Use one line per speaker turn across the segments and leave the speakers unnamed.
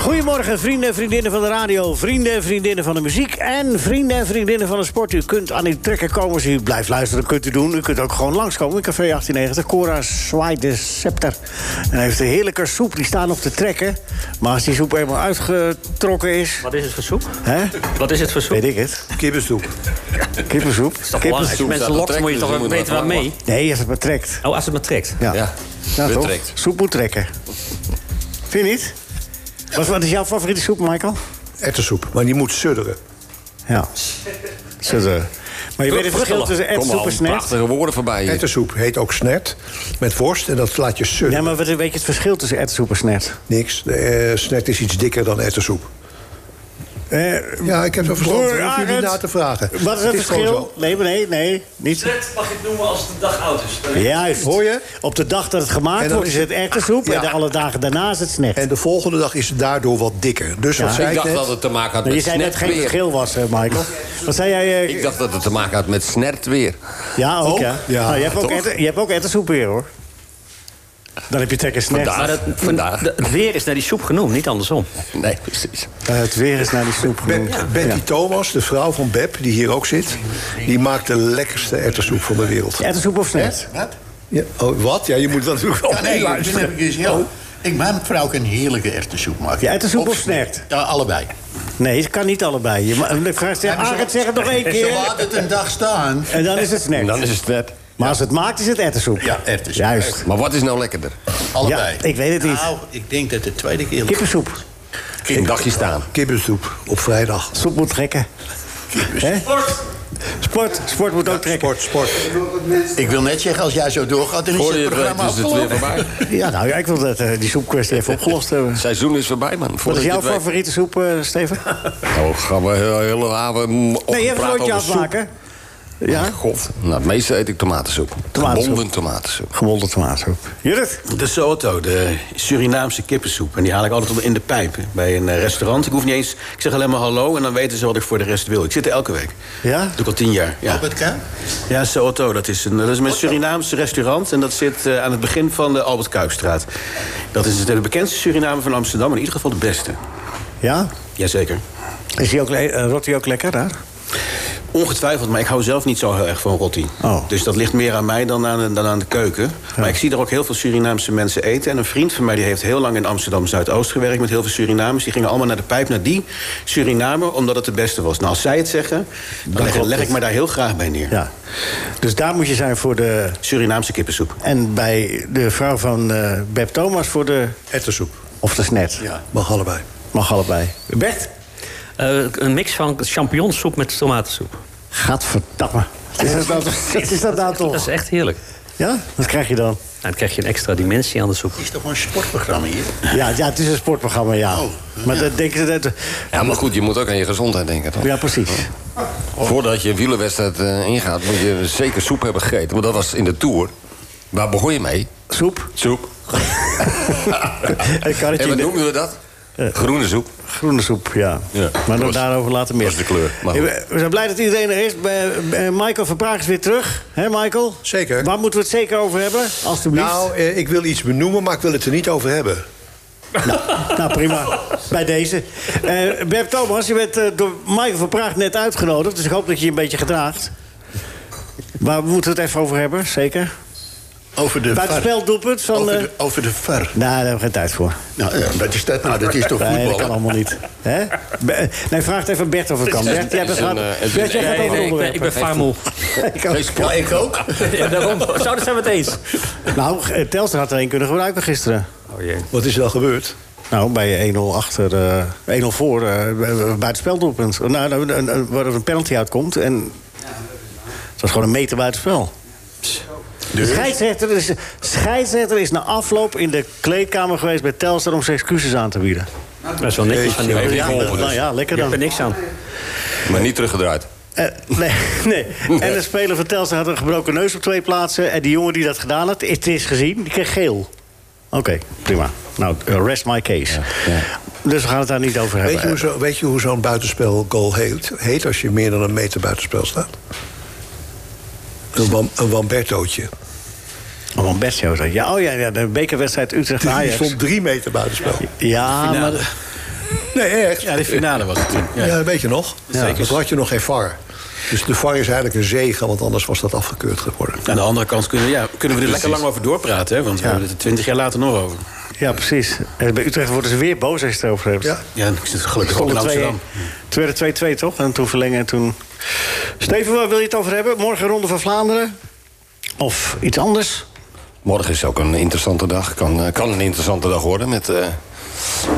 Goedemorgen, vrienden en vriendinnen van de radio, vrienden en vriendinnen van de muziek en vrienden en vriendinnen van de sport. U kunt aan uw trekken komen als u blijft luisteren, kunt u doen. U kunt ook gewoon langskomen in Café 1890. Cora zwaait de scepter en heeft een heerlijke soep, die staan op te trekken. Maar als die soep eenmaal uitgetrokken is,
Wat is het voor soep?
hè,
Wat is het voor soep?
weet ik het.
Kippensoep.
Kippensoep.
is toch belangrijk? Als je mensen lokt, moet dus je toch ook weten wat mee?
Nee, als dus het maar trekt.
Oh, als het me trekt.
Ja,
Ja,
Nou, toch?
betrekt.
Soep moet trekken. Vind je niet? Wat, wat is jouw favoriete soep, Michael?
Ettensoep, maar die moet sudderen.
Ja. Zit, eh, Maar je weet het verschil tussen
Kom
etsoep
al,
en snet.
prachtige woorden voorbij hier.
Ettensoep heet ook snet met worst en dat laat je sudderen.
Ja, maar wat- weet je het verschil tussen etsoep en snet?
Niks. De, eh, snet is iets dikker dan ettensoep. Ja, ik heb er verstand van.
Broer
Ik hoef je niet
Eh, Arend,
na te vragen.
Wat is het,
gewoon
verschil?
zo.
Nee, maar nee, nee, niet.
Slet mag ik noemen als het een dag oud is.
Juist.
Hoor je?
Op de dag dat het
En
gemaakt
dan
wordt is
is
het
het-
echte soep... en
Ja.
de alle dagen daarna is het snet.
En de volgende dag is het daardoor wat dikker. Dus wat zei
Ik
ik
dacht
net?
dat het te maken had
Maar
met
je zei net geen
snertweer.
verschil was, eh, Michael. Wat zei jij? eh,
Ik dacht dat het te maken had met snertweer.
ja, ook,
Ook?
ja.
Ja,
Nou, je, hebt ook
toch?
etten- je hebt ook ettensoep weer, hoor. Dan heb je trek en snet.
Vandaag.
Maar dat,
Vandaag.
de- het weer is naar die soep genoemd, niet andersom.
Nee, precies.
Eh, het weer is naar die soep
Beb-
genoemd.
Betty
Ja.
Thomas, de vrouw van Beb, die hier ook zit... die maakt de lekkerste ettensoep van de wereld.
Ettensoep of snet?
Wat?
Ja, oh, wat? Ja, je moet dat natuurlijk wel
Ja, nee, toen
luisteren.
heb ik eens heel... Ik mijn vrouw kan heerlijke erwtensoep maken.
Oh. Ja, erwtensoep of snert?
Ja, allebei.
Nee, het kan niet allebei. Je ma- dan ga je zeggen, ah, het zeg het nog één
Ze
keer.
laat het een dag staan.
En dan is het snack.
Dan is het snet.
Maar als het maakt, is het ettensoep.
Ja, erwtensoep.
Juist.
Maar wat is nou lekkerder?
Allebei.
Ja, ik weet het niet.
Nou, ik denk dat de tweede keer...
Kippensoep.
Een dagje staan.
Kippensoep op vrijdag.
Soep moet trekken. Hè? Sport. Sport moet ook trekken.
Sport, sport.
Ik wil net zeggen, als jij zo doorgaat, dan is
Hoorde
het
je het,
programma
eh, is het weer
afgelopen.
voorbij?
Ja, nou, ja, ik wil dat eh, die soepkwestie even opgelost hebben.
Het seizoen is voorbij, man.
Wat is
Voordat je
jouw
het weet-
favoriete soep, eh, Steven?
Oh, gaan we heel hele avond op
Nee, even een broodje
over soep.
afmaken. Ja?
God, nou, het meeste eet ik tomatensoep.
Tomatensoep.
Gebonden tomatensoep.
Gewolde tomaatsoep. Judith?
De Soto, de Surinaamse kippensoep. En die haal ik altijd tot in de pijp hè, bij een eh, restaurant. Ik hoef niet eens, ik zeg alleen maar hallo en dan weten ze wat ik voor de rest wil. Ik zit er elke week.
Ja?
Dat doe ik al tien jaar. Ja,
Albert Kuip?
ja Soto, dat is een, dat is een Surinaamse restaurant. En dat zit eh, aan het begin van de Albert Kuipstraat. Dat is de bekendste Suriname van Amsterdam, maar in ieder geval de beste.
Ja?
Jazeker.
Is die ook, le- eh, rolt die ook lekker daar?
Ongetwijfeld, maar ik hou zelf niet zo heel erg van rotti.
Oh.
Dus dat ligt meer aan mij dan aan, de- dan aan de keuken. Maar ik zie er ook heel veel Surinaamse mensen eten. En een vriend van mij die heeft heel lang in Amsterdam Zuidoost gewerkt met heel veel Surinamers. Die gingen allemaal naar de pijp naar die Surinamer omdat het de beste was. Nou, als zij het zeggen, dan leg,
klopt
leg
het.
ik me daar heel graag bij neer.
Ja. Dus daar moet je zijn voor de...
Surinaamse kippensoep.
En bij de vrouw van eh, Beb Thomas voor de...
Ettensoep.
Of de snet.
Ja, mag allebei.
Mag allebei. Bert?
Eh, een mix van champignonsoep met tomatensoep.
Gadverdamme. Is dat nou toch? Is dat nou
Dat
toch?
is echt heerlijk.
Ja? Wat krijg je dan?
Nou, dan krijg je een extra dimensie aan de soep.
Het is toch een sportprogramma hier?
Ja, ja het is een sportprogramma, ja.
Oh.
Maar dat denken ze dat...
Ja, maar goed, je moet ook aan je gezondheid denken, toch?
Ja, precies. Oh.
Voordat je een wielerwedstrijd eh, ingaat, moet je zeker soep hebben gegeten. Want dat was in de Tour. Waar begon je mee?
Soep.
Soep.
Een karretje
en
in
wat
de-
noemden we dat? Groene soep.
Groene soep, ja.
Ja, dat
Maar dan
was-
daarover later meer.
dat was de kleur, maar goed.
We zijn blij dat iedereen er is. Bij- bij Michael van Praag is weer terug. hè Michael?
Zeker.
Waar moeten we het zeker over hebben? Alsjeblieft.
Nou, eh, ik wil iets benoemen, maar ik wil het er niet over hebben.
Nou, prima. Bij deze. Eh Beb Thomas, je bent eh, door Michael van Praag net uitgenodigd. Dus ik hoop dat je je een beetje gedraagt. Waar moeten we het even over hebben? Zeker.
Over de
Bij het
VAR.
speldoelpunt van...
Over
eh,
de, over de VAR.
Nou, daar hebben we geen tijd voor.
Nou, ja, wat is dat nou? Dat is toch
Nee, dat kan
voetbal?
allemaal niet. Hè? Be- Nee, vraag het even aan Bert of het kan. Bert, jij bent
een,
gaat-
eh, het is
Bert, jij
een-
gaat
nee,
over
nee,
ik ben, ik ben
onderwerpen.
vaarmoe.
Ik ook.
Geen sport.
Ik ook.
Ja, daarom. Zo, dat zijn we het eens.
Nou, eh, Telstra had er één kunnen gebruiken gisteren.
Oh,
Wat is er dan gebeurd?
Nou, bij 1-0 achter, eh 1-0 voor, eh, bij het speldoelpunt. Nou, nou, een- een- waar er een penalty uitkomt. En het was gewoon een meter buiten spel.
Dus?
De scheidsrechter is, scheidsrechter is na afloop in de kleedkamer geweest bij Telstar om zijn excuses aan te bieden.
Dat is wel netjes van die
Jeetje,
man.
ja. geholpen dus.
nou ja, lekker
Ik heb
dan.
er niks aan.
Maar niet teruggedraaid.
Eh, nee, nee. En de speler van Telstar had een gebroken neus op twee plaatsen. En die jongen die dat gedaan had, het is gezien, die kreeg geel. Oké, prima. Nou, eh, rest my case. Dus we gaan het daar niet over hebben.
Weet je hoe zo- weet je hoe zo'n buitenspelgoal heet, heet als je meer dan een meter buitenspel staat? Een, wam, een Wambertootje.
Oh, een best zo. Ja, oh ja, ja, de bekerwedstrijd
Die, die
Utrecht-Ajax.
stond drie meter buitenspel.
Ja, Ah, maar...
Nee, echt.
Ja, de finale was het toen.
Ja, dat weet je nog. Ja,
Zeker.
want toen had je nog geen VAR. Dus de VAR is eigenlijk een zegen, want anders was dat afgekeurd geworden.
Aan de andere kant kunnen, we- ja, kunnen we er lekker lang over doorpraten. Hè? Want we hebben het er twintig jaar later nog over.
Ja, precies. En bij Utrecht worden ze weer boos als je het erover hebt.
Ja.
Ja, ik zit gelukkig ook in
Stonden twee-
Amsterdam.
Toen werd het 2-2, toch? En toen verlengen en toen... Steven, waar wil je het over hebben? Morgen Ronde van Vlaanderen? Of iets anders?
Morgen is ook een interessante dag. Kan, eh, kan een interessante dag worden met, eh,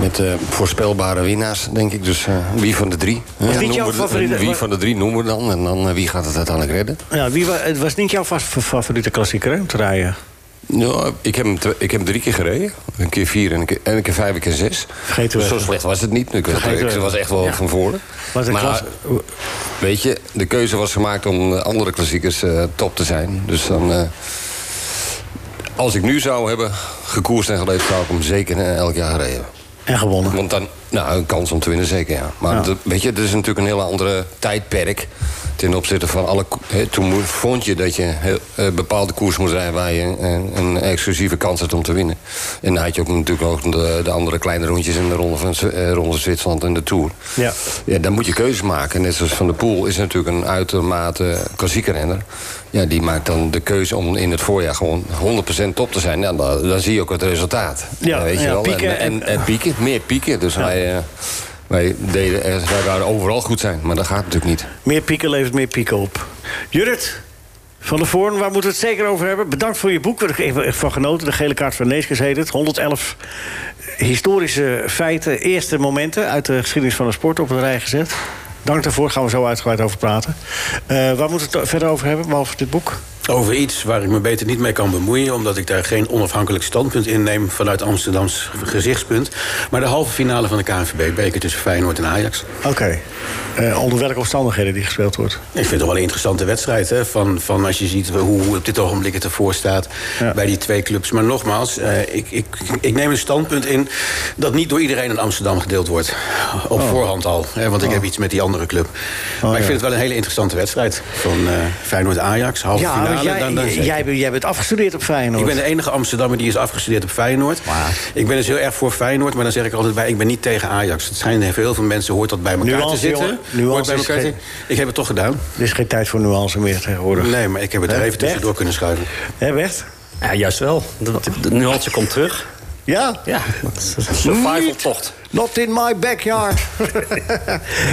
met eh, voorspelbare winnaars, denk ik. Dus eh, wie van de drie? eh,
niet
noemen
jouw
we de-
favoriete-
Wie van de drie noemen we dan? En dan eh, wie gaat het uiteindelijk redden?
Ja, wie wa- het was niet jouw vast- favoriete klassieker, hè, om te rijden.
Ja, Nou, ik heb, hem twe- ik heb hem drie keer gereden. Een keer vier en een keer, en een keer vijf en een keer zes. Dus
Vergeten we
Zo
even.
slecht was het niet. Ik, was-
Vergeten we
ik was
even.
echt wel
Ja.
van voren.
Was een
maar eh,
klas-
weet je, de keuze was gemaakt om eh, andere klassiekers eh, top te zijn. Dus dan... eh, als ik nu zou hebben gekoerst en geleefd, zou ik hem zeker eh, elk jaar gereden hebben.
En gewonnen.
Want dan, nou, een kans om te winnen zeker, ja. Maar
Ja.
dat- weet je, het is natuurlijk een hele andere tijdperk... ten opzichte van alle... ko- hè, toen mo- vond je dat je heel, eh, bepaalde koers moest rijden... waar je een, een exclusieve kans had om te winnen. En dan had je ook natuurlijk ook de, de andere kleine rondjes... in de ronde van, Z- eh, ronde Zwitserland en de Tour.
Ja.
Ja, dan moet je keuzes maken. Net zoals Van der Poel is natuurlijk een uitermate klassieke renner. Ja, die maakt dan de keuze om in het voorjaar gewoon 100% top te zijn. Ja, dan, dan zie je ook het resultaat.
Ja,
Eh, weet je
ja,
wel.
pieken
en, en, en pieken, meer pieken. Dus wij, eh, wij, deden, eh, wij waren overal goed zijn, maar dat gaat natuurlijk niet.
Meer pieken levert meer pieken op. Judith van der Voorn, waar moeten we het zeker over hebben? Bedankt voor je boek, waar ik even echt van genoten. De gele kaart van Neeskens heet het. 111 historische feiten, eerste momenten... uit de geschiedenis van de sport op een rij gezet. Dank daarvoor, gaan we zo uitgebreid over praten. Eh, waar moeten we het verder over hebben, behalve dit boek?
Over iets waar ik me beter niet mee kan bemoeien... omdat ik daar geen onafhankelijk standpunt in neem... vanuit Amsterdams gezichtspunt. Maar de halve finale van de KNVB-beker tussen Feyenoord en Ajax.
Oké. Eh, onder welke omstandigheden die gespeeld wordt?
Ik vind het toch wel een interessante wedstrijd. Hè? Van, van als je ziet hoe, hoe op dit ogenblik het ervoor staat
Ja.
bij die twee clubs. Maar nogmaals, eh, ik, ik, ik neem een standpunt in dat niet door iedereen in Amsterdam gedeeld wordt. Op voorhand al. Hè? Want ik heb iets met die andere club. maar ik
Oh. ja.
vind het wel een hele interessante wedstrijd. Van eh, Feyenoord-Ajax, halve
Ja,
finale.
want jij,
dan- dan-
jij, bent- jij bent afgestudeerd op Feyenoord.
ik ben de enige Amsterdammer die is afgestudeerd op Feyenoord. Ik ben dus heel erg voor Feyenoord, maar dan zeg ik er altijd bij... ik ben niet tegen Ajax. Het schijnt voor heel veel mensen, hoort dat bij elkaar
Nuance,
te zitten.
jongen. Nuance
hoort bij
is
elkaar te
geen-
zitten. Ik heb het toch gedaan.
Er is geen tijd voor nuance meer tegenwoordig.
Nee, maar ik heb het er
Hè,
even tussendoor kunnen schuiven.
Hè, Bert?
Ja, juist wel. De, de- de nuance komt terug.
Ja?
Ja, survival-tocht.
Not in my backyard.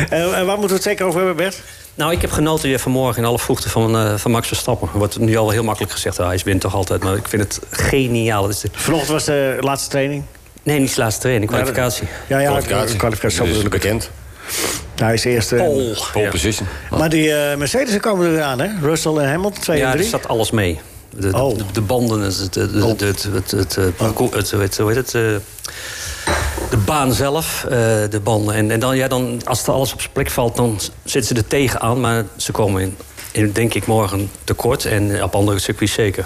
en, en waar moeten we het zeker over hebben, Bert?
Nou, ik heb genoten weer vanmorgen in alle vroegte van, eh, van Max Verstappen. Wordt nu al heel makkelijk gezegd, ah, hij wint toch altijd. Maar ik vind het geniaal. Het is de-
Vanochtend was de laatste training.
Nee, niet de laatste training, kwalificatie.
Ja, ja,
Kwalificatie.
kwalificatie. kwalificatie.
Dat
zo
is
bedoel ik.
bekend.
Hij is eerste.
Oh,
Pole
ja.
position.
Maar die eh Mercedes komen er aan, hè? Russell en Hamilton, 2
Ja,
en
er
3.
zat alles mee. De, de-
Oh.
de, de banden, het, het, het, het, het, het, het, eh, parcours, het, hoe heet- hoe heet het, eh, de baan zelf, eh, de banden. En, en dan, ja, dan, als er alles op zijn plek valt, dan zitten ze er tegenaan. Maar ze komen, in, in, denk ik, morgen tekort. En op andere circuits zeker.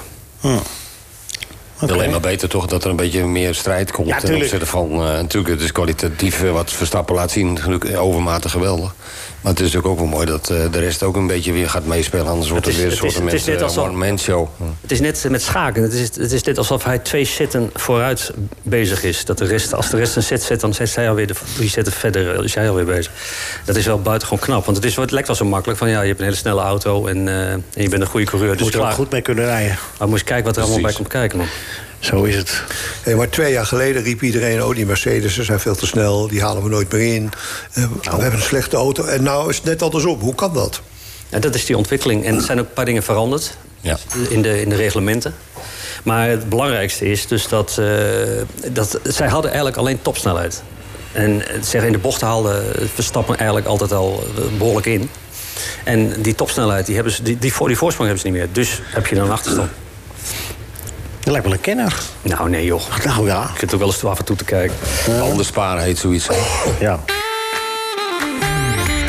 Oké.
Alleen maar beter toch dat er een beetje meer strijd komt.
Ja,
ten
tuurlijk.
opzichte van, eh, natuurlijk, het is kwalitatief eh, wat Verstappen laat zien. Natuurlijk overmatig geweldig. Maar het is natuurlijk ook wel mooi dat eh, de rest ook een beetje weer gaat meespelen. Anders wordt het
Het
weer een
is-
soort eh,
het is- het is net als al-
one-man show.
Het is net met schaken. Het is, het is net alsof hij twee setten vooruit bezig is. Dat de rest, als de rest een set zet, dan is hij alweer de, drie setten verder eh, is hij alweer bezig. Dat is wel buitengewoon knap. Want het, is, het lijkt wel zo makkelijk. Van, ja, je hebt een hele snelle auto en, eh, en je bent een goede coureur. Dus
Moet er ook
klaar.
goed mee kunnen rijden.
Maar moet je kijken wat er allemaal bij komt kijken. Man.
Zo is het.
Hé, maar twee jaar geleden riep iedereen... oh, die Mercedes zijn veel te snel, die halen we nooit meer in. Eh, we
Nou.
hebben een slechte auto. En nou is het net andersom. Hoe kan dat?
Ja, dat is die ontwikkeling. En er zijn ook een paar dingen veranderd
Ja.
in, de, in de reglementen. Maar het belangrijkste is dus dat, eh, dat zij hadden eigenlijk alleen topsnelheid. En eh, zeg, in de bocht haalde Verstappen eigenlijk altijd al eh, behoorlijk in. En die topsnelheid, die hebben ze, die, die, voor, die voorsprong hebben ze niet meer. Dus heb je dan een achterstand.
Dat lijkt wel een kenner.
Nou nee joh, ik
Nou ja.
zit ook wel eens toe af en toe te kijken.
Anders sparen heet zoiets.
ja.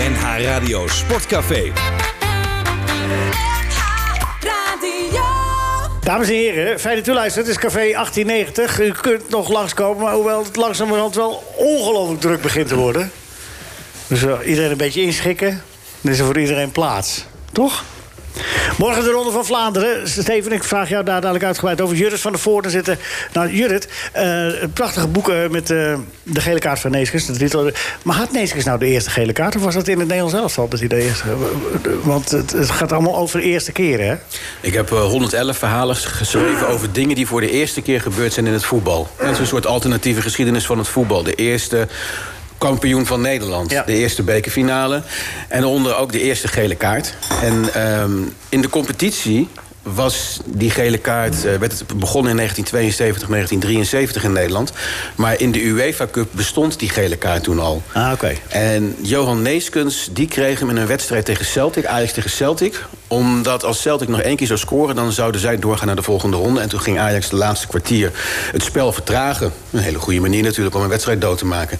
NH Radio Sportcafé.
Radio.
Dames en heren, fijn dat u luistert. Het is Café 1890. U kunt nog langskomen, maar hoewel het langzamerhand wel ongelooflijk druk begint te worden. Dus eh, iedereen een beetje inschikken. Dan is er voor iedereen plaats. Toch? Morgen de Ronde van Vlaanderen. Steven, ik vraag jou daar dadelijk uitgebreid over. Jurrit van der Voorden zitten. Nou, Jurrit, eh, prachtige boeken met eh, de gele kaart van Neeskens. de drietal. Maar had Neeskens nou de eerste gele kaart? Of was dat in het Nederlands zelf al dat hij de eerste... Want het, het gaat allemaal over de eerste keren, hè?
Ik heb eh, 111 verhalen geschreven over dingen die voor de eerste keer gebeurd zijn in het voetbal. Dat is een soort alternatieve geschiedenis van het voetbal. De eerste kampioen van Nederland.
Ja.
De eerste bekerfinale. En daaronder ook de eerste gele kaart. En ehm, in de competitie was die gele kaart... eh, werd het begonnen in 1972, 1973 in Nederland. Maar in de UEFA Cup bestond die gele kaart toen al.
Ah, oké.
En Johan Neeskens die kreeg hem in een wedstrijd tegen Celtic, Ajax tegen Celtic. Omdat als Celtic nog één keer zou scoren, dan zouden zij doorgaan naar de volgende ronde. En toen ging Ajax de laatste kwartier het spel vertragen. Een hele goede manier natuurlijk om een wedstrijd dood te maken.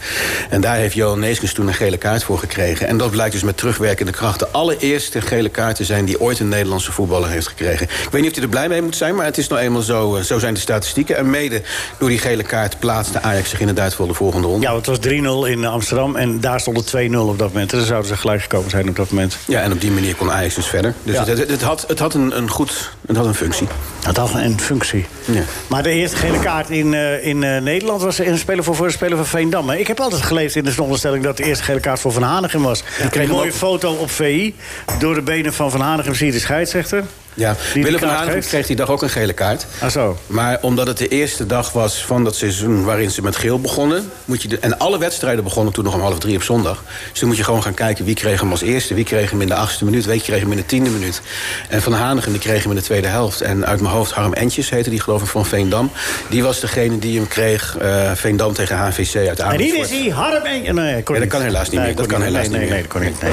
En daar heeft Johan Neeskens toen een gele kaart voor gekregen. En dat blijkt dus met terugwerkende kracht de allereerste gele kaart te zijn die ooit een Nederlandse voetballer heeft gekregen. Ik weet niet of hij er blij mee moet zijn, maar het is nou eenmaal zo. eh, Zo zijn de statistieken. En mede door die gele kaart plaatste Ajax zich inderdaad voor de volgende ronde.
Ja, want het was 3-0 in eh, Amsterdam en daar stond het 2-0 op dat moment. En dan zouden ze gelijk gekomen zijn op dat moment.
Ja, en op die manier kon Ajax dus verder. Dus
Ja.
het, het, het had, het had, een, een goed, het had een functie.
Dat had een functie.
Ja.
Maar de eerste gele kaart in, eh, in eh, Nederland was een speler voor, voor een speler van Veendam. hè? Ik heb altijd geleefd in de onderstelling dat de eerste gele kaart voor Van Hanegem was. Ik kreeg
kreeg
een
hem
mooie
ook.
foto op VI. Door de benen van Van Hanegem zie je de scheidsrechter.
Ja.
die
Willem van
kaart
Hanegem
geeft.
kreeg die dag ook een gele kaart.
Ah zo.
Maar omdat het de eerste dag was van dat seizoen waarin ze met geel begonnen... Moet je de, en alle wedstrijden begonnen toen nog om half drie op zondag... dus toen moet je gewoon gaan kijken wie kreeg hem als eerste... wie kreeg hem in de achtste minuut, wie kreeg hem in de tiende minuut. En Van Hanegem die kreeg hem in de tweede helft. En uit mijn hoofd Harm Entjes heette die geloof ik van Veendam. Die was degene die hem kreeg, eh, Veendam tegen HVC uit
En
Amersfoort.
hier is hij, Harm en... Nee, kon
Ja, dat
niet.
kan helaas niet
Nee,
meer.
kon
Dat kan helaas
nee,
niet
Nee, nee,
meer.
dat kon niet. nee.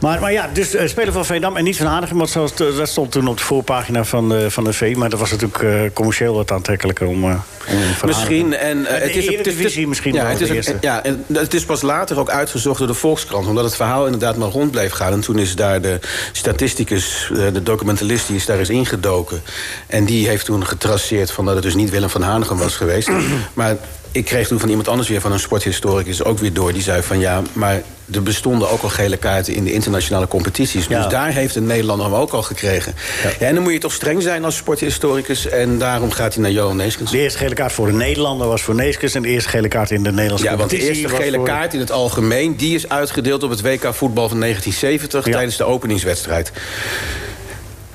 Maar, maar ja, dus eh, speler van Veendam en niet van Hanegem. Want zoals, het, eh, dat stond toen op de voorpagina van, eh, van de V. Maar dat was natuurlijk eh, commercieel wat aantrekkelijker om... eh, om Van Hanegem.
Misschien. En, eh,
de
het is, het is,
Eredivisie misschien
ja,
wel
het
de
is,
eerste.
ook- ja, en het is pas later ook uitgezocht door de Volkskrant. Omdat het verhaal inderdaad maar rond bleef gaan. En toen is daar de statisticus, eh, de documentalist, die is daar eens ingedoken. En die heeft toen getraceerd van dat het dus niet Willem van Hanegem was geweest. maar ik kreeg toen van iemand anders weer, van een sporthistoricus, ook weer door. Die zei van ja, maar er bestonden ook al gele kaarten in de internationale competities.
Ja.
Dus daar heeft een Nederlander hem ook al gekregen. Ja. en dan moet je toch streng zijn als sporthistoricus. En daarom gaat hij naar Johan Neeskens.
De eerste gele kaart voor een Nederlander was voor Neeskens... en de eerste gele kaart in de Nederlandse
Ja, want de
competitie
eerste
was
gele
voor-
kaart in het algemeen... die is uitgedeeld op het WK voetbal van 1970...
Ja.
tijdens de openingswedstrijd.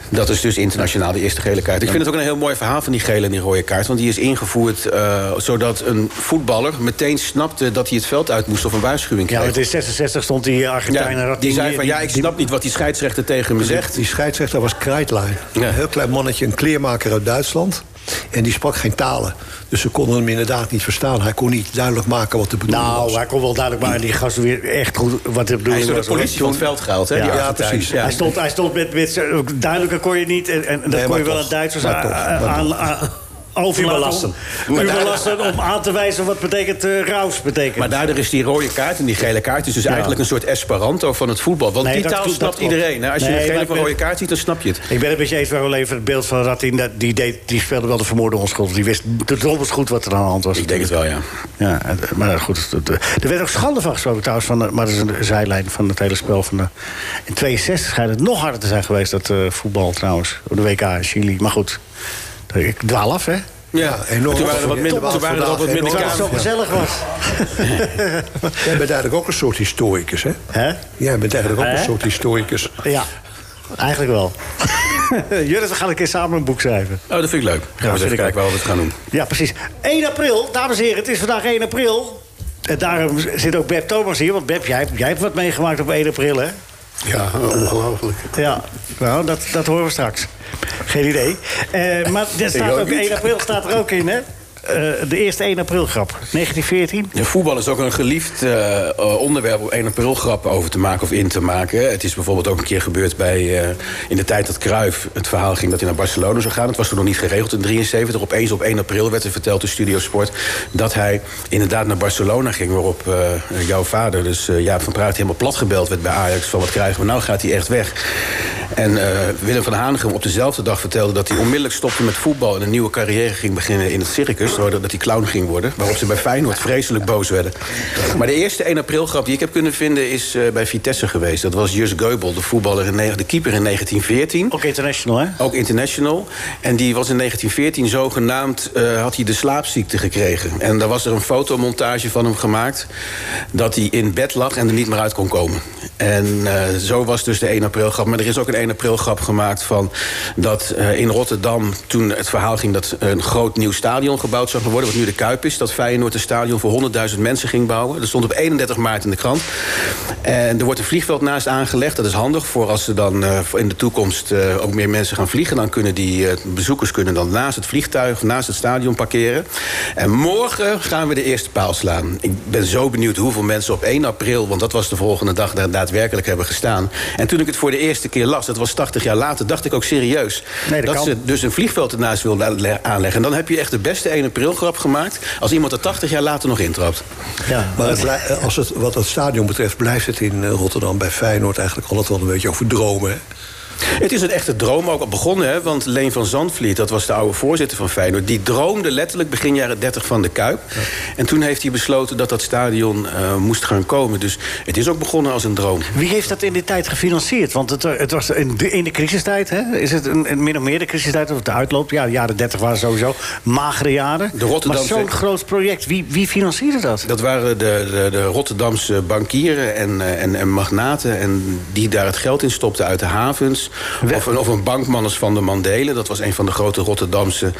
Dat is dus internationaal de eerste gele kaart. Ik vind het ook een heel mooi verhaal van die gele en die rode kaart. Want die is ingevoerd eh, zodat een voetballer meteen snapte... dat hij het veld uit moest of een waarschuwing
Ja,
kreeg.
want in 66 stond die
Ja,
Argentijn...
die zei van, ja, ik snap niet wat die scheidsrechter tegen me zegt.
Die scheidsrechter was Kreitlein.
Ja.
Een heel klein mannetje, een kleermaker uit Duitsland. En die sprak geen talen. Dus ze konden hem inderdaad niet verstaan. Hij kon niet duidelijk maken wat de bedoeling
Nou,
was.
hij kon wel duidelijk, maar die gast weer echt goed wat de
Hij is
bedoeling
door de
was.
politie van het veld gehaald, hè?
Ja,
die
ja,
Argentijn.
precies.
Ja.
Hij stond, hij stond met, met z'n- duidelijker kon je niet. En, en dat kon
maar
je wel
toch,
aan Duitsers
maar
aan,
toch, maar toch.
aan, aan- overlaten. om- Überlasten om aan te wijzen wat betekent eh raus betekent.
Maar daardoor is die rode kaart en die gele kaart... is dus eigenlijk een soort Esperanto van het voetbal. Want
Nee,
die
dat
taal
klopt,
snapt
dat klopt.
iedereen. hè? Als je
Nee,
een
maar
gele
ik
of een
ben-
rode kaart ziet, dan snap je het.
ik ben het met je eens waarom even het beeld van Ratin. dat- Die, deed, die speelde wel de vermoorde onschuld. Die wist de drommels goed wat er aan de hand was.
Ik denk het wel, ja.
Ja, en- maar goed. dat- dat- Er werd ook schande van gesproken trouwens. Van de, maar dat is een zijlijn van het hele spel. Van de, in 62 schijnt het nog harder te zijn geweest, dat eh, voetbal trouwens. Op de WK in Chili. Maar goed, ik dwaal af, hè?
eh, Ja,
enorm.
Toen waren er wat minder,
Top
toen waren er
vandaag,
ook wat minder
enorm.
Terwijl het zo
kaarten.
gezellig was.
Jij bent eigenlijk ook een soort historicus, hè?
Hè?
Jij bent eigenlijk ook
Hè?
een soort historicus.
Ja, eigenlijk wel.
Eh,
Jurrit, we gaan een keer samen een boek schrijven.
Oh, dat vind ik leuk. Gaan we
vind
eens
ik
even kijken
ook.
waar we het gaan doen.
Ja, precies. 1 april, dames en heren, het is vandaag 1 april. En daarom zit ook Beb Thomas hier. Want Beb, jij, hebt- jij hebt wat meegemaakt op 1 april, hè?
Ja, ongelooflijk.
Ja, nou, dat, dat horen we straks. Geen idee. Eh, maar er staat ook, 1 april staat er ook in, hè? Eh, de eerste 1 april grap, 1914.
Ja, voetbal is ook een geliefd eh, eh, onderwerp om 1 april grappen over te maken of in te maken. Het is bijvoorbeeld ook een keer gebeurd bij, eh, in de tijd dat Cruijff het verhaal ging dat hij naar Barcelona zou gaan. Het was toen nog niet geregeld in 73. Opeens op 1 april werd er verteld in Studio Sport dat hij inderdaad naar Barcelona ging. Waarop eh, jouw vader, dus eh, Jaap van Praat, helemaal plat gebeld werd bij Ajax van wat krijgen we nou, gaat hij echt weg. En eh, Willem van Hanegem op dezelfde dag vertelde dat hij onmiddellijk stopte met voetbal... en een nieuwe carrière ging beginnen in het circus, dat hij clown ging worden. Waarop ze bij Feyenoord vreselijk boos werden. Maar de eerste 1 april grap die ik heb kunnen vinden is eh, bij Vitesse geweest. Dat was Jus Geubel, de voetballer, in, ne- de keeper in 1914.
Ook international, hè?
Ook international. En die was in 1914 zogenaamd, eh, had hij de slaapziekte gekregen. En daar was er een fotomontage van hem gemaakt... dat hij in bed lag en er niet meer uit kon komen. En eh, zo was dus de 1 april grap. Maar er is ook een 1 april grap gemaakt van... dat eh, in Rotterdam toen het verhaal ging... dat een groot nieuw stadion gebouwd zou gaan worden... wat nu de Kuip is, dat Feyenoord een stadion voor 100.000 mensen ging bouwen. Dat stond op 31 maart in de krant. En er wordt een vliegveld naast aangelegd. Dat is handig voor als ze dan eh, voor in de toekomst eh, ook meer mensen gaan vliegen. Dan kunnen die eh, bezoekers kunnen dan naast het vliegtuig, naast het stadion parkeren. En morgen gaan we de eerste paal slaan. Ik ben zo benieuwd hoeveel mensen op 1 april, want dat was de volgende dag, daar daadwerkelijk hebben gestaan. En toen ik het voor de eerste keer las, dat was 80 jaar later, dacht ik ook serieus.
Nee, dat
dat
kan.
ze dus een vliegveld ernaast wilden le- aanleggen. En dan heb je echt de beste 1 april grap gemaakt. Als iemand er 80 jaar later nog intrapt.
Ja.
Maar het blij- eh, als het, wat het stadion betreft blijft het in eh, Rotterdam bij Feyenoord eigenlijk altijd wel een beetje over dromen. hè?
Het is een echte droom ook al begonnen, hè? want Leen van Zandvliet, dat was de oude voorzitter van Feyenoord... die droomde letterlijk begin jaren 30 van de Kuip. En toen heeft hij besloten dat dat stadion eh, moest gaan komen. Dus het is ook begonnen als een droom.
Wie heeft dat in die tijd gefinancierd? Want het, eh, het was in de, in de crisistijd, hè? Is het een, een min of meer de crisistijd of de uitloop? Ja, de jaren 30 waren sowieso magere jaren.
De Rotterdamse-
Maar zo'n groot project, wie, wie financierde dat?
Dat waren de, de, de Rotterdamse bankieren en, eh, en, en magnaten... En die daar het geld in stopten uit de havens. Of een, of een bankman als Van der Mandelen. Dat was een van de grote Rotterdamse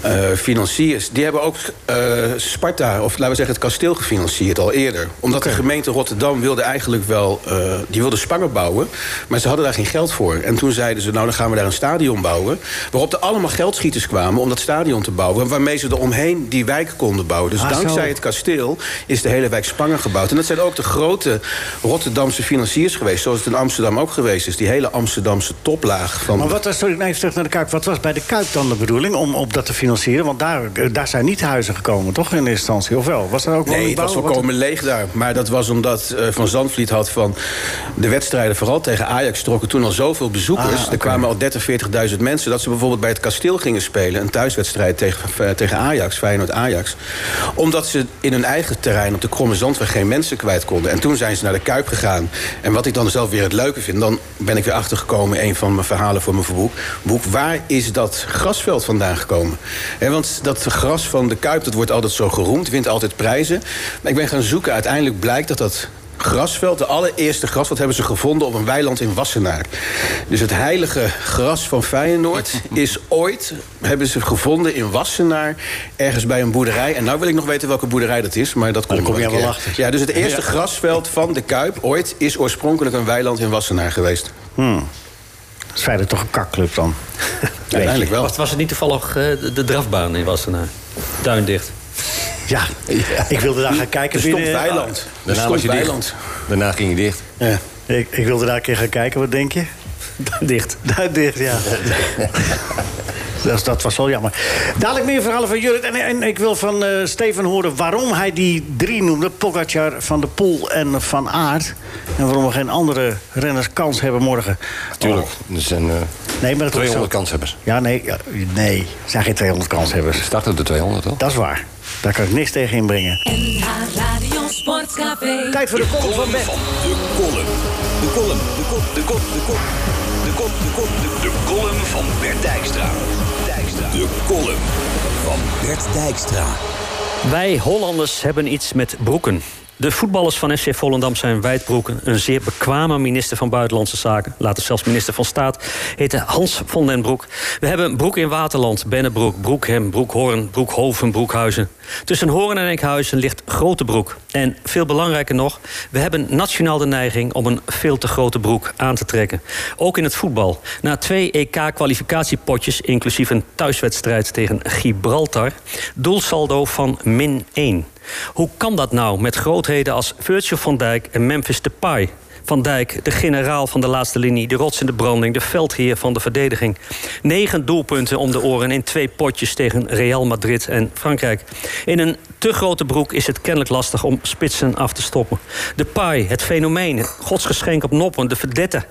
eh, financiers. Die hebben ook eh, Sparta, of laten we zeggen het kasteel gefinancierd al eerder. Omdat de gemeente Rotterdam wilde eigenlijk wel... eh, die wilde Spangen bouwen, maar ze hadden daar geen geld voor. En toen zeiden ze, nou dan gaan we daar een stadion bouwen. Waarop er allemaal geldschieters kwamen om dat stadion te bouwen. Waarmee ze er omheen die wijk konden bouwen. Dus
Ah, zo.
dankzij het kasteel is de hele wijk Spangen gebouwd. En dat zijn ook de grote Rotterdamse financiers geweest. Zoals het in Amsterdam ook geweest is. Die hele Amsterdamse toplaag. Van
Maar wat was, sorry, nee, even terug naar de Kuip. Wat was bij de Kuip dan de bedoeling om op dat te financieren? Want daar, eh, daar zijn niet huizen gekomen, toch, in eerste instantie? Of wel? Was er ook
Nee, het
woningbouw?
was
Wat-
volkomen leeg daar. Maar dat was omdat eh, Van Zandvliet had van de wedstrijden... vooral tegen Ajax trokken toen al zoveel bezoekers.
Ah,
Er kwamen al 30.000, 40.000 mensen... dat ze bijvoorbeeld bij het kasteel gingen spelen. Een thuiswedstrijd tegen, eh, tegen Ajax, Feyenoord-Ajax. Omdat ze in hun eigen terrein op de Kromme Zandweg... geen mensen kwijt konden. En toen zijn ze naar de Kuip gegaan. En wat ik dan zelf weer het leuke vind... dan ben ik weer achtergekomen... een van mijn verhalen voor mijn boek. boek waar is dat grasveld vandaan gekomen? Hè, want dat gras van de Kuip, dat wordt altijd zo geroemd, wint altijd prijzen. Maar ik ben gaan zoeken, uiteindelijk blijkt dat dat grasveld, de allereerste grasveld, hebben ze gevonden op een weiland in Wassenaar. Dus het heilige gras van Feyenoord is ooit, hebben ze gevonden in Wassenaar, ergens bij een boerderij. En nou wil ik nog weten welke boerderij dat is, maar dat komt
daar Nou, kom
nog
jij
een
wel
keer.
achter.
Ja, dus het eerste grasveld van de Kuip ooit is oorspronkelijk een weiland in Wassenaar geweest.
Hmm. Het is feitelijk toch een kakclub dan?
Uiteindelijk wel.
Was, was het niet toevallig eh, de, de drafbaan in Wassenaar? Duindicht.
Ja, ik wilde daar gaan kijken.
Er stond
binnen- Ah,
weiland. Er
Ah, Daarna was
stond
je dicht.
weiland.
Daarna ging je dicht.
Ja.
Ik, ik wilde daar een keer gaan kijken, wat denk je?
Dicht.
Daar dicht, ja. Dus dat was wel jammer. Dadelijk meer verhalen van Jurrit. En, en ik wil van eh, Steven horen waarom hij die drie noemde. Pogacar, Van der Poel en Van Aert. En waarom we geen andere renners kans hebben morgen.
Tuurlijk. Er zijn eh
Nee, maar dat was
200
zo.
kanshebbers.
Ja, nee. Ja, nee. Er zijn geen 200 kanshebbers.
Ze starten op de 200, toch?
Dat is waar. Daar kan ik niks tegen inbrengen.
NH Radio Sportcafé.
Tijd voor de kolom van Ben.
De column. De column. De kop. De kop. De kop. De kop. De kop. De, de column van Bert Dijkstra. Dijkstra. De column van Bert Dijkstra.
Wij Hollanders hebben iets met broeken. De voetballers van FC Volendam zijn wijdbroeken. Een zeer bekwame minister van Buitenlandse Zaken, later zelfs minister van Staat, heette Hans van den Broek. We hebben Broek in Waterland, Bennebroek, Broekhem, Broekhoorn, Broekhoven, Broekhuizen. Tussen Hoorn en Enkhuizen ligt Grote Broek. En veel belangrijker nog, we hebben nationaal de neiging om een veel te grote broek aan te trekken. Ook in het voetbal. Na twee EK-kwalificatiepotjes, inclusief een thuiswedstrijd tegen Gibraltar, doelsaldo van min 1. Hoe kan dat nou met grootheden als Virgil van Dijk en Memphis Depay? Van Dijk, de generaal van de laatste linie, de rots in de branding, de veldheer van de verdediging. Negen doelpunten om de oren in twee potjes tegen Real Madrid en Frankrijk. In een te grote broek is het kennelijk lastig om spitsen af te stoppen. De paai, het fenomeen, het godsgeschenk op noppen, de verdette.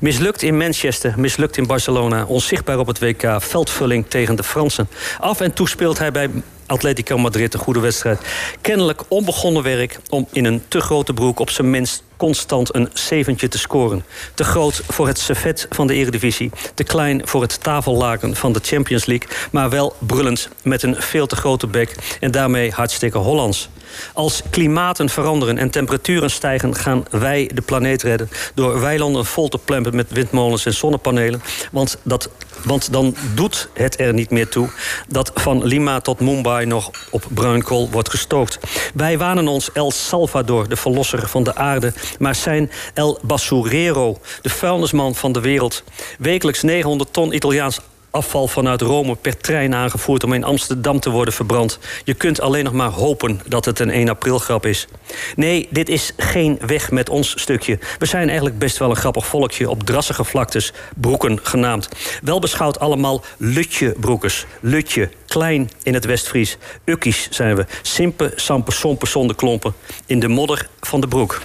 Mislukt in Manchester, mislukt in Barcelona. Onzichtbaar op het WK, veldvulling tegen de Fransen. Af en toe speelt hij bij Atletico Madrid een goede wedstrijd. Kennelijk onbegonnen werk om in een te grote broek op zijn minst constant een zeventje te scoren. Te groot voor het servet van de Eredivisie. Te klein voor het tafellaken van de Champions League. Maar wel brullend met een veel te grote bek. En daarmee hartstikke Hollands. Als klimaten veranderen en temperaturen stijgen, gaan wij de planeet redden. Door weilanden vol te plempen met windmolens en zonnepanelen. Want, dat, want dan doet het er niet meer toe dat van Lima tot Mumbai nog op bruinkool wordt gestookt. Wij wanen ons El Salvador, de verlosser van de aarde. Maar zijn El Basurero, de vuilnisman van de wereld. Wekelijks 900 ton Italiaans afval vanuit Rome per trein aangevoerd om in Amsterdam te worden verbrand. Je kunt alleen nog maar hopen dat het een 1 april grap is. Nee, dit is geen weg met ons stukje. We zijn eigenlijk best wel een grappig volkje op drassige vlaktes, broeken genaamd. Wel beschouwd allemaal lutje broekers. Lutje, klein in het Westfries. Ukkies zijn we. Simpe, sampe, sompe, zonder klompen. In de modder van de broek.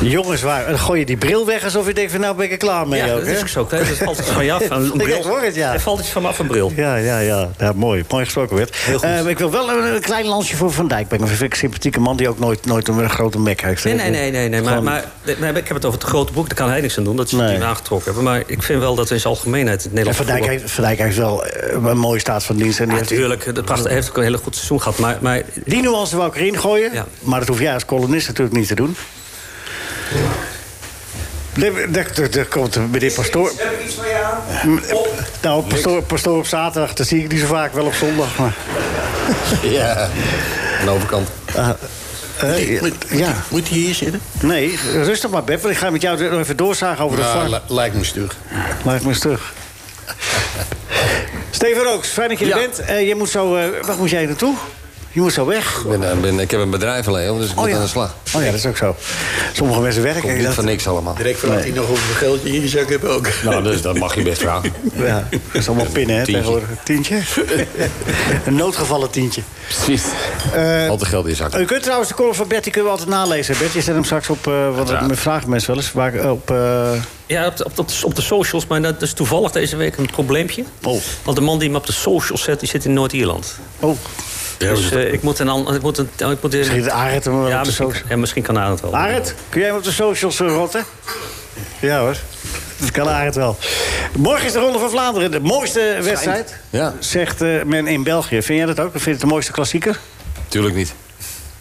Jongens, waar, dan gooi je die bril weg alsof je denkt van nou ben ik er klaar mee.
Ja,
ook,
dat is
hè?
ook zo. Kijk, dat valt iets van je af. Een
Ik
bril.
hoor het, ja.
Er valt iets van me af, een bril.
Ja, ja, ja. ja mooi. Mooi gesproken werd. Heel
goed.
ik wil wel een, een klein lansje voor Van Dijk brengen. Dat vind ik een sympathieke man die ook nooit, nooit een grote mek heeft.
Nee, nee, nee, nee. nee. Maar,
Gewoon-
maar, nee, maar ik heb het over het grote boek. Daar kan hij niks aan doen. Dat ze
Nee.
het niet aangetrokken hebben. Maar ik vind wel dat in zijn algemeenheid het
En
Nederlands
Van Dijk,
voetbal-
heeft, Van Dijk heeft wel eh, een mooie staat van dienst. En die,
Ja,
heeft-
natuurlijk. Dat prachtig, hij heeft ook een hele goed seizoen gehad. Maar, maar
die nuance wou ik erin gooien.
Ja.
Maar dat hoef jij als columnist natuurlijk niet te doen. Nee, daar- daar- daar komt meneer Pastoor.
Heb ik iets van je aan?
Nou, pastoor, pastoor op zaterdag, dat zie ik niet zo vaak, wel op zondag. Maar,
Ja, aan de overkant.
Ah,
Eh, ja.
Moet hij hier zitten?
Nee, rustig maar, Beb, want ik ga met jou nog even doorzagen over de
Ja,
vlak.
li- lijkt me stug.
Laat me eens terug. Steven Rooks, fijn dat je er
Ja.
bent. Eh, je moet zo, eh, waar moet jij naartoe? Je moet zo weg.
Ik, ben, eh, ben- ik heb een bedrijf alleen, hoor, dus ik moet aan de slag.
oh ja, dat is ook zo. Sommige mensen werken.
Komt
en
niet
dat-
van niks allemaal.
Direct vraagt hij nog hoeveel geld je in je zak hebt ook.
Nou, dus dat mag je best vragen.
ja, dat is allemaal pinnen, hè,
Tientje.
tegenwoordig. Tientje? een noodgevallen tientje.
Precies. Altijd geld in je zak.
Eh, U kunt trouwens de column van Bert, die kunnen we altijd nalezen. Bert, je zet hem straks op, eh want dat
Uiteraard.
me vragen mensen wel eens, waar, eh, op... eh,
ja, op, de, op, de, op de socials. Maar dat is toevallig deze week een probleempje.
Oh.
Want de man die me op de socials zet, die zit in Noord-Ierland.
oh,
dus eh, ik moet een ander... Ik moet een, ik moet
misschien de Arend hem wel
ja,
op de
misschien,
socials.
ja, misschien kan Arend wel.
Arend, kun jij hem op de socials eh, rotten? Ja hoor, dat kan Arend wel. Morgen is de Ronde van Vlaanderen, de mooiste wedstrijd.
Ja,
Zegt eh, men in België. Vind jij dat ook? Vind je het de mooiste klassieker?
tuurlijk niet.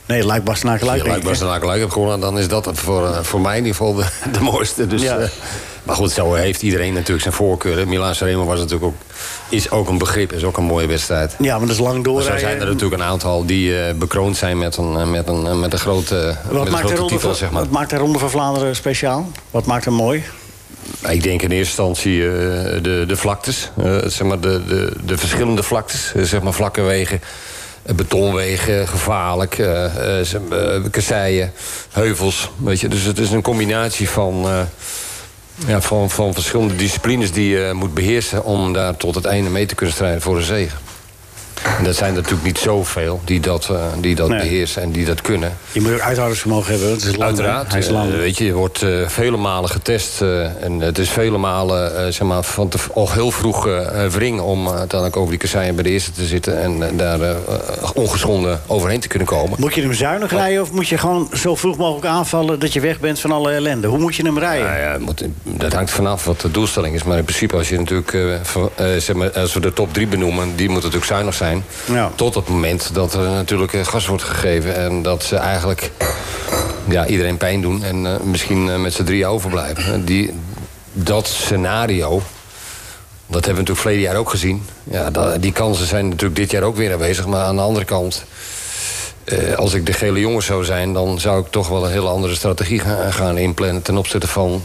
Nee, lijkt Bas naar gelijk.
Ja,
denk
lijkt
ik,
me als gelijk heb gewonnen, dan is dat het voor, eh, voor mij in ieder geval de, de mooiste. Dus,
Ja.
eh, maar goed, zo heeft iedereen natuurlijk zijn voorkeuren. Milan Sanremo was natuurlijk ook, is ook een begrip, is ook een mooie wedstrijd.
hè? Ja, maar dat is lang
Maar
door.
zo zijn er natuurlijk een aantal die eh, bekroond zijn met een, eh, met een, eh, met een grote,
Wat
met
maakt,
een
de
grote
ronde
titel,
van,
zeg maar.
wat maakt de Ronde van Vlaanderen speciaal? Wat maakt hem mooi?
Ik denk in eerste instantie eh, de, de vlaktes. eh, zeg maar de, de, de verschillende vlaktes. Eh, zeg maar vlakke wegen, eh, betonwegen, gevaarlijk, eh, eh, zeg maar, eh, kasseien, heuvels. Weet je. Dus het is een combinatie van, eh, ja, van, van verschillende disciplines die je moet beheersen... om daar tot het einde mee te kunnen strijden voor een zege. En dat zijn er natuurlijk niet zoveel die dat, eh, die dat
Nee.
beheersen en die dat kunnen.
Je moet ook uithoudingsvermogen hebben. want Het is lang, hè?
Uiteraard.
Hij is lang.
Eh, weet je, je wordt eh, vele malen getest. eh, en het is vele malen eh, zeg maar, van te, al heel vroeg eh, eh, wring om eh, dan ook over die kasseien bij de eerste te zitten. En eh, daar eh, eh, ongeschonden overheen te kunnen komen.
moet je hem zuinig rijden of moet je gewoon zo vroeg mogelijk aanvallen dat je weg bent van alle ellende? Hoe moet je hem rijden?
Nou ja, moet- dat hangt vanaf wat de doelstelling is. Maar in principe, als je natuurlijk, eh, ver- eh, zeg maar, als we de top drie benoemen, die moet natuurlijk zuinig zijn.
Ja.
Tot het moment dat er natuurlijk eh, gas wordt gegeven en dat ze eigenlijk ja, iedereen pijn doen en eh, misschien eh, met z'n drieën overblijven. Eh, Die, dat scenario. Dat hebben we natuurlijk verleden jaar ook gezien. Ja, da- die kansen zijn natuurlijk dit jaar ook weer aanwezig. Maar aan de andere kant, eh, als ik de gele jongen zou zijn, dan zou ik toch wel een hele andere strategie gaan, eh, gaan inplannen ten opzichte van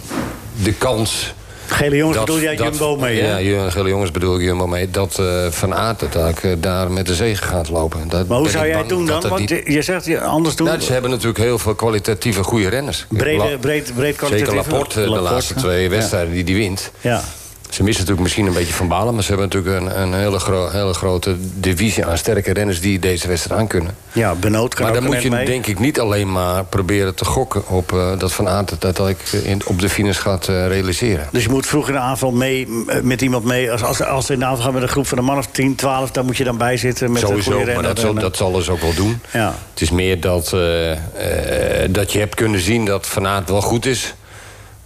de kans.
Gele jongens, bedoel jij Jumbo mee? hè?
Ja, Ju- gele jongens bedoel ik Jumbo mee. Dat eh, Van Aert uiteindelijk eh, daar met de zegen gaat lopen. Dat
maar hoe
ben
zou
ik
jij het
bang
doen
dat
dan?
dat
Want
niet-
je je zegt je anders doen.
nou, ze hebben natuurlijk heel veel kwalitatieve goede renners.
Brede-
La-
breed- breed kwalitatieve-
Zeker Laporte, eh, de
Laporte,
laatste
ja.
twee
Ja.
wedstrijden die die wint.
ja.
Ze Ze missen natuurlijk misschien een beetje Van Balen... maar ze hebben natuurlijk een, een hele, gro- hele grote divisie aan sterke renners... die deze wedstrijd aan kunnen.
Ja, Benoot kan
Maar
ook
dan moet
net
je
mee.
denk ik niet alleen maar proberen te gokken... op eh, dat Van Aert het uiteindelijk in- op de finish gaat eh, realiseren.
Dus je moet vroeg in de avond mee, m- eh, met iemand mee. Als, als, als ze in de avond gaan met een groep van een man of 10, 12... dan moet je dan bij zitten met een
Sowieso,
goede
maar
renner.
dat zal,
En, eh,
dat zal ze ook wel doen.
Ja.
Het is meer dat, eh, eh, dat je hebt kunnen zien dat Van Aert wel goed is...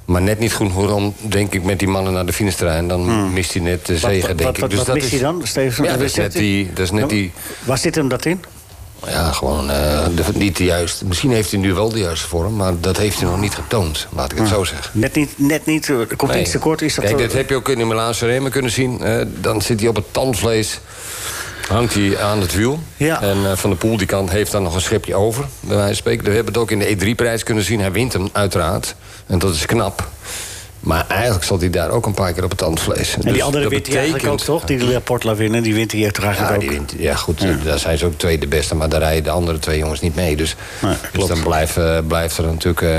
maar net niet goed genoeg om, denk ik, met die mannen naar de finish te rijden. Dan mist hij net de
Hmm. wat-
zegen,
wat- wat-
denk ik. Dus
wat- wat
dat
mist
is-
hij dan, Stevenson?
Ja, dat
Weet
is
je
net
het?
die... Dat is net die
Waar zit hem dat in?
ja, gewoon eh, de- niet de juiste... Misschien heeft hij nu wel de juiste vorm... maar dat heeft hij nog niet getoond, laat ik het zo zeggen.
Hmm. Net niet, net niet eh, er komt
Nee.
iets tekort. Is dat
Kijk,
zo?
dat heb je ook in de Milaanse remmen kunnen zien. Eh, dan zit hij op het tandvlees, hangt hij aan het wiel.
Ja.
En eh, Van de Poel die kant heeft dan nog een schepje over, bij wijze van spreken. We hebben het ook in de E3-prijs kunnen zien. Hij wint hem, uiteraard. En dat is knap. Maar eigenlijk zat hij daar ook een paar keer op het tandvlees. Dus
en die andere wint hij eigenlijk ook, toch? Die de Portla winnen, die wint hij toch eigenlijk
Ja,
ook.
die wint, ja, goed, eh, daar zijn ze ook twee de beste, maar daar rijden de andere twee jongens niet mee. Dus, dus dan blijft, eh, blijft er natuurlijk, eh,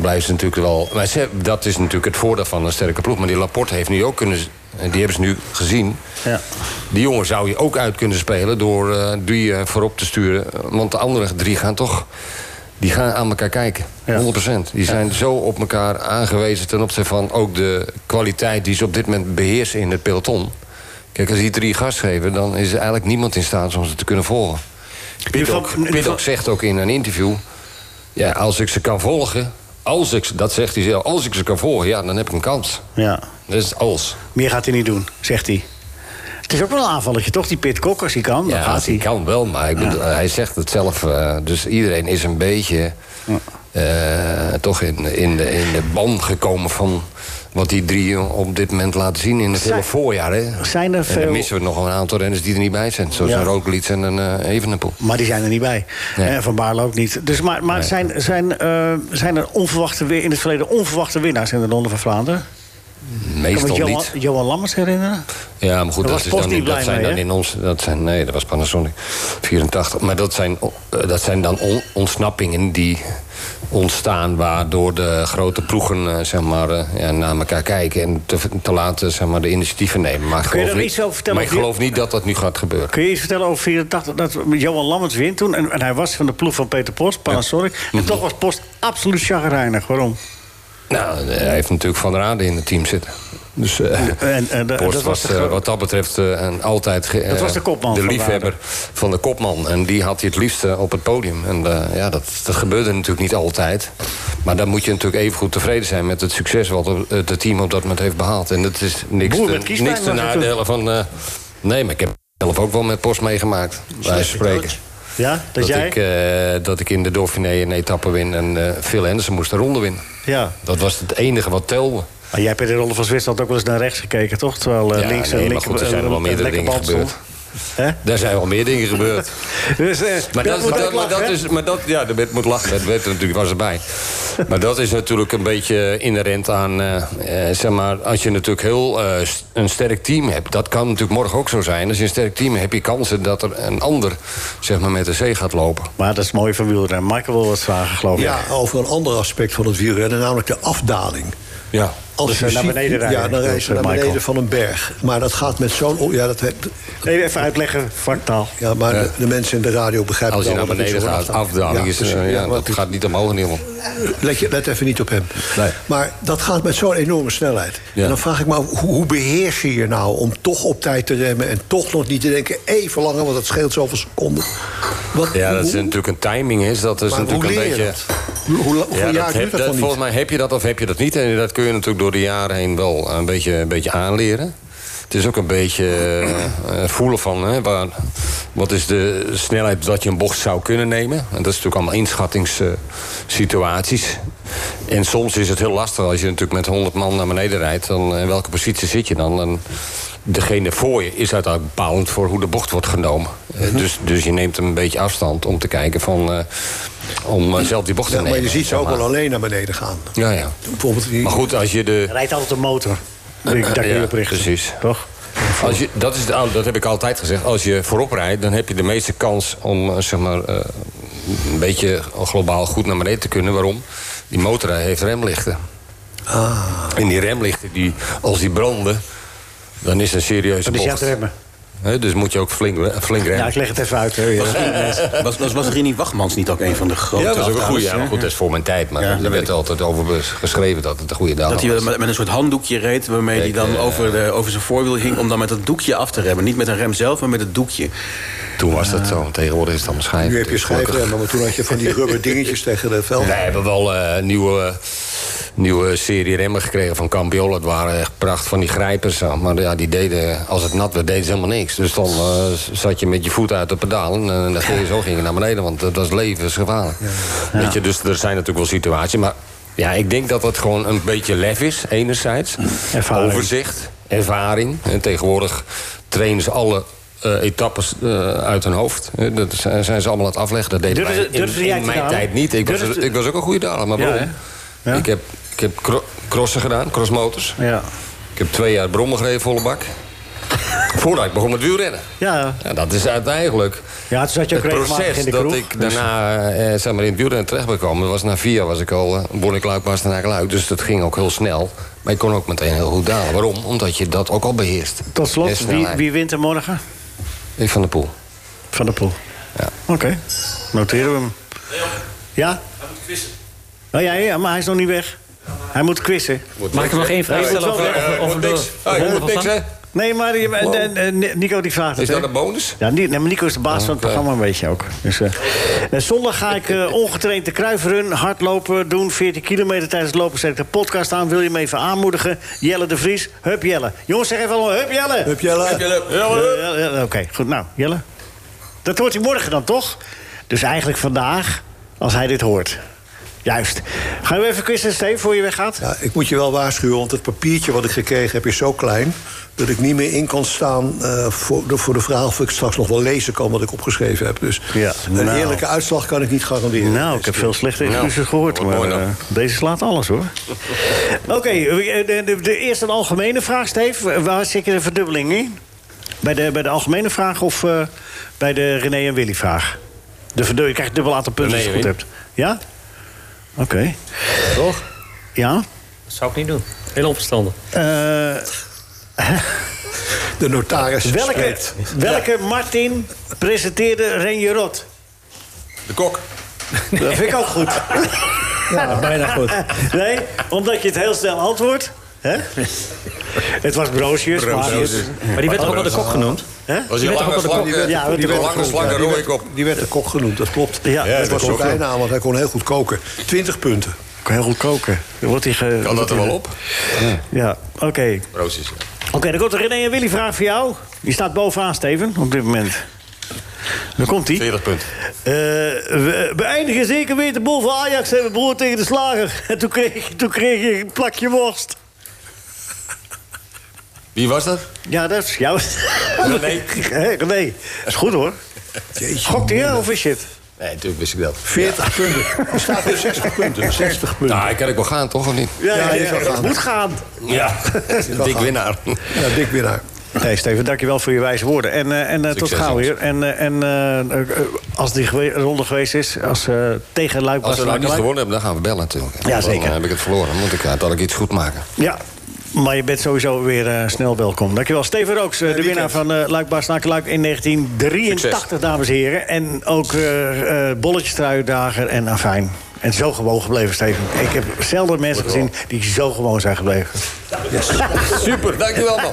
blijft ze natuurlijk wel. Maar ze, dat is natuurlijk het voordeel van een sterke ploeg. Maar die Laporte heeft nu ook kunnen. z- en Die hebben ze nu gezien.
Ja.
Die jongen zou je ook uit kunnen spelen door eh, die eh, voorop te sturen. Want de andere drie gaan toch. Die gaan aan elkaar kijken.
Ja.
100%. Die zijn zo op elkaar aangewezen ten opzichte van ook de kwaliteit die ze op dit moment beheersen in het peloton. Kijk, als die drie gas geven, dan is er eigenlijk niemand in staat om ze te kunnen volgen. Piddock,
geval- in ieder
Piddock zegt ook in een interview: ja, als ik ze kan volgen, als ik, ze- dat zegt hij zelf, als ik ze kan volgen, ja, dan heb ik een kans.
Ja.
Dat is als.
Meer gaat hij niet doen, zegt hij. Het is ook wel een aanvalletje, toch? Die Pit Kok, als hij kan, dan
Ja,
gaat
die
hij.
kan wel, maar ik bedoel, hij zegt het zelf. eh, dus iedereen is een beetje eh, toch in, in, de, in de ban gekomen van wat die drie op dit moment laten zien in het
Zijn-
hele voorjaar. Hè.
zijn er
En
veel-
dan missen we nog een aantal renners die er niet bij zijn. Zoals
Ja.
een Roglic en een eh, Evenepoel.
Maar die zijn er niet bij.
Nee.
Eh, van Baarle ook niet. Dus, maar maar zijn, zijn, eh, zijn er onverwachte, wi- in het verleden onverwachte winnaars in de Ronde van Vlaanderen? Kan
Meestal
ik me
niet.
Johan, Johan Lammers herinneren?
Ja, maar goed,
Daar
dat,
was
is
Post
dan,
niet
in- dat
blij
zijn
mee,
dan
hè?
in ons. Dat zijn, nee, dat was Panasonic 84. Maar dat zijn, o- eh, dat zijn dan on- ontsnappingen die ontstaan waardoor de grote ploegen eh, zeg maar, eh, ja, naar elkaar kijken en te, te laten zeg maar, de initiatieven nemen. Maar ik
Kun je
geloof
daar
niet-
iets over vertellen?
Maar ik geloof niet dat dat nu gaat gebeuren.
Kun je iets vertellen over 84? Dat Johan Lammers wint toen. En, en hij was van de ploeg van Peter Post, Panasonic. En toch was Post absoluut chagrijnig. Waarom?
Nou, eh, hij heeft natuurlijk Van Raden in het team zitten. Dus eh,
en- en dat
Post
was
was,
de
eh,
gro-
wat dat betreft eh, een altijd... ge-
Dat was de
eh,
kopman
De
van
liefhebber van de kopman. En die had hij het liefst eh, op het podium. En eh, ja, dat, dat gebeurde natuurlijk niet altijd. Maar dan moet je natuurlijk even goed tevreden zijn... met het succes wat op- het het team op dat moment heeft behaald. En dat is niks,
Boer
te,
met kiespijn
niks te
was het
nadelen van... eh, nee, maar ik heb zelf ook wel met Post meegemaakt. Wij spreken.
Ja, dat,
Dat
jij?
ik, eh, dat ik in de Dauphiné een etappe win... en eh Phil Henderson moest de ronde winnen.
ja.
Dat was het enige wat telde.
Maar jij hebt in de Ronde van Zwitserland ook wel eens naar rechts gekeken, toch? Terwijl eh,
Ja,
links en
nee, maar
linker...
goed, er zijn
eh,
wel meerdere
lekker
dingen
band
gebeurd.
stond. Hè?
Daar zijn wel meer dingen gebeurd.
Dus, eh,
Maar dat,
moet
maar
ook
dat, maar
lachen,
dat
hè?
is, maar dat, ja, de wet moet lachen. Dat werd er natuurlijk was erbij. Maar dat is natuurlijk een beetje inherent aan, eh, eh, zeg maar, als je natuurlijk heel eh, s- een sterk team hebt. Dat kan natuurlijk morgen ook zo zijn. Als je een sterk team hebt, heb je kansen dat er een ander, zeg maar, met de zee gaat lopen.
Maar dat is mooi van wielrennen. Michael wil wat vragen, geloof ik.
Ja, over een ander aspect van het wielrennen, namelijk de afdaling.
Ja.
Als
Dus ze naar beneden rijden,
Ja, dan rijden
dus,
ze naar
Michael.
beneden van een berg. Maar dat gaat met zo'n... o- Ja, dat,
Nee, even uitleggen, vaktaal.
ja maar de, de mensen in de radio begrijpen
Als je
het
naar
wel, want
beneden
het
gaat,
is zo'n
afdaling is,
precies.
eh, ja,
maar
dat gaat niet omhoog en niet omhoog.
Let, je, let even niet op hem.
Nee.
Maar dat gaat met zo'n enorme snelheid.
Ja.
En dan vraag ik me af, hoe, hoe beheers je je nou om toch op tijd te remmen... en toch nog niet te denken, even langer, want dat scheelt zoveel seconden. Wat,
Ja, dat
hoe-
is natuurlijk een timing. Is. Dat is
maar hoe
natuurlijk
leer
een
je
beetje...
dat? Hoe, hoe, hoeveel
Ja,
jaar
dat
duurt
heb,
dat
dat,
dan niet?
volgens mij heb je dat of heb je dat niet. En dat kun je natuurlijk door de jaren heen wel een beetje, een beetje aanleren. Het is ook een beetje eh, eh, voelen van hè, waar, wat is de snelheid dat je een bocht zou kunnen nemen. En dat is natuurlijk allemaal inschattingssituaties. en soms is het heel lastig als je natuurlijk met 100 man naar beneden rijdt. Dan, eh, in welke positie zit je dan? En degene voor je is uiteindelijk bepalend voor hoe de bocht wordt genomen. Eh,
Mhm.
dus, dus je neemt een beetje afstand om te kijken van... eh, om eh, zelf die bocht te
Ja,
nemen.
maar je ziet ze
zeg
ook
maar.
wel alleen naar beneden gaan.
Ja, ja.
Bijvoorbeeld die,
Maar goed, als je de...
Er rijdt altijd een motor. Daar kun je
Ja,
op richten.
precies.
Toch?
Als je, dat, is de, oude- dat heb ik altijd gezegd. Als je voorop rijdt, dan heb je de meeste kans om eh, zeg maar, eh, een beetje globaal goed naar beneden te kunnen. Waarom?
Ah.
Die motor heeft remlichten. En die remlichten, die, als die branden, Dan is het een serieuze
Dat is jou
bocht.
te remmen.
Hè, dus moet je ook flink, flink remmen.
Ja, ik leg het even uit. Hè, ja.
Was, was, was Rini Wachtmans niet ook een van de grote
Ja, dat is ook een
afdames,
goede. Ja,
hè?
maar goed, dat is voor mijn tijd. Maar
Ja, dat
er
weet
werd
ik.
altijd over bes- geschreven dat het een goede dader
Dat hij
was.
met, met een soort handdoekje reed, waarmee hij
Kijk,
dan
eh,
over, de, over zijn voorwiel hing... om dan met dat doekje af te remmen. Niet met een rem zelf, maar met het doekje.
Toen was dat zo. Tegenwoordig is het allemaal schijf.
Nu heb je
Dus gelukkig-
schijfremmen, maar toen had je van die rubber dingetjes tegen de velden.
Wij hebben wel eh, nieuwe, nieuwe serie remmen gekregen van Campiola. Dat waren echt pracht van die grijpers. zeg Maar ja, die deden, als het nat werd, deden ze helemaal niks. Dus dan eh, zat je met je voet uit de pedaal. En eh, dan ging je zo ging je naar beneden, want dat was levensgevaarlijk. Weet je, dus er zijn natuurlijk wel situaties. Maar ja, ik denk dat dat gewoon een beetje lef is, enerzijds.
Ervaring.
Overzicht, ervaring. En tegenwoordig trainen ze alle... eh, etappes eh, uit hun hoofd. Eh, dat zijn zijn ze allemaal aan het afleggen. Dat deden
Durfde-
wij in,
durfde jij
in
te
mijn
gaan?
tijd niet. Ik was, dus-
Durfde-
ik was ook een goede daler, maar
Ja,
waarom?
hè? Ja.
Ik heb, ik heb cro- crossen gedaan, crossmotors.
Ja.
Ik heb twee jaar brommen gereden, volle bak. Voordat ik begon met wielrennen.
Ja.
Ja, dat is uiteindelijk
ja, toen zat je ook
het
regelmatig
proces
in de
dat
kroeg.
ik daarna eh, zeg maar, in het wielrennen terecht ben gekomen. Was na vier jaar was ik al, eh, won ik luik, was daarna geluid. Dus dat ging ook heel snel. Maar ik kon ook meteen heel goed dalen. Waarom? Omdat je dat ook al beheerst.
Tot
En
slot, wie,
snelheid.
wie wint er morgen?
Ik van de Poel.
Van der Poel.
Ja.
Oké, noteren we hem. Ja? Hij moet quizzen. Oh, ja, ja, maar hij is nog niet weg. Hij moet quizzen.
Mag ik er nog één vraag
Ja,
stellen
het is
over,
wel
over,
Eh,
over
wordt
de
niks. Ah, wordt
ronde van
niks, hè?
Vlaanderen?
Nee, maar je- eh, eh, eh, Nico die vraagt het.
Is dat
hè?
een bonus?
Ja, niet, nee, maar Nico is de baas van het
Oké.
programma, weet je ook. Dus, eh, eh, zondag ga ik eh, ongetraind de kruifrun, hardlopen doen. 14 kilometer tijdens het lopen zet ik de podcast aan. Wil je me even aanmoedigen? Jelle de Vries, hup Jelle. Jongens, zeg even allemaal hup Jelle.
Heb jij la-
Eh, ja, ja, Oké, goed. Nou, Jelle. Dat hoort hij morgen dan, toch? Dus eigenlijk vandaag, als hij dit hoort. Juist. Gaan we even quizzen, Steve, voor je weggaat?
Ja, ik moet je wel waarschuwen, want het papiertje wat ik gekregen heb is zo klein... dat ik niet meer in kan staan eh, voor, de, voor de vraag of ik straks nog wel lezen kan wat ik opgeschreven heb. Dus
Ja,
een
nou.
eerlijke uitslag kan ik niet garanderen.
Nou, ik heb veel slechte excuses
Nou,
gehoord.
wat
Maar
mooi dan.
eh, deze slaat alles, hoor. Oké, eh, de, de, de- eerst een algemene vraag, Steve. Waar zit je de verdubbeling in? Bij de, bij de algemene vraag of eh, bij de René en Willy vraag? De verdu- je krijgt dubbel aantal punten als je het goed
René en
hebt. Ja? Oké.
Toch?
Ja?
Dat zou ik niet doen. Heel onverstandig.
Eh,
De notaris
welke,
spreekt.
welke Martin presenteerde Renje Rot?
De kok.
Dat vind ik ook goed.
Ja, bijna goed.
Nee, omdat je het heel snel antwoordt. Hè? Het was Broosjes, maar...
Maar die werd toch ook wel de kok genoemd?
Hè?
Was die lange, slanke,
Ja, werd
die
de kok
lange,
genoemd,
slanke rode kop.
Die werd de kok genoemd, dat klopt.
Ja,
dat
dat
was zijn
klopt.
bijnaam, want hij kon heel goed koken. 20 punten.
Kan heel goed koken. Dan Wordt hij ge...
Kan dat er wel op?
Ja, oké.
Roosjes.
Oké, dan komt er René en Willy vraag voor jou. Die staat bovenaan, Steven, op dit moment. Dan komt hij. Eh,
40 punten.
we we eindigen zeker weten boven Ajax en mijn broer tegen de slager. En toen kreeg, toen kreeg je een plakje worst.
Wie was dat?
Ja, dat is jouw...
René.
Hé, René. Dat is goed hoor. Gokt hij hè, of is shit?
Nee, natuurlijk wist ik dat.
40 punten. Er staat hier 60 punten. 60 punten.
Nou, ik kan ik wel gaan, toch? Of niet?
Ja,
Ja, je zou
het
gaan.
moet gaan.
Ja. Dik winnaar.
Ja, dik winnaar.
Nee, Steven, dankjewel voor je wijze woorden. En, eh, en eh, tot
Succes,
gauw
jongens.
weer. En, eh, en eh, eh, eh, als die gewe- ronde geweest is, als eh, tegen Luik was...
Als we nou
Luik-
niet
Luik-
gewonnen hebben, dan gaan we bellen natuurlijk.
Ja, zeker.
Dan heb ik het verloren. Dan moet ik uiteindelijk iets goed maken.
Ja, maar je bent sowieso weer eh, snel welkom. Dankjewel. Steven Rooks, eh, de winnaar van eh Luik Baasnaken Luik in 1983, dames en heren. En ook eh eh bolletjestruidager en afijn. En zo gewoon gebleven, Steven. Ik heb zelden mensen gezien die zo gewoon zijn gebleven.
Super, dankjewel man.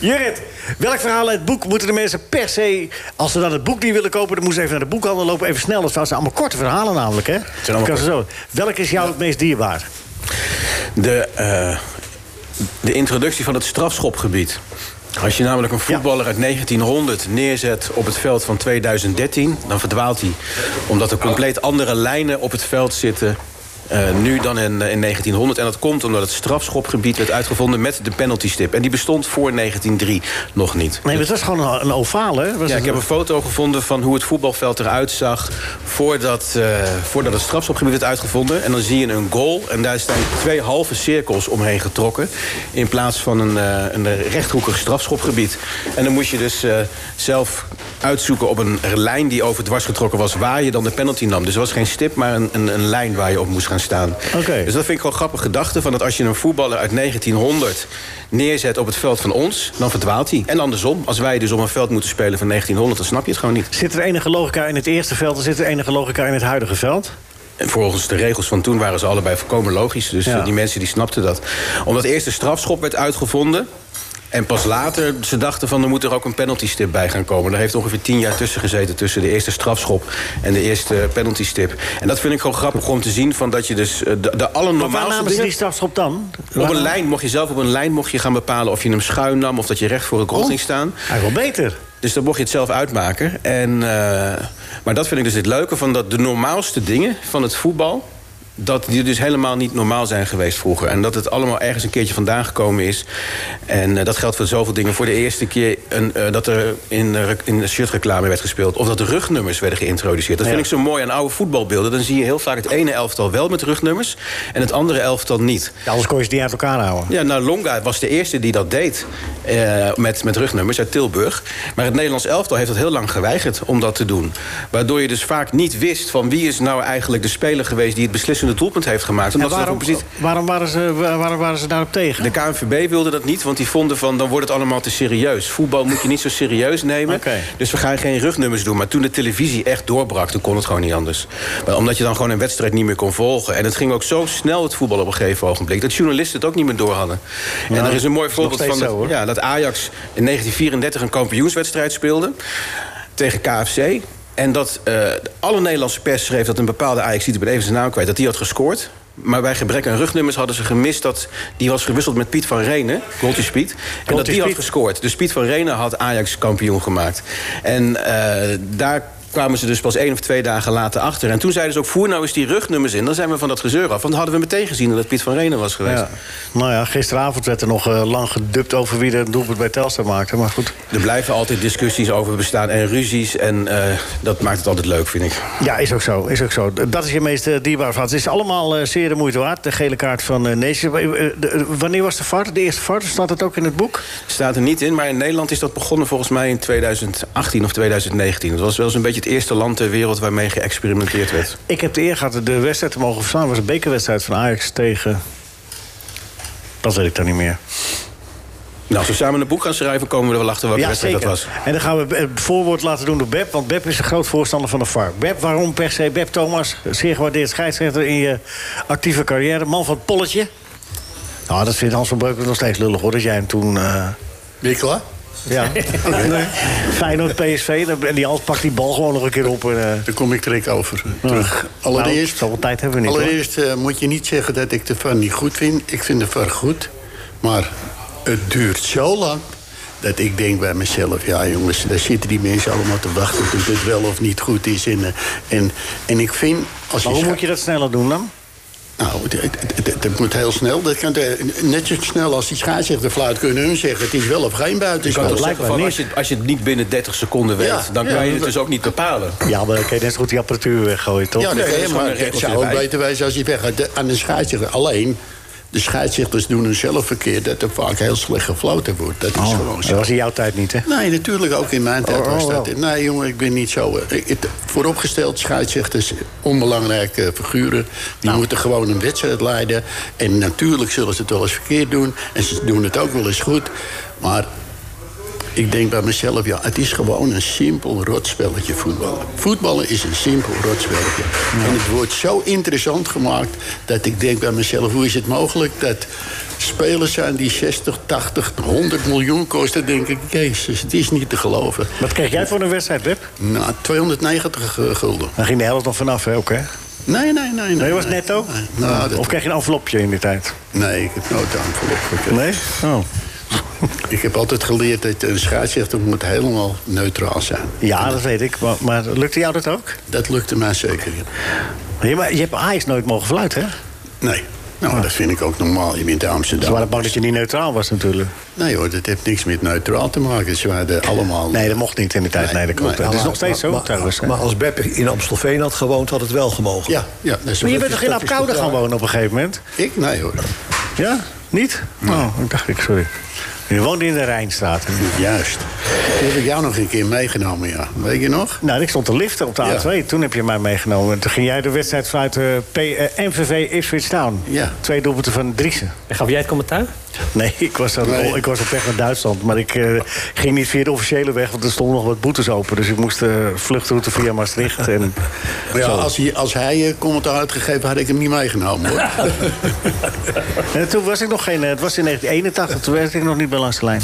Jurrit, welk verhaal uit het boek moeten de mensen per se... als ze dan het boek niet willen kopen, dan moeten ze even naar de boekhandel lopen. Even snel, dat zijn allemaal korte verhalen namelijk, hè?
allemaal
Kan ze zo. Welk is jou het meest dierbaar?
De, eh, de introductie van het strafschopgebied. Als je namelijk een voetballer uit 1900 neerzet op het veld van 2013... dan verdwaalt hij. Omdat er compleet andere lijnen op het veld zitten... eh, nu dan in, eh, in 1900. En dat komt omdat het strafschopgebied werd uitgevonden met de penaltystip. En die bestond voor 1903 nog niet.
Nee, dat was gewoon een, een ovaal, hè? Was
Ja,
het-
ik heb een foto gevonden van hoe het voetbalveld eruit zag... voordat, eh, voordat het strafschopgebied werd uitgevonden. En dan zie je een goal en daar staan twee halve cirkels omheen getrokken... in plaats van een, eh, een rechthoekig strafschopgebied. En dan moet je dus eh, zelf uitzoeken op een lijn die over dwars getrokken was... waar je dan de penalty nam. Dus er was geen stip, maar een, een, een lijn waar je op moest gaan staan.
Oké.
Dus dat vind ik gewoon grappig gedachte. Van dat als je een voetballer uit 1900 neerzet op het veld van ons... dan verdwaalt hij. En andersom, als wij dus op een veld moeten spelen van 1900... dan snap je het gewoon niet.
Zit er enige logica in het eerste veld en zit er enige logica in het huidige veld?
En volgens de regels van toen waren ze allebei volkomen logisch. Dus
Ja.
eh, die mensen die snapten dat. Omdat eerst de strafschop werd uitgevonden... En pas later, ze dachten van, er moet er ook een penalty stip bij gaan komen. Daar heeft ongeveer tien jaar tussen gezeten... tussen de eerste strafschop en de eerste penalty stip. En dat vind ik gewoon grappig om te zien... Van dat je dus eh, de, de
Maar waar
allernormaalste
namen ze
dingen-
die strafschop dan?
Op een lijn mocht je zelf op een lijn mocht je gaan bepalen of je hem schuin nam of dat je recht voor een grond ging staan.
Eigenlijk Oh, wel beter.
Dus dan mocht je het zelf uitmaken. En, eh, maar dat vind ik dus het leuke van dat de normaalste dingen van het voetbal. Dat die dus helemaal niet normaal zijn geweest vroeger. En dat het allemaal ergens een keertje vandaan gekomen is. En eh, dat geldt voor zoveel dingen. Voor de eerste keer een, eh, dat er in, eh, rec- in de shirtreclame werd gespeeld. Of dat de rugnummers werden geïntroduceerd. Dat vind ik zo mooi aan oude voetbalbeelden. Dan zie je heel vaak het ene elftal wel met rugnummers. En het andere elftal niet.
Ja, anders kon je ze niet uit elkaar houden.
Ja, nou, Longa was de eerste die dat deed eh, met, met rugnummers uit Tilburg. Maar het Nederlands elftal heeft dat heel lang geweigerd om dat te doen. Waardoor je dus vaak niet wist van wie is nou eigenlijk de speler geweest... die het beslissende doelpunt heeft gemaakt.
En
Omdat ze dat
waarom,
op positie-
waarom, waren ze, wa- waarom waren ze daarop tegen?
de KNVB wilde dat niet, want die vonden van... dan wordt het allemaal te serieus. Voetbal moet je niet zo serieus nemen.
Oké.
Dus we gaan geen rugnummers doen. Maar toen de televisie echt doorbrak, toen kon het gewoon niet anders. Maar omdat je dan gewoon een wedstrijd niet meer kon volgen. En het ging ook zo snel, het voetbal, op een gegeven ogenblik... dat journalisten het ook niet meer door hadden. en er is een mooi voorbeeld
steeds
van
zo,
dat,
hoor.
ja, dat Ajax in 1934 een kampioenswedstrijd speelde... tegen KFC... En dat eh, alle Nederlandse pers schreef dat een bepaalde Ajax, ik ben even zijn naam kwijt, dat die had gescoord. Maar bij gebrek aan rugnummers hadden ze gemist dat die was gewisseld met Piet van Renen, Goltjes Piet. En dat
Goaltjes
die had
Piet.
gescoord. Dus Piet van Renen had Ajax kampioen gemaakt. En eh, daar kwamen ze dus pas één of twee dagen later achter. En toen zeiden ze ook, voer nou eens die rugnummers in. Dan zijn we van dat gezeur af. Want dan hadden we meteen gezien dat het Piet van Renen was geweest.
Ja. Nou ja, gisteravond werd er nog eh, lang gedubt over wie de doelpunt bij Telstar maakte. Maar goed.
Er blijven altijd discussies over bestaan en ruzies. En eh, dat maakt het altijd leuk, vind ik.
Ja, is ook zo. Is ook zo. Dat is je meest eh, dierbare fout. Het is allemaal eh, zeer de moeite waard. De gele kaart van eh Neesje. W- eh, de- eh, Wanneer was de VAR? De eerste VAR? Staat dat ook in het boek?
Staat er niet in, maar in Nederland is dat begonnen volgens mij in 2018 of 2019. Dat was wel eens een beetje het eerste land ter wereld waarmee geëxperimenteerd werd.
Ik heb de eer gehad de wedstrijd te mogen verslaan. Dat was een bekerwedstrijd van Ajax tegen... Dat weet ik dan niet meer.
Nou, als we samen een boek gaan schrijven, komen we er wel achter welke
ja,
wedstrijd
zeker.
dat was.
En dan gaan we het voorwoord laten doen door Beb. Want Beb is een groot voorstander van de VAR. Beb, waarom per se? Beb Thomas, zeer gewaardeerd scheidsrechter in je actieve carrière. Man van het polletje. Nou, dat vindt Hans van Breukelen nog steeds lullig hoor. Dat jij hem toen... eh,
Ben je klaar?
Ja. Feyenoord, PSV. dan- En die Hans pakt die bal gewoon nog een keer op. En, eh,
Daar kom ik direct over eh, terug. Allereerst,
Nou, zoveel tijd hebben we niet,
allereerst eh, moet je niet zeggen dat ik de VAR niet goed vind. Ik vind de VAR goed. Maar het duurt zo lang dat ik denk bij mezelf... ja jongens, daar zitten die mensen allemaal te wachten... of het wel of niet goed is. En, eh, en, en ik vind... Als
maar
je
hoe
scha-
moet je dat sneller doen dan?
Nou, het- het- het- het- dat moet heel snel. Dat kan de- net zo snel als die scheidsrechter fluit kunnen hun zeggen... het is wel of geen buitenspel.
Toch
lijkt
zeggen van,
mij
als, je, als je het niet binnen 30 seconden weet,
Ja,
dan
ja,
kan je het
dat-
dus ook niet bepalen.
Ja, maar dan kan je net zo goed die apparatuur weggooien, toch?
Ja,
nee, dat is
nee,
gewoon een
maar het
regeltje
zou ook
erbij.
beter wezen als je weggaat De- aan de scheidsrechter. Alleen, de scheidsrechters doen hun zelf verkeerd... dat er vaak heel slecht gefloten wordt. Dat is gewoon
Oh, dat
zo.
was in jouw tijd niet, hè?
Nee, natuurlijk ook in mijn tijd
Oh, oh,
was dat.
wel.
Nee, jongen, ik ben niet zo... eh, ik- het- vooropgesteld, scheidsrechters, onbelangrijke figuren... die
Nou.
moeten gewoon een wedstrijd leiden. En natuurlijk zullen ze het wel eens verkeerd doen. En ze doen het ook wel eens goed. Maar ik denk bij mezelf, ja, het is gewoon een simpel rotspelletje voetballen. Voetballen is een simpel rotspelletje. En het wordt zo interessant gemaakt dat ik denk bij mezelf... hoe is het mogelijk dat spelers zijn die 60, 80, 100 miljoen kosten... denk ik, jezus, het is niet te geloven.
Wat kreeg jij voor een wedstrijd, Web?
Nou, 290 eh, gulden.
Daar ging de helft nog vanaf, hè, ook, hè?
Nee, nee, nee. Nee,
Nee, was netto? Ah,
Nee, nou, dat-
Of kreeg je een envelopje in die tijd?
nee ik heb nooit aangelopen. gekregen.
Nee? Oh.
Ik heb altijd geleerd dat een scheidsrechter moet helemaal neutraal zijn.
Ja, dat weet ik. Maar, maar lukte jou dat ook?
Dat lukte mij zeker. ja.
Ja, maar je hebt Ajax nooit mogen fluiten, hè?
Nee. Nou, dat vind ik ook normaal. Je bent in
Ah. Ze
Amsterdam.
waren bang dat je niet neutraal was, natuurlijk.
Nee hoor, dat heeft niks met neutraal te maken. Ze waren allemaal...
Nee, dat mocht niet in die tijd. Nee, dat klopt.
Nee,
Dat is nog
maar-
steeds zo,
maar,
trouwens. hè?
Maar als Beppe in Amstelveen had gewoond, had het wel gemogen.
Ja, ja. Dus
Maar je
dat is-
bent toch in
dat is
Apkoude
goed.
gaan wonen op een gegeven moment?
Ik? Nee hoor.
Ja? Niet? Oh, ik dacht ik, sorry. Je woonde in de Rijnstraat.
Juist. Die heb ik jou nog een keer meegenomen, ja. Weet je nog?
Nou, ik stond te liften op de
Ja.
A2. Toen heb je mij meegenomen. Toen ging jij de wedstrijd vanuit eh, P, eh, MVV Ipswich Town.
Ja.
Twee doelpunten van Driessen.
En gaf jij het commentaar?
Nee, ik was, aan,
Nee.
ik was op weg naar Duitsland. Maar ik eh, ging niet via de officiële weg, want er stonden nog wat boetes open. Dus ik moest de vluchtroute via Maastricht. En
Maar ja, als hij, als hij eh, commentaar had gegeven, had ik hem niet meegenomen, hoor.
En toen was ik nog geen. eh, Het was in 1981, toen werkte ik nog niet bij Langs de Lijn.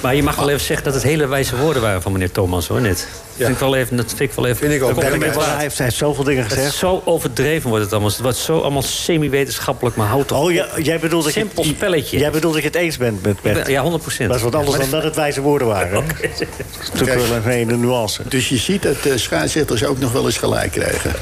Maar je mag wel even zeggen dat het hele wijze woorden waren van meneer Thomas, hoor, net. Dat vind ik wel even... Dat vind ik wel even...
Vind ik ook.
dat komt een
Ben-
beetje
Hij
laat.
heeft, hij heeft zoveel dingen
Het is
gezegd.
zo overdreven wordt het allemaal. Het wordt zo allemaal semi-wetenschappelijk, maar houd toch
Oh, ja,
op.
jij bedoelt dat je-
Simpel spelletje.
Jij bedoelt dat je het eens bent met Bert.
Ja, 100 procent.
Dat is wat anders dan dat het wijze woorden waren. hè? Dat is natuurlijk wel een hele nuance.
Dus je ziet dat de scheidsrechters ook nog wel eens gelijk krijgen.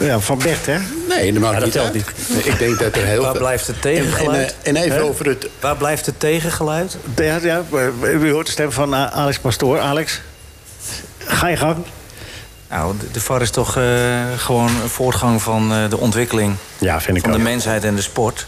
Ja, van Bert, hè?
Nee, dat maakt
dat
niet
telt
uit. Ik denk dat er heel
Waar
veel-
blijft het
En, en,
tegengeluid?
eh, en even over het...
Waar blijft het tegengeluid?
Ja, ja, eh, u hoort de stem van eh, Alex Pastoor. Alex, ga je gang.
Nou, de- de VAR is toch eh, gewoon een voortgang van eh, de ontwikkeling
Ja, vind ik
van de
ook.
mensheid en de sport.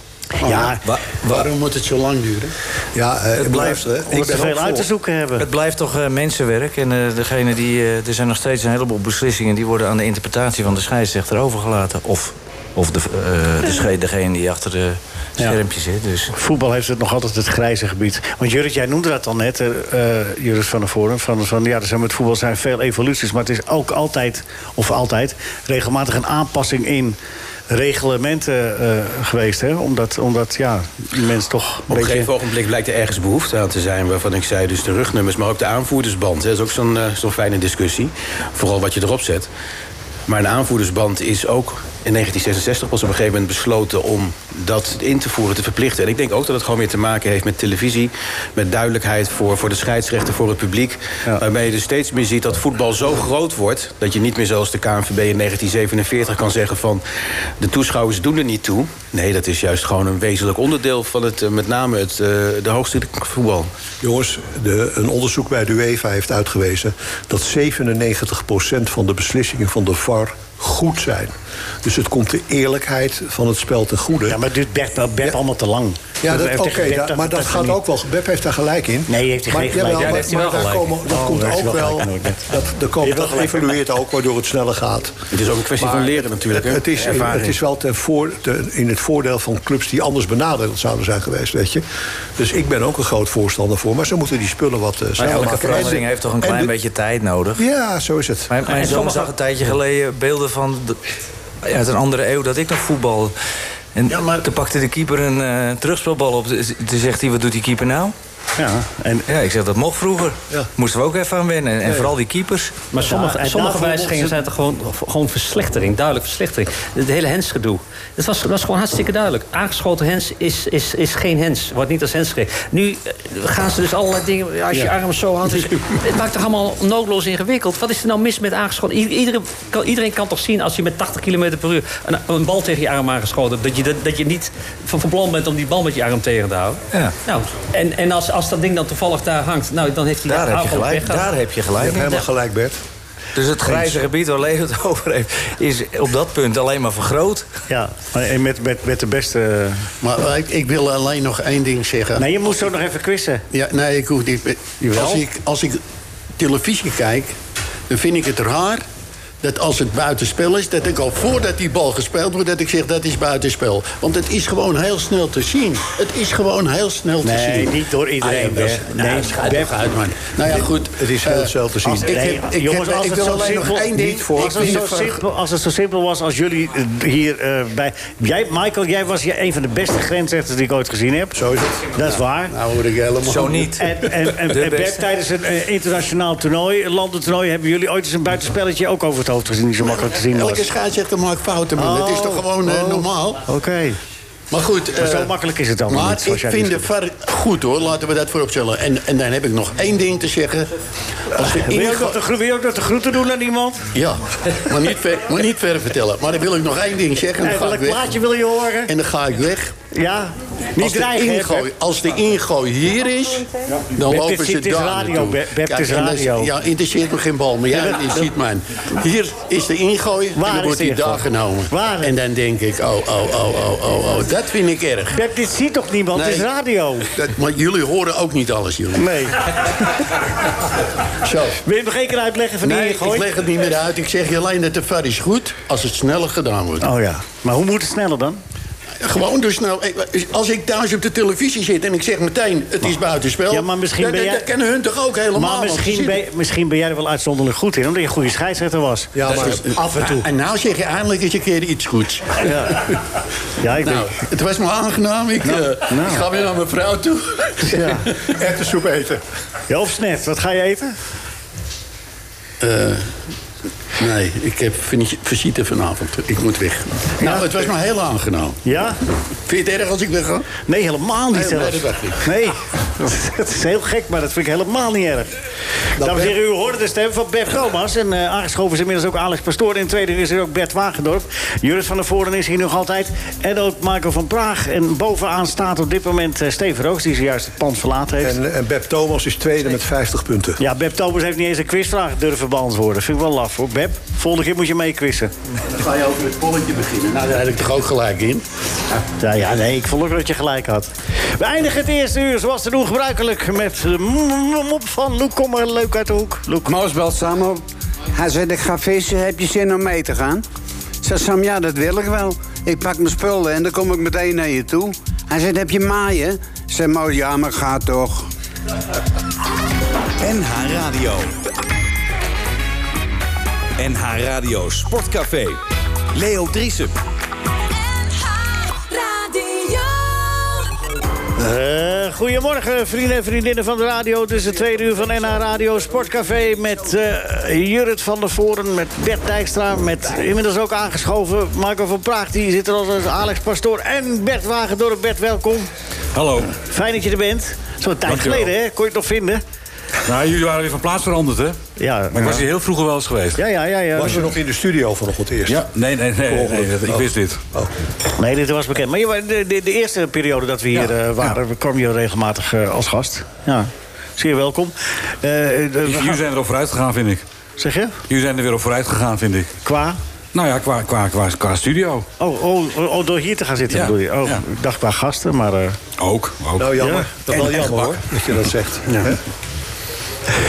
Ja,
Wa-
Waarom moet het zo lang duren?
Ja, eh,
Het blijft,
maar-
hè?
ik
omdat
ben
er veel
ook
uit te
voor.
zoeken hebben.
Het blijft toch eh, mensenwerk. En eh, degene die, eh, er zijn nog steeds een heleboel beslissingen... die worden aan de interpretatie van de scheidsrechter overgelaten. Of, of de, eh, de sche- degene die achter de schermpjes zit. Dus.
Voetbal heeft het nog altijd het grijze gebied. Want Jurrit, jij noemde dat al net, eh eh, Jurrit van de Forum. Van, van, ja, er zijn met voetbal zijn veel evoluties. Maar het is ook altijd, of altijd, regelmatig een aanpassing in reglementen eh, geweest. Hè? Omdat, omdat ja, mensen toch een
Op een
beetje...
gegeven ogenblik blijkt er ergens behoefte aan te zijn... waarvan ik zei, dus de rugnummers, maar ook de aanvoerdersband. hè. Dat is ook zo'n eh, zo'n fijne discussie. Vooral wat je erop zet. Maar een aanvoerdersband is ook in 1966 pas op een gegeven moment besloten... om dat in te voeren, te verplichten. En ik denk ook dat het gewoon weer te maken heeft met televisie... met duidelijkheid voor, voor de scheidsrechter, voor het publiek. Waarbij je dus steeds meer ziet dat voetbal zo groot wordt... dat je niet meer zoals de KNVB in 1947 kan zeggen van... de toeschouwers doen er niet toe. Nee, dat is juist gewoon een wezenlijk onderdeel van het... eh, met name het, eh, de hoogste voetbal.
Jongens, de, een onderzoek bij de UEFA heeft uitgewezen... dat 97% van de beslissingen van de VAR goed zijn. Dus het komt de eerlijkheid van het spel ten goede.
Ja, maar het duurt Bert, Bert allemaal te lang.
Ja, dat,
heeft
oké,
tegen Bert
da- maar dat
ze
gaat
niet-
ook wel. Beb heeft daar gelijk in.
Nee, heeft hij
maar,
geen gelijk.
jawel,
Ja,
maar,
daar heeft hij
maar
wel
daar
gelijk
komen, dat
Oh,
komt
daar heeft
ook
hij wel
wel.
gelijk in, hoor, Bert.
Dat, er komen, dat evolueert ook waardoor het sneller gaat.
Het is ook een kwestie van leren natuurlijk. hè.
Het is,
Ervaring.
het is wel ten voor, ten- in het voordeel van clubs die anders benadeeld zouden zijn geweest, weet je. Dus ik ben ook een groot voorstander voor. Maar ze moeten die spullen wat eh
Maar
sneller
elke
maken.
verandering
En-
heeft toch een
en
klein
de-
beetje tijd nodig.
Ja, zo is het.
Mijn, mijn
En
zoon
sommige-
zag een tijdje geleden beelden van... de- uit een andere eeuw dat ik nog voetbal... En toen pakte de keeper een eh, terugspelbal op. Toen zegt hij, wat doet die keeper nou?
Ja, en
Ja, ik zeg, dat mocht vroeger.
Ja.
Moesten we ook even aan wennen. En, en vooral die keepers.
Maar sommige,
en
sommige
daarvoor
wijzigingen
mochten-
zijn toch gewoon, gewoon verslechtering, duidelijk verslechtering. Het hele hensgedoe. Het was, was gewoon hartstikke duidelijk. Aangeschoten hens is, is, is geen hens, wordt niet als hens gekregen. Nu eh, gaan ze dus allerlei dingen, ja, als je arm zo houdt. is- het maakt toch allemaal noodloos ingewikkeld. Wat is er nou mis met aangeschoten? I- Iedereen kan, iedereen kan toch zien als je met 80 km per uur een, een bal tegen je arm aangeschoten hebt... dat je, dat, dat je niet van, van plan bent om die bal met je arm tegen te houden.
Ja.
Nou, en en als, als dat ding dan toevallig daar hangt, nou, dan heeft hij
Daar heb je
aanval
gelijk.
weggehaald.
Daar heb je
Je
gelijk.
hebt helemaal gelijk, Bert.
Dus het grijze gebied waar Leo het over heeft... is op dat punt alleen maar vergroot.
Ja, maar en met, met, met de beste...
Maar eh, ik, ik wil alleen nog één ding zeggen.
Nee, je moest zo nog even quizzen.
Ja, nee, ik hoef niet. meer. Als ik, als ik televisie kijk, dan vind ik het raar dat als het buitenspel is, dat ik al voordat die bal gespeeld wordt, dat ik zeg dat is buitenspel. Want het is gewoon heel snel te zien. Het is gewoon heel snel te zien.
Nee, niet door iedereen.
Ah, ja, dat is-
Bert.
nou,
Nee,
schijt
Bert.
toch uit, man. Nou ja, goed.
Het is heel
eh,
snel te zien.
als- ik,
Nee,
heb, ik,
jongens,
heb,
als
ik
het
wil
zo
alleen
simpel-
nog één ding.
niet voor-
Ik
Als het,
vind
zo
het ver-
simpel, als het zo simpel was als jullie eh, hier eh, bij... Jij, Michael, jij was hier een van de beste grensrechters die ik ooit gezien heb.
Zo is het.
Dat is waar.
Nou hoor ik helemaal
Zo niet.
En, en, en, en
De
Bert,
beste.
tijdens een eh, internationaal toernooi, een landentoernooi... hebben jullie ooit eens een buitenspelletje ook over het hoofd gezien... die zo makkelijk te zien was.
Elke scheidsrechter maakt fouten, man. het is toch gewoon eh,
Nou, Oh,
normaal?
Oké.
Maar goed.
Maar zo
eh,
makkelijk is het allemaal
Maar
niet, zoals
ik
jij
vind
nu
de VAR goed hoor, laten we dat vooropstellen. En, en dan heb ik nog één ding te zeggen. Als we
Wil je ook
ingo-
nog de gro- wil je ook nog de groeten doen aan iemand?
ja, maar niet, ver, maar niet verder vertellen. Maar dan wil ik nog één ding zeggen. En
En
dan ga ik
welk
weg.
plaatje wil je horen?
En dan ga ik weg.
Ja? Niet
als, de
dreigen, hè,
ingooi,
Beb?
als de ingooi hier is, dan
Beb,
lopen
dit-
ze
dit is
daar
radio,
naartoe.
Beb, Beb, dit is
en dat
radio.
Ja, interesseert me geen bal, maar jij ziet mij. Hier is de ingooi
Waar
en
is
dan wordt
de
die
ingooi?
daar genomen.
Waar?
En dan denk ik, oh, oh, oh, oh, oh, oh, dat vind ik erg.
Beb, dit ziet toch niemand? Het is
Nee.
radio.
Dat, maar jullie horen ook niet alles, jullie.
Nee.
Zo.
Wil je hem nog één keer uitleggen van
Nee,
die
ik
ingooi?
leg het niet meer uit. Ik zeg je alleen dat de VAR is goed als het sneller gedaan wordt.
Oh ja. Maar hoe moet het sneller dan?
Gewoon dus nou, als ik thuis op de televisie zit en ik zeg meteen het is buitenspel.
Nou. Ja, maar misschien
dan-
ben
dan-
jij-
Dat kennen hun toch ook helemaal.
Maar
want ze
misschien
zitten-
ben, je- misschien ben jij er wel uitzonderlijk goed in, omdat je een goede scheidsrechter was.
Ja,
Dat
maar
is-
af en toe.
En nou zeg je eindelijk eens een keer iets goeds.
Ja, ja ik
Nou,
denk.
het was me aangenaam. Ik, eh,
nou.
ik ga weer naar mijn vrouw toe.
Ja.
Echte soep eten.
Ja, of snet, wat ga je eten?
Eh, Nee, ik heb vis- visite vanavond. Ik moet weg. Nou, het was me heel aangenaam.
Ja?
Vind je het erg als ik weg ga?
Nee, helemaal niet
Nee,
zelfs.
nee, dat dacht ik.
Nee, dat is heel gek, maar dat vind ik helemaal niet erg.
Nou,
Dames en heren, u hoorde de stem van Bert Thomas. En eh, aangeschoven is inmiddels ook Alex Pastoor. In het tweede uur is er ook Bert Wagendorp. Juris van der Voren is hier nog altijd. En ook Michael van Praag. En bovenaan staat op dit moment eh, Steven Roos, die zojuist het pand verlaten heeft.
En, en Beb Thomas is tweede met 50 punten.
Ja, Beb Thomas heeft niet eens een quizvraag durven beantwoorden. Vind ik wel laf hoor. Beb, volgende keer moet je meequizzen.
Dan ga je over het polletje beginnen. Nou, daar heb ik toch ook gelijk in.
Ja, ja, nee, ik vond ook dat je gelijk had. We eindigen het eerste uur, zoals te doen gebruikelijk, met de m- mop van Loek. Kom maar leuk uit de hoek. Loek.
Moos belt Sam op. Hij zegt, ik ga vissen, heb je zin om mee te gaan? Zegt Sam, ja, dat wil ik wel. Ik pak mijn spullen en dan kom ik meteen naar je toe. Hij zegt, heb je maaien? Zegt Moos, ja, maar ga toch.
NH Radio. NH Radio Sportcafé. Leo Driesen.
Radio.
Eh, goedemorgen, vrienden en vriendinnen van de radio. Het is het tweede uur van NH Radio Sportcafé met eh Jurrit van der Voren, met Bert Dijkstra, met inmiddels ook aangeschoven Marco van Praag. Die zit er al, als Alex Pastoor en Bert Wagendorp. Bert, welkom.
Hallo.
Fijn dat je er bent. Zo'n tijd
Dankjewel.
geleden, hè? Kon je het nog vinden?
Nou, jullie waren weer van plaats veranderd, hè?
Ja,
Maar ik was hier heel vroeger wel eens geweest.
ja, ja, ja. ja.
Was je nog in de studio vanochtend eerst? Oh.
Ja, nee, nee, nee. nee,
Ongeluk.
ik wist dit.
Oh. Nee, dit was bekend. Maar je wa- de, de, de eerste periode dat we hier eh, waren, kwam je regelmatig eh, als gast. Ja, zeer welkom. Eh, eh, we
Jullie
gaan-
zijn erop vooruit gegaan, vind ik.
Zeg je?
Jullie zijn er weer op vooruit gegaan, vind ik.
Qua?
Nou ja, qua, qua, qua, qua studio.
Oh, oh, oh, oh, door hier te gaan zitten
Ja,
bedoel je? Oh,
ja. Oh.
ik dacht qua gasten, maar... eh,
Ook, ook.
Nou, jammer.
Ja.
Dat is wel jammer hoor, dat je dat zegt. Hè?
Eh,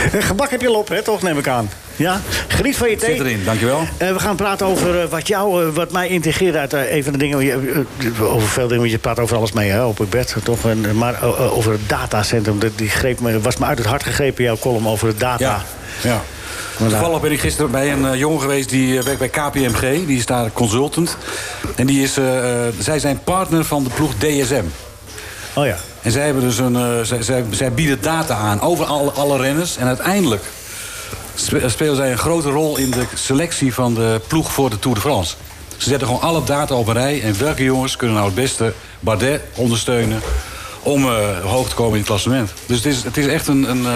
Gebak heb je al op, hè, toch, neem ik aan. Ja? Geniet van je thee.
Zit erin, dankjewel.
Eh, we gaan praten over eh, wat jou, eh, wat mij integreert uit eh, een van de dingen. je- eh, over veel dingen, want je praat over alles mee, hè, op ik bed toch? En, eh, maar eh, eh, over het datacentrum, dat die greep me, was me uit het hart gegrepen, jouw column over het data.
Ja, ja. Toevallig ben ik gisteren bij een eh, jongen geweest die eh, werkt bij KPMG. Die is daar consultant. En die is, eh, eh, zij zijn partner van de ploeg DSM.
Oh ja.
En zij, hebben dus een, eh, zij, zij, zij bieden data aan over alle, alle renners. En uiteindelijk spe- spelen zij een grote rol in de selectie van de ploeg voor de Tour de France. Ze zetten gewoon alle data op een rij. En welke jongens kunnen nou het beste Bardet ondersteunen om eh, hoog te komen in het klassement. Dus het is, het is echt een, een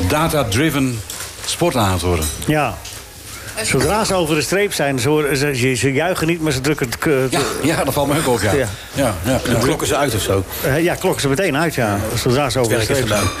eh, data-driven sport aan het worden.
Ja. Zodra ze over de streep zijn, ze, horen- ze, ze, ze juichen niet, maar ze drukken het... k- het-
Ja, ja dat valt me ook op, ja.
Ja.
ja. ja, ja,
Dan klokken ze uit of zo.
eh, ja, klokken ze meteen uit, ja. Zodra ze over de
Werk is
streep zijn.
gedaan.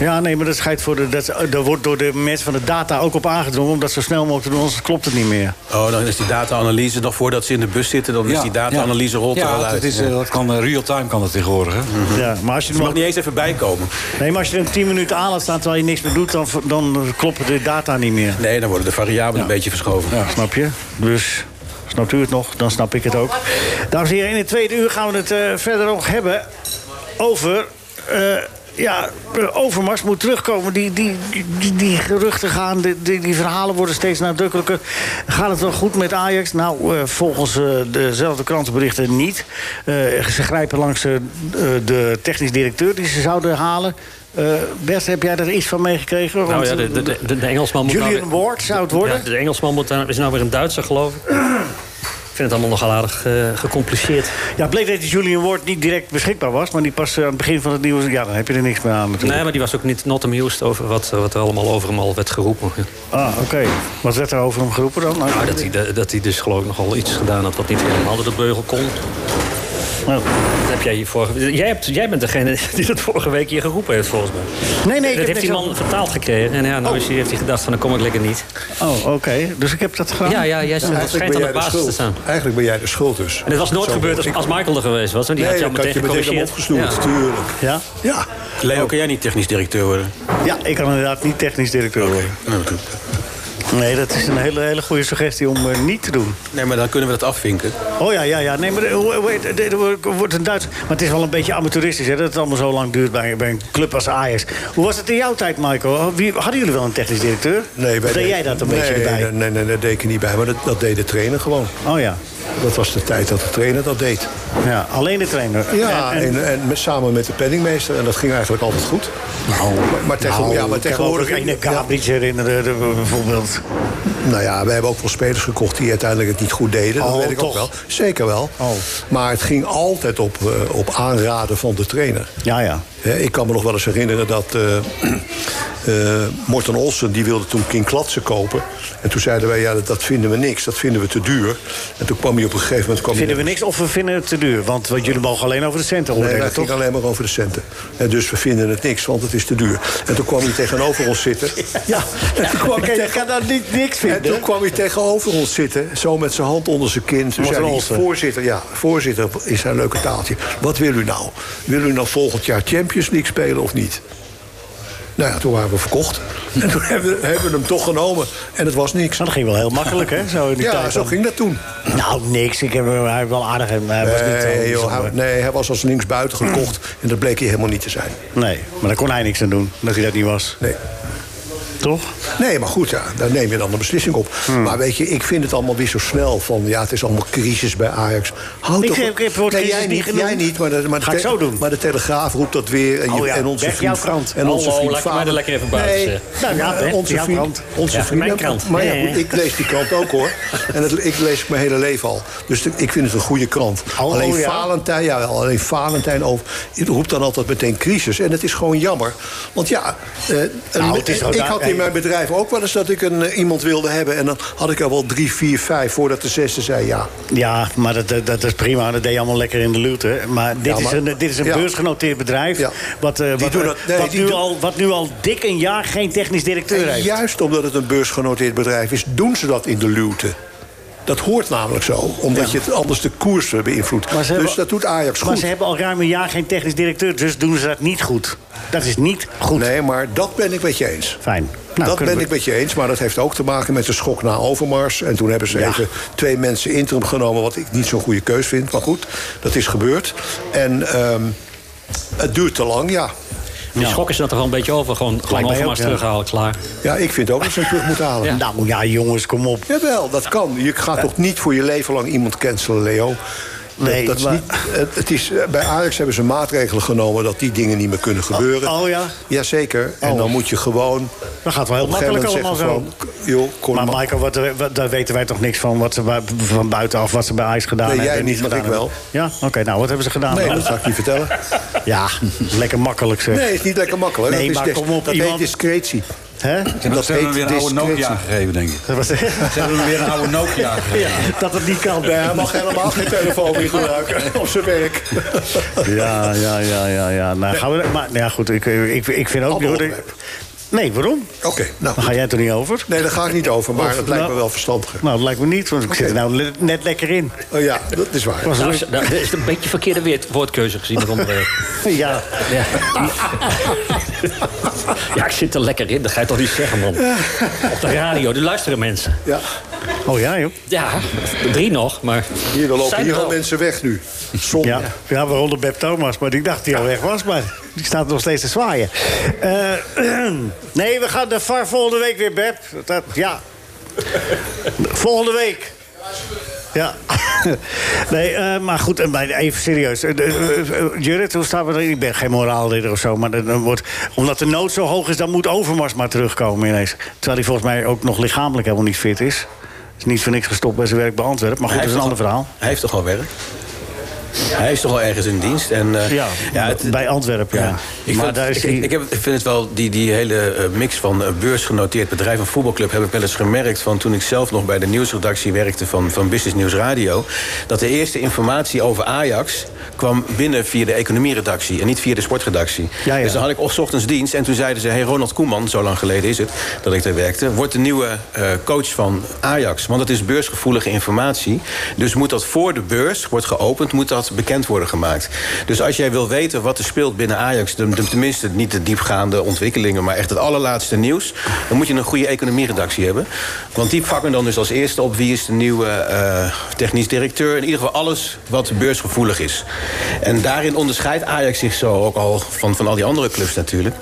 Ja, nee, maar dat schijnt voor de, dat, daar wordt door de mensen van de data ook op aangedrongen... om dat zo snel mogelijk te doen, anders klopt het niet meer.
Oh, dan is die data-analyse nog voordat ze in de bus zitten... dan is die data-analyse rolt
ja,
er al
dat
uit.
is, eh, dat kan eh, real-time kan dat tegenwoordig, hè.
Ja, maar als
Ze
je, hem
mag
al-
niet eens even bijkomen.
nee, maar als je hem 10 minuten aan laat staan terwijl je niks meer doet... dan, v- dan kloppen de data niet meer.
Nee, dan worden de variabelen een beetje verschoven.
Snap je? Dus snapt u het nog, dan snap ik het ook. Dames en heren, in het tweede uur gaan we het eh, verder nog hebben over... eh, ja, eh, Overmars moet terugkomen. Die, die, die, die geruchten gaan, die, die, die verhalen worden steeds nadrukkelijker. Gaat het wel goed met Ajax? Nou, eh, volgens eh, dezelfde krantenberichten niet. Eh, ze grijpen langs eh, de technisch directeur die ze zouden halen. Eh Bert, heb jij daar iets van meegekregen?
Nou
Want, eh,
ja, de, de, de, de Engelsman moet nou
Julian
weer-
Ward zou het worden?
Ja, de Engelsman moet daar, is nou weer een Duitser, geloof ik. ik vind het allemaal nogal aardig eh, gecompliceerd.
Ja, bleek dat die Julian Ward niet direct beschikbaar was, maar die pas eh, aan het begin van het nieuws. Ja, dan heb je er niks meer aan natuurlijk.
Nee, maar die was ook niet not amused over wat, eh, wat er allemaal over hem al werd geroepen.
Ah, oké. Wat werd er over hem geroepen dan?
Nou, dat hij, dat hij dus geloof ik nogal iets gedaan had wat niet helemaal door de beugel kon. Dat heb jij hier vorige... Jij, hebt, jij bent degene die dat vorige week hier geroepen heeft, volgens mij.
Nee, nee, ik
dat
heb
heeft die
niks
man vertaald gekregen. En ja, nou is hij, heeft hij gedacht van, dan kom ik lekker niet.
Oh, oké. Dus ik heb dat gedaan?
Ja, ja, jij
Nou,
staat schijnt aan de basis te
schuld.
staan.
Eigenlijk ben jij de schuld dus.
En dat was nooit
Zo
gebeurd als,
word ik-
als Michael er geweest was. Want die
nee,
had je al
dan had
meteen
je meteen hem
gecorrigeerd.
opgesnoerd,
Ja.
tuurlijk.
Ja?
Ja,
Leo, kan jij niet technisch directeur worden?
Ja, ik kan inderdaad niet technisch directeur worden.
Nou, goed.
Nee, dat is een hele, hele goede suggestie om eh, niet te doen.
Nee, maar dan kunnen we dat afvinken.
Oh ja, ja, ja. Nee, maar eh, hoe- hoe heet- dit wordt- wordt een Duits. Maar het is wel een beetje amateuristisch hè, dat het allemaal zo lang duurt bij, bij een club als Ajax. Hoe was het in jouw tijd, Michael? Wie, hadden jullie wel een technisch directeur?
Nee, wij
Of deed
deden-
jij dat een
nee,
beetje erbij?
Nee, nee, nee, dat deed ik er niet bij. Maar dat, dat deed de trainer gewoon.
Oh ja.
Dat was de tijd dat de trainer dat deed.
ja, alleen de trainer.
Ja, en, en, met- samen met de penningmeester. En dat ging eigenlijk altijd goed. maar, maar, tegen- ja, maar tegenwoordig...
Nou, Ik kan me ook een Gabriel herinneren, eh, bijvoorbeeld.
Nou ja, we hebben ook wel spelers gekocht die uiteindelijk het niet goed deden.
Oh,
dat weet ik
toch?
ook wel. Zeker wel.
Oh.
Maar het ging altijd op, eh, op aanraden van de trainer.
Ja, ja.
Hè, ik kan me nog wel eens herinneren dat eh eh, Morten Olsen... die wilde toen King Klatsen kopen. En toen zeiden wij, ja, dat, dat vinden we niks. Dat vinden we te duur. En toen kwam hij op een gegeven moment... Kwam hij
Vinden we niks of we vinden het te duur? Want, want jullie mogen alleen over de centen
Nee,
oordelen,
dat ging
toch?
alleen maar over de centen. En dus we vinden het niks, want het is te duur. En toen kwam hij tegenover ons zitten. Ja, en toen kwam hij
Oké, je
tegen...
kan daar niet, niks
En toen
vinden.
kwam hij tegenover ons zitten, zo met zijn hand onder zijn kin. Toen
Morten
zei hij,
Olsen.
voorzitter, ja, voorzitter is zijn leuke taaltje. Wat wil u nou? Wil u nou volgend jaar Champions League spelen of niet? Nou ja, toen waren we verkocht. En toen hebben we, hebben we hem toch genomen. En het was niks.
Nou, dat ging wel heel makkelijk, hè? Zo in die
Ja,
tijd
zo
dan.
ging dat toen.
Nou, niks. Ik heb hem hij heeft wel aardig. en Hij was niet zo
Nee, joh,
bijzonder.
hij, nee, hij was als linksbuiten gekocht. En dat bleek hij helemaal niet te zijn.
Nee, maar daar kon hij niks aan doen, dat hij dat niet was.
Nee.
Toch? Hmm.
Nee, maar goed, ja, daar neem je dan een beslissing op. Maar weet je, ik vind het allemaal weer zo snel van... ja, het is allemaal crisis bij Ajax. Houd
Ik
toch
heb-
op-
ik heb het woord
nee,
crisis
jij
niet
niet,
genoemd.
jij niet maar, de, maar, de
Ga ik
te-
zo doen.
maar de Telegraaf roept dat weer. En, je-
Oh ja,
en onze
weg
vriend,
jouw krant.
En onze
Oh,
vriend
laat me
Vader-
er lekker even buiten
Nee,
zeggen.
Nou ja,
eh,
hè,
onze
jouw
vriend,
krant.
Onze
Ja,
vriend
mijn
ook.
krant.
Maar ja,
Nee.
goed, ik lees die krant ook, hoor. En dat, ik lees het mijn hele leven al. Dus de- ik vind het een goede krant.
Oh,
alleen
oh, ja.
Valentijn, ja, alleen Valentijn over, het roept dan altijd meteen crisis. En het is gewoon jammer. Want ja, eh,
Nou, het is
ik
ook-
had in mijn bedrijf ook wel eens dat ik een, eh, iemand wilde hebben. En dan had ik er wel drie, vier, vijf voordat de zesde zei ja.
Ja, maar dat, dat, dat is prima. Dat deed je allemaal lekker in de luwte. Maar dit
Ja, maar-
is een, dit is een
ja.
beursgenoteerd bedrijf.
Ja.
Wat, eh, wat,
doen dat- nee,
wat,
die
nu
doen-
al, wat nu al dik een jaar geen technisch directeur
En
heeft.
juist omdat het een beursgenoteerd bedrijf is, doen ze dat in de luwte. Dat hoort namelijk zo, omdat je het anders de koers eh, beïnvloedt.
Maar
Dus
ze hebben-
dat doet Ajax
Maar
goed.
ze hebben al ruim een jaar geen technisch directeur. Dus doen ze dat niet goed. Dat is niet goed.
Nee, maar dat ben ik met je eens.
Fijn. Nou,
dat
kunnen
ben
we-
ik met je eens, maar dat heeft ook te maken met de schok na Overmars. En toen hebben ze
Ja.
even twee mensen interim genomen, wat ik niet zo'n goede keus vind. Maar goed, dat is gebeurd. En ehm, het duurt te lang, ja.
Die schok is dat er wel een beetje over. Gewoon, gewoon
mij
overmars
ook, ja.
terughalen, klaar.
Ja, ik vind ook dat ze hem terug moeten halen.
Nou ja, jongens, kom op.
Jawel, dat kan. Je gaat toch niet voor je leven lang iemand cancelen, Leo? Dat-
Nee,
dat is
maar-
niet, het, het is, eh, bij Ajax hebben ze maatregelen genomen dat die dingen niet meer kunnen gebeuren.
Oh, oh ja?
Jazeker. En
Oh.
dan moet je gewoon.
Dat gaat wel heel
op een gegeven
makkelijk allemaal zo.
moment zeggen van, joh, kom
Maar
maar.
Michael, wat, wat- daar weten wij toch niks van wat ze bij- van buitenaf wat ze bij IJs gedaan
Nee, jij
hebben. en
niet, maar
gedaan
ik wel.
hebben. Ja, oké. nou, wat hebben ze gedaan?
Nee,
dan?
dat ga ik niet vertellen.
Ja, lekker makkelijk zeg.
Nee, is niet lekker makkelijk.
Nee,
dat is
maar
des-
kom op,
dat
iemand-
heet discretie.
Hè?
Dat
Dat hebben we
heet
weer een oude
discretie.
Nokia gegeven, denk ik.
Dat was-
Ze hebben hem weer een oude Nokia gegeven.
dat het niet kan.
Nee, hij mag helemaal geen telefoon meer gebruiken op zijn werk.
Ja, ja, ja, ja. ja. Nou, gaan we, maar nou ja, goed, ik, ik, ik vind ook...
Allemaal
hoor, ik- nee, waarom?
Oké, nou.
Daar ga jij het er niet over.
Nee, daar ga ik niet over, maar
Of-
het lijkt
nou-
me wel verstandiger.
Nou, dat lijkt me niet, want ik zit er nou le- net lekker in.
Oh ja, dat is waar.
Was
Nou,
leuk.
is- nou, dat is een beetje verkeerde weer- woordkeuze gezien. dat onderwerp.
ja.
Ja. ja, ik zit er lekker in. Dat ga je toch niet zeggen, man. Op de radio, die luisteren mensen.
Ja,
Oh ja, joh.
Ja, drie nog, maar...
hier er lopen
Zijn
hier
er
Oh.
al
al.
mensen weg nu. Zonde.
Ja, ja waaronder Beb Thomas. Maar ik dacht die al weg was, maar die staat nog steeds te zwaaien. Eh, nee, we gaan de VAR volgende week weer, Beb. Dat, ja. Volgende week. Ja. Nee, eh, maar goed, eh, maar even serieus. Eh, de- eh, eh, Jurrit, hoe staan we erin? Ik ben geen moraalridder of zo, maar dat- dat wordt, omdat de nood zo hoog is... dan moet Overmars maar terugkomen ineens. Terwijl hij volgens mij ook nog lichamelijk helemaal niet fit is. Is niet voor niks gestopt bij zijn werk bij Antwerpen. Maar goed, dat is een ander verhaal.
Hij heeft toch al werk?
Hij is toch wel ergens in dienst. En, eh,
Ja,
het-
bij Antwerpen, ja.
Ik
Maar
vind,
daar
het-
is
ik,
hij-
ik, ik heb, ik vind het wel, die, die hele eh, mix van eh, beursgenoteerd bedrijf en voetbalclub... heb ik wel eens gemerkt van toen ik zelf nog bij de nieuwsredactie werkte... van, van Business News Radio, dat de eerste informatie over Ajax... kwam binnen via de economieredactie en niet via de sportredactie.
Ja, ja.
Dus dan had ik of 's ochtends dienst en toen zeiden ze... hey, Ronald Koeman, zo lang geleden is het dat ik daar werkte... wordt de nieuwe eh, coach van Ajax. Want dat is beursgevoelige informatie. Dus moet dat voor de beurs wordt geopend, moet dat bekend worden gemaakt. Dus als jij wil weten wat er speelt binnen Ajax... de- de- tenminste niet de diepgaande ontwikkelingen... maar echt het allerlaatste nieuws... dan moet je een goede economieredactie hebben. Want die pakken dan dus als eerste op... wie is de nieuwe eh, technisch directeur. In ieder geval alles wat beursgevoelig is. En daarin onderscheidt Ajax zich zo ook al van, van al die andere clubs natuurlijk.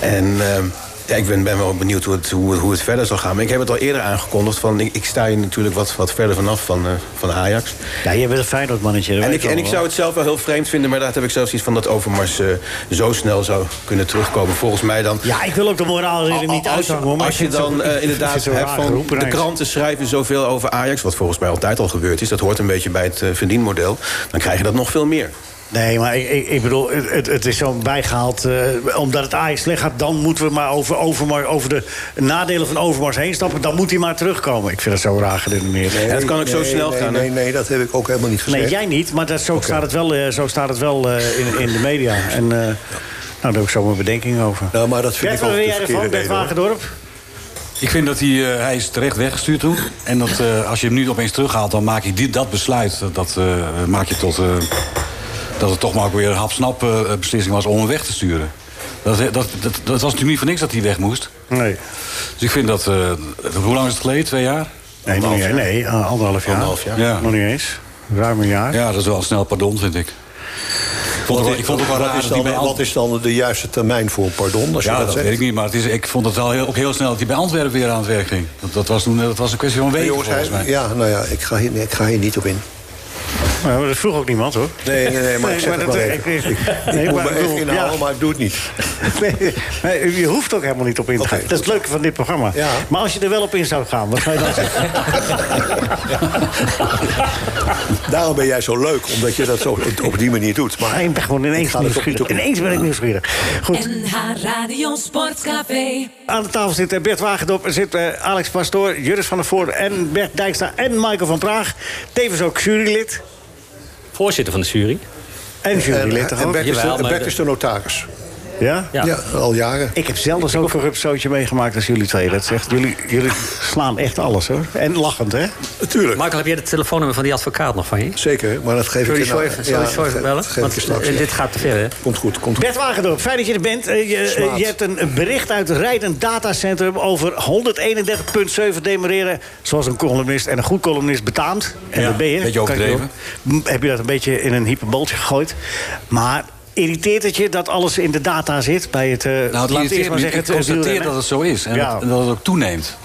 En... ehm, ja, ik ben, ben wel benieuwd hoe het, hoe, het- hoe het verder zal gaan. Maar ik heb het al eerder aangekondigd. Van, ik, ik sta hier natuurlijk wat, wat verder vanaf van, eh, van Ajax.
Ja, je bent een Feyenoord mannetje.
En ik, en ik zou het zelf wel heel vreemd vinden. Maar daar heb ik zelfs iets van dat Overmars eh, zo snel zou kunnen terugkomen. Volgens mij dan...
Ja, ik wil ook de moraal er niet
Als-
uithangen. hoor, maar
Als je
ik vind het
dan
zo- ik
eh,
vind het
inderdaad
zo
hebt
raar
van
geroepen
de
ineens.
kranten schrijven zoveel over Ajax... wat volgens mij altijd al gebeurd is, dat hoort een beetje bij het eh, verdienmodel... dan krijg je dat nog veel meer.
Nee, maar ik, ik, ik bedoel, het, het is zo bijgehaald. eh, omdat het Ajax slecht gaat, dan moeten we maar over, Overmars, over de nadelen van Overmars heen stappen. Dan moet hij maar terugkomen. Ik vind het zo raar geredeneerd.
En dat kan ook zo
Nee,
snel
nee,
gaan. hè?
Nee, nee, dat heb ik ook helemaal niet gezegd.
Nee, jij niet, maar dat, zo, staat het wel, eh, zo staat het wel eh, in, in de media. En eh, nou, daar heb ik zo mijn bedenking over.
Nou, maar dat vind
Bert,
ik
wat
ook
wil
de
jij
verkeerde
ervan, Bert
reden. hoor.
Wagendorp?
Ik vind dat hij, eh, hij is terecht weggestuurd toen. En dat, eh, als je hem nu opeens terughaalt, dan maak je dit, dat besluit. Dat eh, maak je tot. eh, dat het toch maar ook weer een hapsnap eh, beslissing was om hem weg te sturen. Dat, dat, dat, dat was natuurlijk niet voor niks dat hij weg moest.
Nee.
Dus ik vind dat. eh, hoe lang is het geleden? Twee jaar?
Nee, nog niet, nee eh, anderhalf jaar.
Anderhalf jaar.
Ja.
Nog niet eens. Ruim een jaar.
Ja, dat is wel een snel pardon, vind ik. Ik vond het, wel- ik vond het ook wel
Wat
raar
is
dat hij bij
dan-
Ant-
Wat is dan de juiste termijn voor een pardon? Als je
Ja,
dat
dat
zegt?
weet ik niet, maar het is, ik vond het wel heel, ook heel snel dat hij bij Antwerpen weer aan het werk ging. Dat, dat, was, toen, eh, dat was een kwestie van
Nee,
weken,
jongens,
volgens
hij-
mij.
ja, nou ja, ik ga, hier, nee, ik ga hier niet op in.
Nou, dat vroeg ook niemand hoor.
Nee, nee, nee, maar ik zeg
maar
het wel
dat-
even.
ik-
Ik, ik,
nee,
moet
maar
me
ik
even
bedoel,
inhalen,
ja.
maar ik doe het niet.
Nee, nee, je hoeft ook helemaal niet op in te
Oké,
gaan. dat is het leuke van dit programma.
Ja.
Maar als je er wel op in zou gaan, wat zou je dan zeggen?
Daarom ben jij zo leuk, omdat je dat zo op- op die manier doet. Maar
Ik ben gewoon ineens
Ik ga er toch niet
nieuwsgierig.
op in.
Ineens ben ik nieuwsgierig. Goed,
NH Radio Sportcafé.
aan de tafel zitten Bert Wagendop, er zit eh, Alex Pastoor, Juris van der Voort en Bert Dijkstra en Michael van Praag. Tevens ook jurylid.
Voorzitter van de jury.
En jurylid toch
en
ook?
Bert is,
Jawel,
de,
maar
Bert
de-
is de notaris.
Ja?
Ja.
Ja, al jaren.
Ik heb zelden zo'n corruptzootje meegemaakt als jullie twee. Dat zegt, jullie, jullie slaan echt alles hoor. En lachend hè?
Natuurlijk,
Michael, heb jij het telefoonnummer van die advocaat nog van je?
zeker. Maar dat geef
Sorry,
ik je nou-
sorry, sorry,
ja,
sorry
dat
bellen.
geef ik je
Want
straks.
eh, dit gaat te ver, hè?
Komt goed, komt goed.
Bert Wagendorp, fijn dat je er bent. Eh, je, eh, je hebt een bericht uit het Rijdend Datacentrum over 131,7 demereren. Zoals een columnist en een goed columnist betaamt. En
Ja,
dat ben je.
beetje
Kan ik je
overdreven.
horen. M, Heb je dat een beetje in een hyperbooltje gegooid. Maar irriteert het je dat alles in de data zit bij het... eh
Nou, het
laat ik
irriteert
eerst
me.
zeggen,
ik constateer
wielrennen?
dat het zo is. En,
Ja.
dat, en dat het ook toeneemt.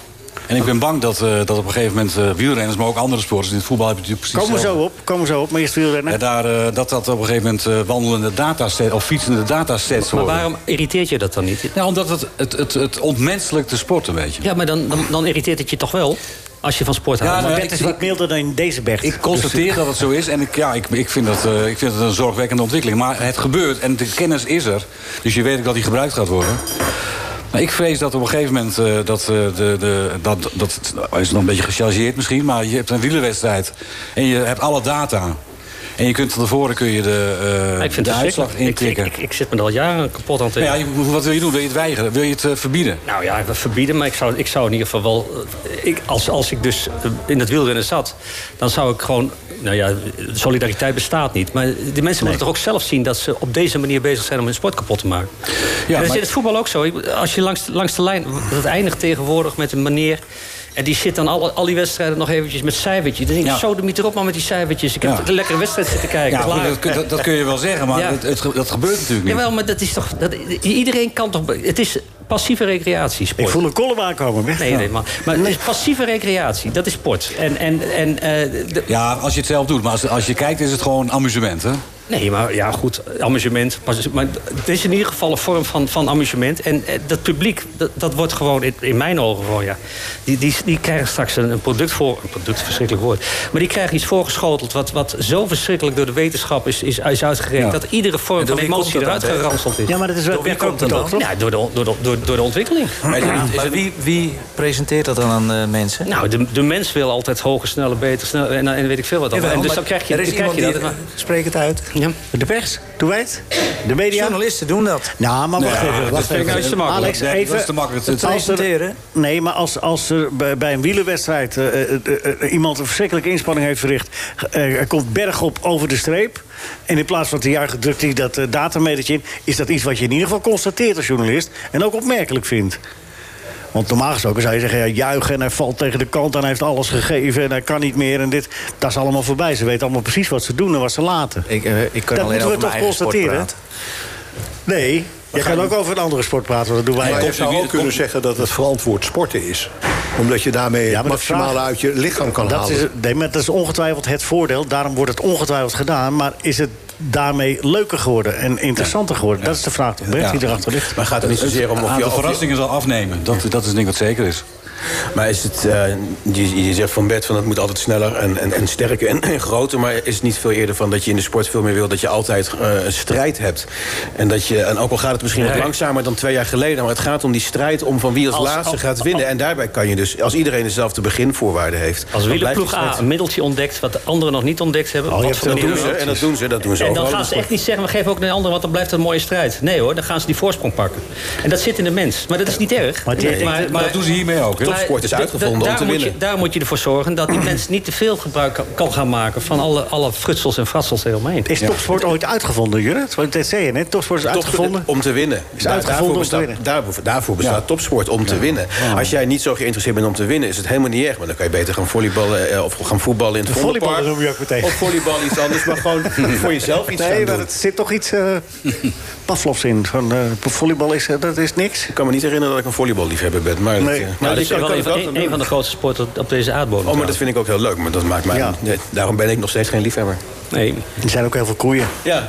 En ik ben bang dat, eh, dat op een gegeven moment eh, wielrenners, maar ook andere sporters... in het voetbal heb je natuurlijk precies
Komen we zo
hetzelfde.
op, komen we zo op. Maar eerst wielrennen.
Ja, daar, eh, dat dat op een gegeven moment eh, wandelende datasets of fietsende datasets
Maar
worden.
waarom irriteert je dat dan niet?
Nou, omdat het, het, het, het ontmenselijk te sporten, weet je.
Ja, maar dan, dan, dan irriteert het je toch wel? Als je van sport
Ja,
houdt.
nou,
Maar-
Bert
ik-
is wat milder dan deze Bert.
Ik
Dus
constateer dat het zo is en ik, ja, ik, ik, vind dat, eh, ik vind het een zorgwekkende ontwikkeling. Maar het gebeurt en de kennis is er. Dus je weet ook dat die gebruikt gaat worden. Maar ik vrees dat op een gegeven moment, eh, dat, eh, de, de, dat, dat nou, is nog een beetje gechargeerd misschien... maar je hebt een wielerwedstrijd en je hebt alle data. En je kunt van tevoren kun je de, eh,
ik vind
de
het
uitslag
verschrikkelijk. Ik,
intikken.
ik, ik, ik zit me er al jaren kapot aan te
Nou ja, je- wat wil je doen? Wil je het weigeren? Wil je het eh, verbieden?
Nou ja, we verbieden, maar ik zou, ik zou in ieder geval wel... eh, Ik, als, als ik dus eh, in het wielrennen zat, dan zou ik gewoon... Nou ja, solidariteit bestaat niet. Maar die mensen moeten toch ook zelf zien dat ze op deze manier bezig zijn om hun sport kapot te maken. Ja, dat is
maar-
in het voetbal ook zo. Ik- Als je langs, langs de lijn... Dat eindigt tegenwoordig met een manier... En die zit dan al, al die wedstrijden nog eventjes met cijfertjes. Dan denk ik,
Ja.
zo de mieter op maar met die cijfertjes. Ik heb
Ja.
een lekkere wedstrijd zitten kijken.
Ja, goed,
Klaar.
dat, kun- dat, dat kun je wel zeggen, maar
Ja.
het, het ge- dat gebeurt natuurlijk niet.
Jawel, maar dat is toch... Dat, iedereen kan toch... Het is passieve recreatie,
Ik
sport.
voel een column aankomen. Bert.
Nee, nee, maar, maar het is passieve recreatie, dat is sport. En, en, en eh, de-
Ja, als je het zelf doet. Maar als, als je kijkt is het gewoon amusement, hè?
Nee, maar ja, goed, amusement. Maar, maar het is in ieder geval een vorm van, van amusement. En eh, dat publiek, dat, dat wordt gewoon, in, in mijn ogen gewoon, ja... Die, die, die krijgen straks een, een product voor... Een product, verschrikkelijk woord. Maar die krijgen iets voorgeschoteld wat, wat zo verschrikkelijk door de wetenschap is, is, is uitgerekend...
Ja.
dat iedere vorm
En door
van
wie
emotie
komt dat
eruit
dan, hè?
geranseld is.
Ja, maar dat is wel- Door wie werkt ook komt dat betoog, dan? toch?
Ja, door de, door, de, door, door de ontwikkeling.
Maar, wie, wie presenteert dat dan aan eh, mensen?
Nou, de, de mens wil altijd hoger, sneller, beter, sneller en, en weet ik veel wat.
Jawel,
allemaal. En dus
maar
dan krijg je,
er is
dan krijg je
iemand
dat.
die- eh,
maar-
Spreek het uit.
Ja.
De pers, doe wij het? De media?
Journalisten doen dat.
Nou, maar wacht
Ja,
even.
dat
Wacht
vind ik
even.
juist te makkelijk.
Alex,
Nee,
even.
dat is te makkelijk. Het
als er-
presenteren.
nee, maar als, als er bij, bij een wielerwedstrijd eh, eh, eh, eh, iemand een verschrikkelijke inspanning heeft verricht. eh, er komt bergop over de streep. En in plaats van te juichen drukt hij dat eh, datametertje in. Is dat iets wat je in ieder geval constateert als journalist. En ook opmerkelijk vindt. Want normaal gesproken zou je zeggen, ja, juichen en hij valt tegen de kant... en hij heeft alles gegeven en hij kan niet meer en dit. Dat is allemaal voorbij. Ze weten allemaal precies wat ze doen en wat ze laten.
Ik, eh, ik kan
dat
alleen
moeten
over
we
mijn
toch
eigen sport
constateren?
praten.
Nee, jij kan ook over een andere sport praten, want dat doen wij
Maar
ook.
je zou ook kunnen zeggen dat het verantwoord sporten is. Omdat je daarmee
Ja,
het
maar de
maximale
vraag-
uit je lichaam kan
dat
halen.
is, nee, maar dat is ongetwijfeld het voordeel. Daarom wordt het ongetwijfeld gedaan. Maar is het daarmee leuker geworden en interessanter geworden? Dat is de vraag toch, Bert,
Ja.
die erachter ligt.
Maar gaat het niet zozeer om
Het
of je...
aantal
of je-
verrassingen zal afnemen. Dat, dat is denk ik wat zeker is.
Maar is het, eh, je, je zegt van Bert van het moet altijd sneller en, en, en sterker en, en groter. Maar is het niet veel eerder van dat je in de sport veel meer wil dat je altijd eh, een strijd hebt? En, dat je, en ook al gaat het misschien wat langzamer dan twee jaar geleden, maar het gaat om die strijd om van wie als,
Als-
laatste
als-
gaat winnen. En daarbij kan je dus, als iedereen dezelfde beginvoorwaarden heeft.
Als
dan blijft die
wielerploeg
strijd-
A een middeltje ontdekt wat de anderen nog niet ontdekt hebben...
Oh, je
wat
hebt
voor
het
Dat
manier
doen ze,
dan ook.
en dat doen ze, dat doen ze
En
overal in
dan
de
gaan ze
sport.
echt niet zeggen, we geven ook naar de anderen... want dan blijft het een mooie strijd. Nee hoor, dan gaan ze die voorsprong pakken. En dat zit in de mens. Maar dat is niet erg.
Maar die-
Maar, dat doen ze hiermee ook. Hè?
maar
Topsport is
d- d-
uitgevonden om
daar
te
moet
winnen.
Je, daar moet je ervoor zorgen dat die mens niet te veel gebruik kan, kan gaan maken... van alle, alle frutsels en fratsels eromheen.
Is topsport ooit uitgevonden, Jurrit? Want dat zei je net, topsport is uitgevonden.
Om te winnen. Daar-
uitgevonden om
daarvoor
te
bestaat,
winnen.
Daarvoor, daarvoor bestaat topsport, om te winnen. Als jij niet zo geïnteresseerd bent om te winnen, is het helemaal niet erg. Maar dan kan je beter gaan volleyballen eh, of gaan voetballen in het
Volleyballen
Vondelpark.
noem je ook meteen.
Of volleybal iets anders, maar gewoon voor jezelf iets gaan
Nee, maar
doen.
het zit toch iets eh Pavlovs in. Van, eh, volleybal is, eh, dat is niks.
Ik kan me niet herinneren dat ik een volleyballiefhebber ben. Maar,
Nee.
dat, eh,
Maar
nou,
dat
dat
is
kan-
wel
kan ik wel
een,
gaan
een
doen.
van de grootste sporten op deze aardbodem.
Oh, maar dat vind ik ook heel leuk. Maar dat maakt mij...
Ja.
nee, daarom ben ik nog steeds geen liefhebber.
Nee,
Er zijn ook heel veel koeien.
Ja.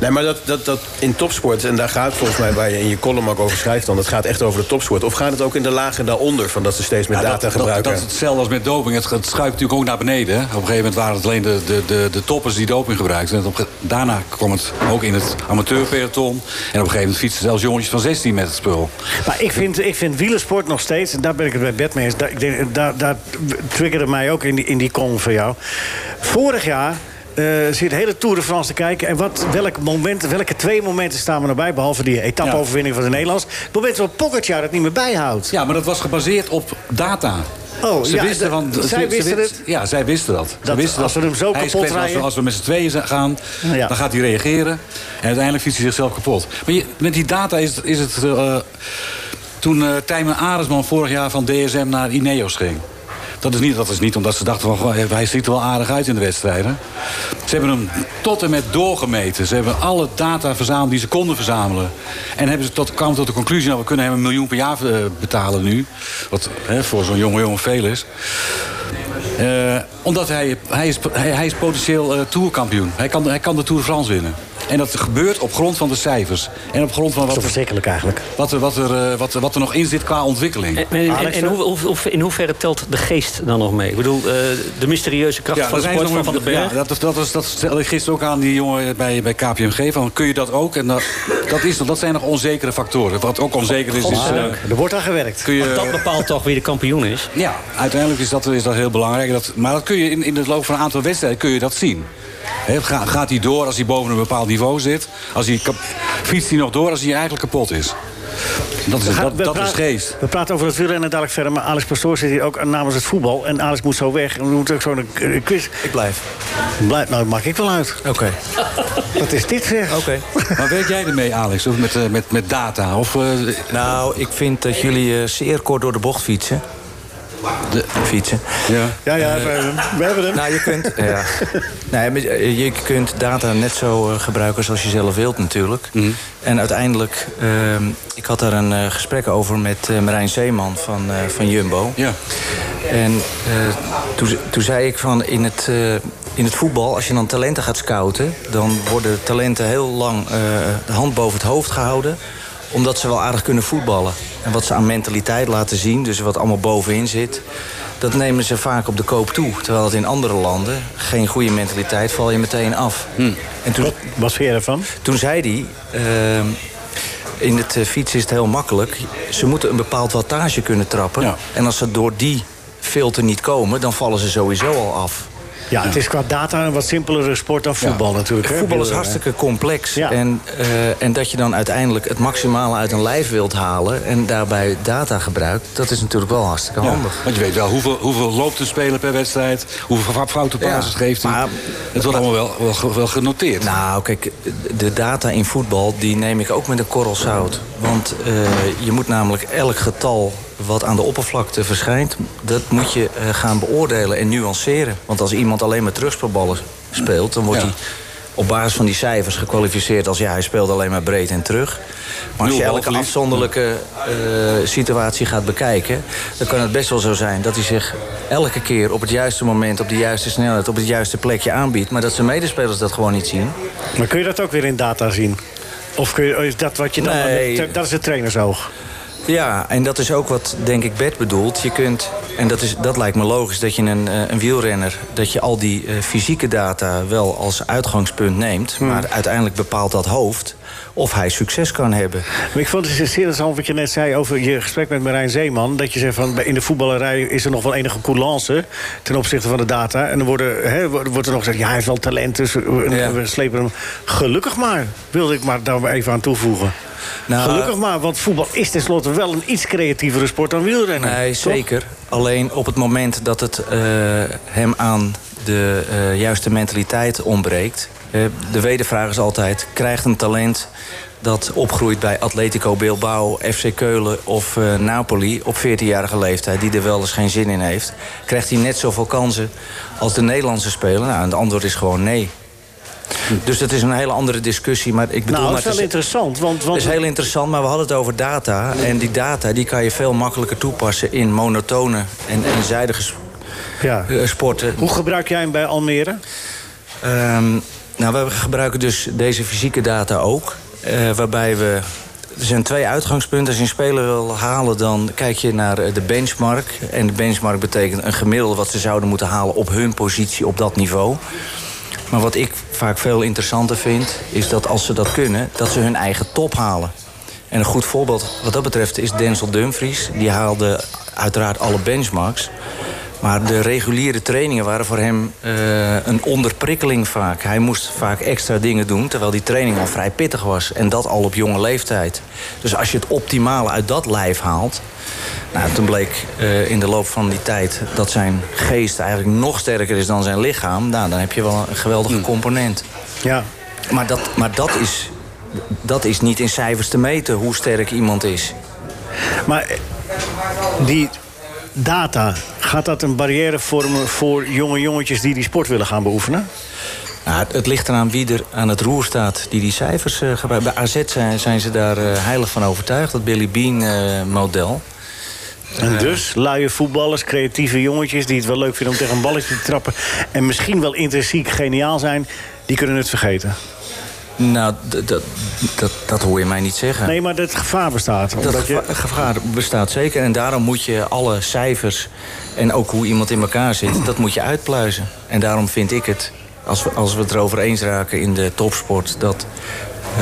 Nee, maar dat, dat, dat in topsport, en daar gaat volgens mij waar je in je column ook over schrijft dan... dat gaat echt over de topsport. Of gaat het ook in de lagen daaronder, van dat ze steeds meer
Ja,
data
dat, dat-
gebruiken?
dat is hetzelfde als met doping. Het, het schuift natuurlijk ook naar beneden. Hè. Op een gegeven moment waren het alleen de, de, de, de toppers die doping gebruikten. En op een ge- daarna kwam het ook in het amateurpeloton. En op een gegeven moment fietsten zelfs jongetjes van 16 met het spul.
Maar ik vind, ik vind wielersport nog steeds, en daar ben ik het bij Bert mee eens, daar, ik denk, daar, daar triggerde mij ook in die, in die kong van jou. Vorig jaar eh zit de hele Tour de France te kijken. En wat, welk moment, welke twee momenten staan we erbij, behalve die etappeoverwinning van de Nederlands? Het moment waarop Pogacar het niet meer bijhoudt.
Ja, maar dat was gebaseerd op data.
Oh,
ze
ja,
wisten van,
d- zij wisten het?
Ja, zij wisten dat. Ze
Dat
wisten
als we hem zo
Hij is
kapot
kwetsbaar. Als we,
rijden?
als we met z'n tweeën za- gaan,
Ja.
dan gaat hij reageren. En uiteindelijk fietst hij zichzelf kapot. Maar je- met die data is, het- is het... eh, toen eh Tijmen Aresman vorig jaar van DSM naar Ineos ging. Dat is, niet, dat is niet omdat ze dachten van goh, hij ziet er wel aardig uit in de wedstrijden. Ze hebben hem tot en met doorgemeten. Ze hebben alle data verzameld die ze konden verzamelen. En hebben ze tot, kwamen tot de conclusie, nou we kunnen hem een miljoen per jaar eh, betalen nu. Wat hè, voor zo'n jonge jongen veel is. Eh, omdat hij, hij, is, hij, hij is potentieel eh, tourkampioen. Hij kan, hij kan de Tour de France winnen. En dat gebeurt op grond van de cijfers. En op grond van
Dat is toch
wat er,
verschrikkelijk eigenlijk.
wat er, wat, er, eh, wat, er- wat er nog in zit qua ontwikkeling.
En, en, en,
Alex, eh?
en hoe, hoe- hoe- in hoeverre telt de geest dan nog mee? Ik bedoel, eh, de mysterieuze kracht van
daar
de
zijn ze
sport van
nog
Van den
mee-
Berg.
ja, dat, dat, was, dat stelde ik gisteren ook aan die jongen bij, bij KPMG. Van, kun je dat ook? En dat, dat, is, nog- dat zijn nog onzekere factoren. Wat ook onzeker is, is... eh,
Er wordt aan gewerkt.
kun
Want
je,
dat bepaalt toch wie de kampioen is.
ja, uiteindelijk is dat, is dat heel belangrijk. Dat, maar dat kun je in, in het loop van een aantal wedstrijden kun je dat zien. Hè, ga- gaat hij door als hij boven een bepaald niveau zit? Als hij kap- fietst hij nog door als hij eigenlijk kapot is? Dat is,
We gaan-
dat,
we
dat is
praten-
geest.
We praten over het wielrennen dadelijk verder. Maar Alex Pastoor zit hier ook namens het voetbal. En Alex moet zo weg. En we moeten ook zo'n eh, quiz.
Ik blijf.
Blijf, nou, maak ik wel uit.
Oké.
Wat is dit zeg?
Oké.
Maar werk jij ermee, Alex? Of met, eh, met, met data? Of, eh,
Nou, ik vind dat jullie eh, zeer kort door de bocht fietsen. De, fietsen.
ja.
Ja, ja, we hebben hem. We hebben hem.
Eh, Nou, je kunt, ja. nee, maar je- je kunt data net zo eh, gebruiken zoals je zelf wilt natuurlijk. En uiteindelijk, ehm, ik had daar een eh, gesprek over met eh, Marijn Zeeman van, eh, van Jumbo.
Ja.
En eh, toen, toen zei ik van in het, eh, in het voetbal, als je dan talenten gaat scouten... dan worden talenten heel lang eh, de hand boven het hoofd gehouden... omdat ze wel aardig kunnen voetballen. En wat ze aan mentaliteit laten zien, dus wat allemaal bovenin zit... dat nemen ze vaak op de koop toe. Terwijl het in andere landen, geen goede mentaliteit, val je meteen af. En toen,
Hmm. Wat vind je ervan?
toen zei hij... ehm, in het eh, fietsen is het heel makkelijk. Ze moeten een bepaald wattage kunnen trappen.
Ja.
En als ze door die filter niet komen, dan vallen ze sowieso al af.
Ja, het is qua data een wat simpelere sport dan voetbal natuurlijk. Hè?
Voetbal is
Wielrennen.
hartstikke complex.
Ja.
En, eh, en dat je dan uiteindelijk het maximale uit een lijf wilt halen... en daarbij data gebruikt, dat is natuurlijk wel hartstikke
Ja,
handig.
want je weet wel hoeveel, hoeveel loopt een speler per wedstrijd. Hoeveel fa- foute passes
Ja,
geeft hij.
maar-
het wordt allemaal wel, wel, ge- wel genoteerd.
Nou, kijk, de data in voetbal die neem ik ook met een korrel zout. Want eh, je moet namelijk elk getal wat aan de oppervlakte verschijnt... dat moet je eh, gaan beoordelen en nuanceren. Want als iemand alleen maar terugspelballen speelt... dan wordt
Ja.
hij op basis van die cijfers gekwalificeerd als... ja, hij speelt alleen maar breed en terug. Maar als
Nul
je elke
balverlies.
afzonderlijke eh, situatie gaat bekijken... dan kan het best wel zo zijn dat hij zich elke keer op het juiste moment... op de juiste snelheid, op het juiste plekje aanbiedt... maar dat zijn medespelers dat gewoon niet zien.
Maar kun je dat ook weer in data zien? Of kun je, is dat wat je dan...
Nee.
Dat is het trainersoog.
Ja, en dat is ook wat, denk ik, Bert bedoelt. Je kunt, en dat, is, dat lijkt me logisch, dat je een, eh, een wielrenner... dat je al die eh, fysieke data wel als uitgangspunt neemt...
Hmm.
maar uiteindelijk bepaalt dat hoofd of hij succes kan hebben.
Maar ik vond het zeer interessant wat je net zei over je gesprek met Marijn Zeeman. Dat je zegt van bij- in de voetballerij is er nog wel enige coulance ten opzichte van de data. En dan worden, hè, wordt wordt er nog gezegd, ja, hij heeft wel talent, dus we,
Ja.
we slepen hem. Gelukkig maar, wilde ik maar daar maar even aan toevoegen.
Nou,
Gelukkig maar, want voetbal is tenslotte wel een iets creatievere sport dan wielrennen.
Nee,
toch?
zeker. Alleen op het moment dat het eh, hem aan de eh, juiste mentaliteit ontbreekt. Eh, de wedervraag is altijd, krijgt een talent dat opgroeit bij Atletico Bilbao, FC Keulen of eh, Napoli op 14-jarige leeftijd, die er wel eens geen zin in heeft, krijgt hij net zoveel kansen als de Nederlandse speler? Nou, en het antwoord is gewoon nee. Dus dat is een hele andere discussie, maar ik bedoel...
Nou, dat
maar
is
te
wel
ze-
interessant, want... want
dat is heel interessant, maar we hadden het over data. En die data die kan je veel makkelijker toepassen in monotone en eenzijdige s-
ja.
eh, sporten.
Hoe gebruik jij hem bij Almere?
Ehm, nou, we gebruiken dus deze fysieke data ook. eh, waarbij we. Er zijn twee uitgangspunten. Als je een speler wil halen, dan kijk je naar eh, de benchmark. En de benchmark betekent een gemiddelde wat ze zouden moeten halen op hun positie op dat niveau. Maar wat ik vaak veel interessanter vind, is dat als ze dat kunnen, dat ze hun eigen top halen. En een goed voorbeeld wat dat betreft is Denzel Dumfries. Die haalde uiteraard alle benchmarks. Maar de reguliere trainingen waren voor hem eh, een onderprikkeling vaak. Hij moest vaak extra dingen doen, terwijl die training al vrij pittig was. En dat al op jonge leeftijd. Dus als je het optimale uit dat lijf haalt... Nou, toen bleek eh, in de loop van die tijd dat zijn geest eigenlijk nog sterker is dan zijn lichaam. Nou, dan heb je wel een geweldige component.
Ja.
Maar dat, maar dat, is, dat is niet in cijfers te meten hoe sterk iemand is. Dus-
Maar eh, die data, gaat dat een barrière vormen voor jonge jongetjes die die sport willen gaan beoefenen?
Nou, het, het ligt eraan wie er aan het roer staat die die cijfers eh, gebruikt. Bij AZ zijn, zijn ze daar eh, heilig van overtuigd, dat Billy eh, Bean-model. Eh,
En dus luie voetballers, creatieve jongetjes die het wel leuk vinden om tegen een balletje te trappen en misschien wel intrinsiek geniaal zijn, die kunnen het vergeten.
nou, d- dat- dat, dat hoor je mij niet zeggen.
Nee, maar dat gevaar bestaat.
Dat
omdat je-
geva- gevaar bestaat zeker. En daarom moet je alle cijfers en ook hoe iemand in elkaar zit, dat moet je uitpluizen. En daarom vind ik het, als we, als we het erover eens raken in de topsport, dat eh,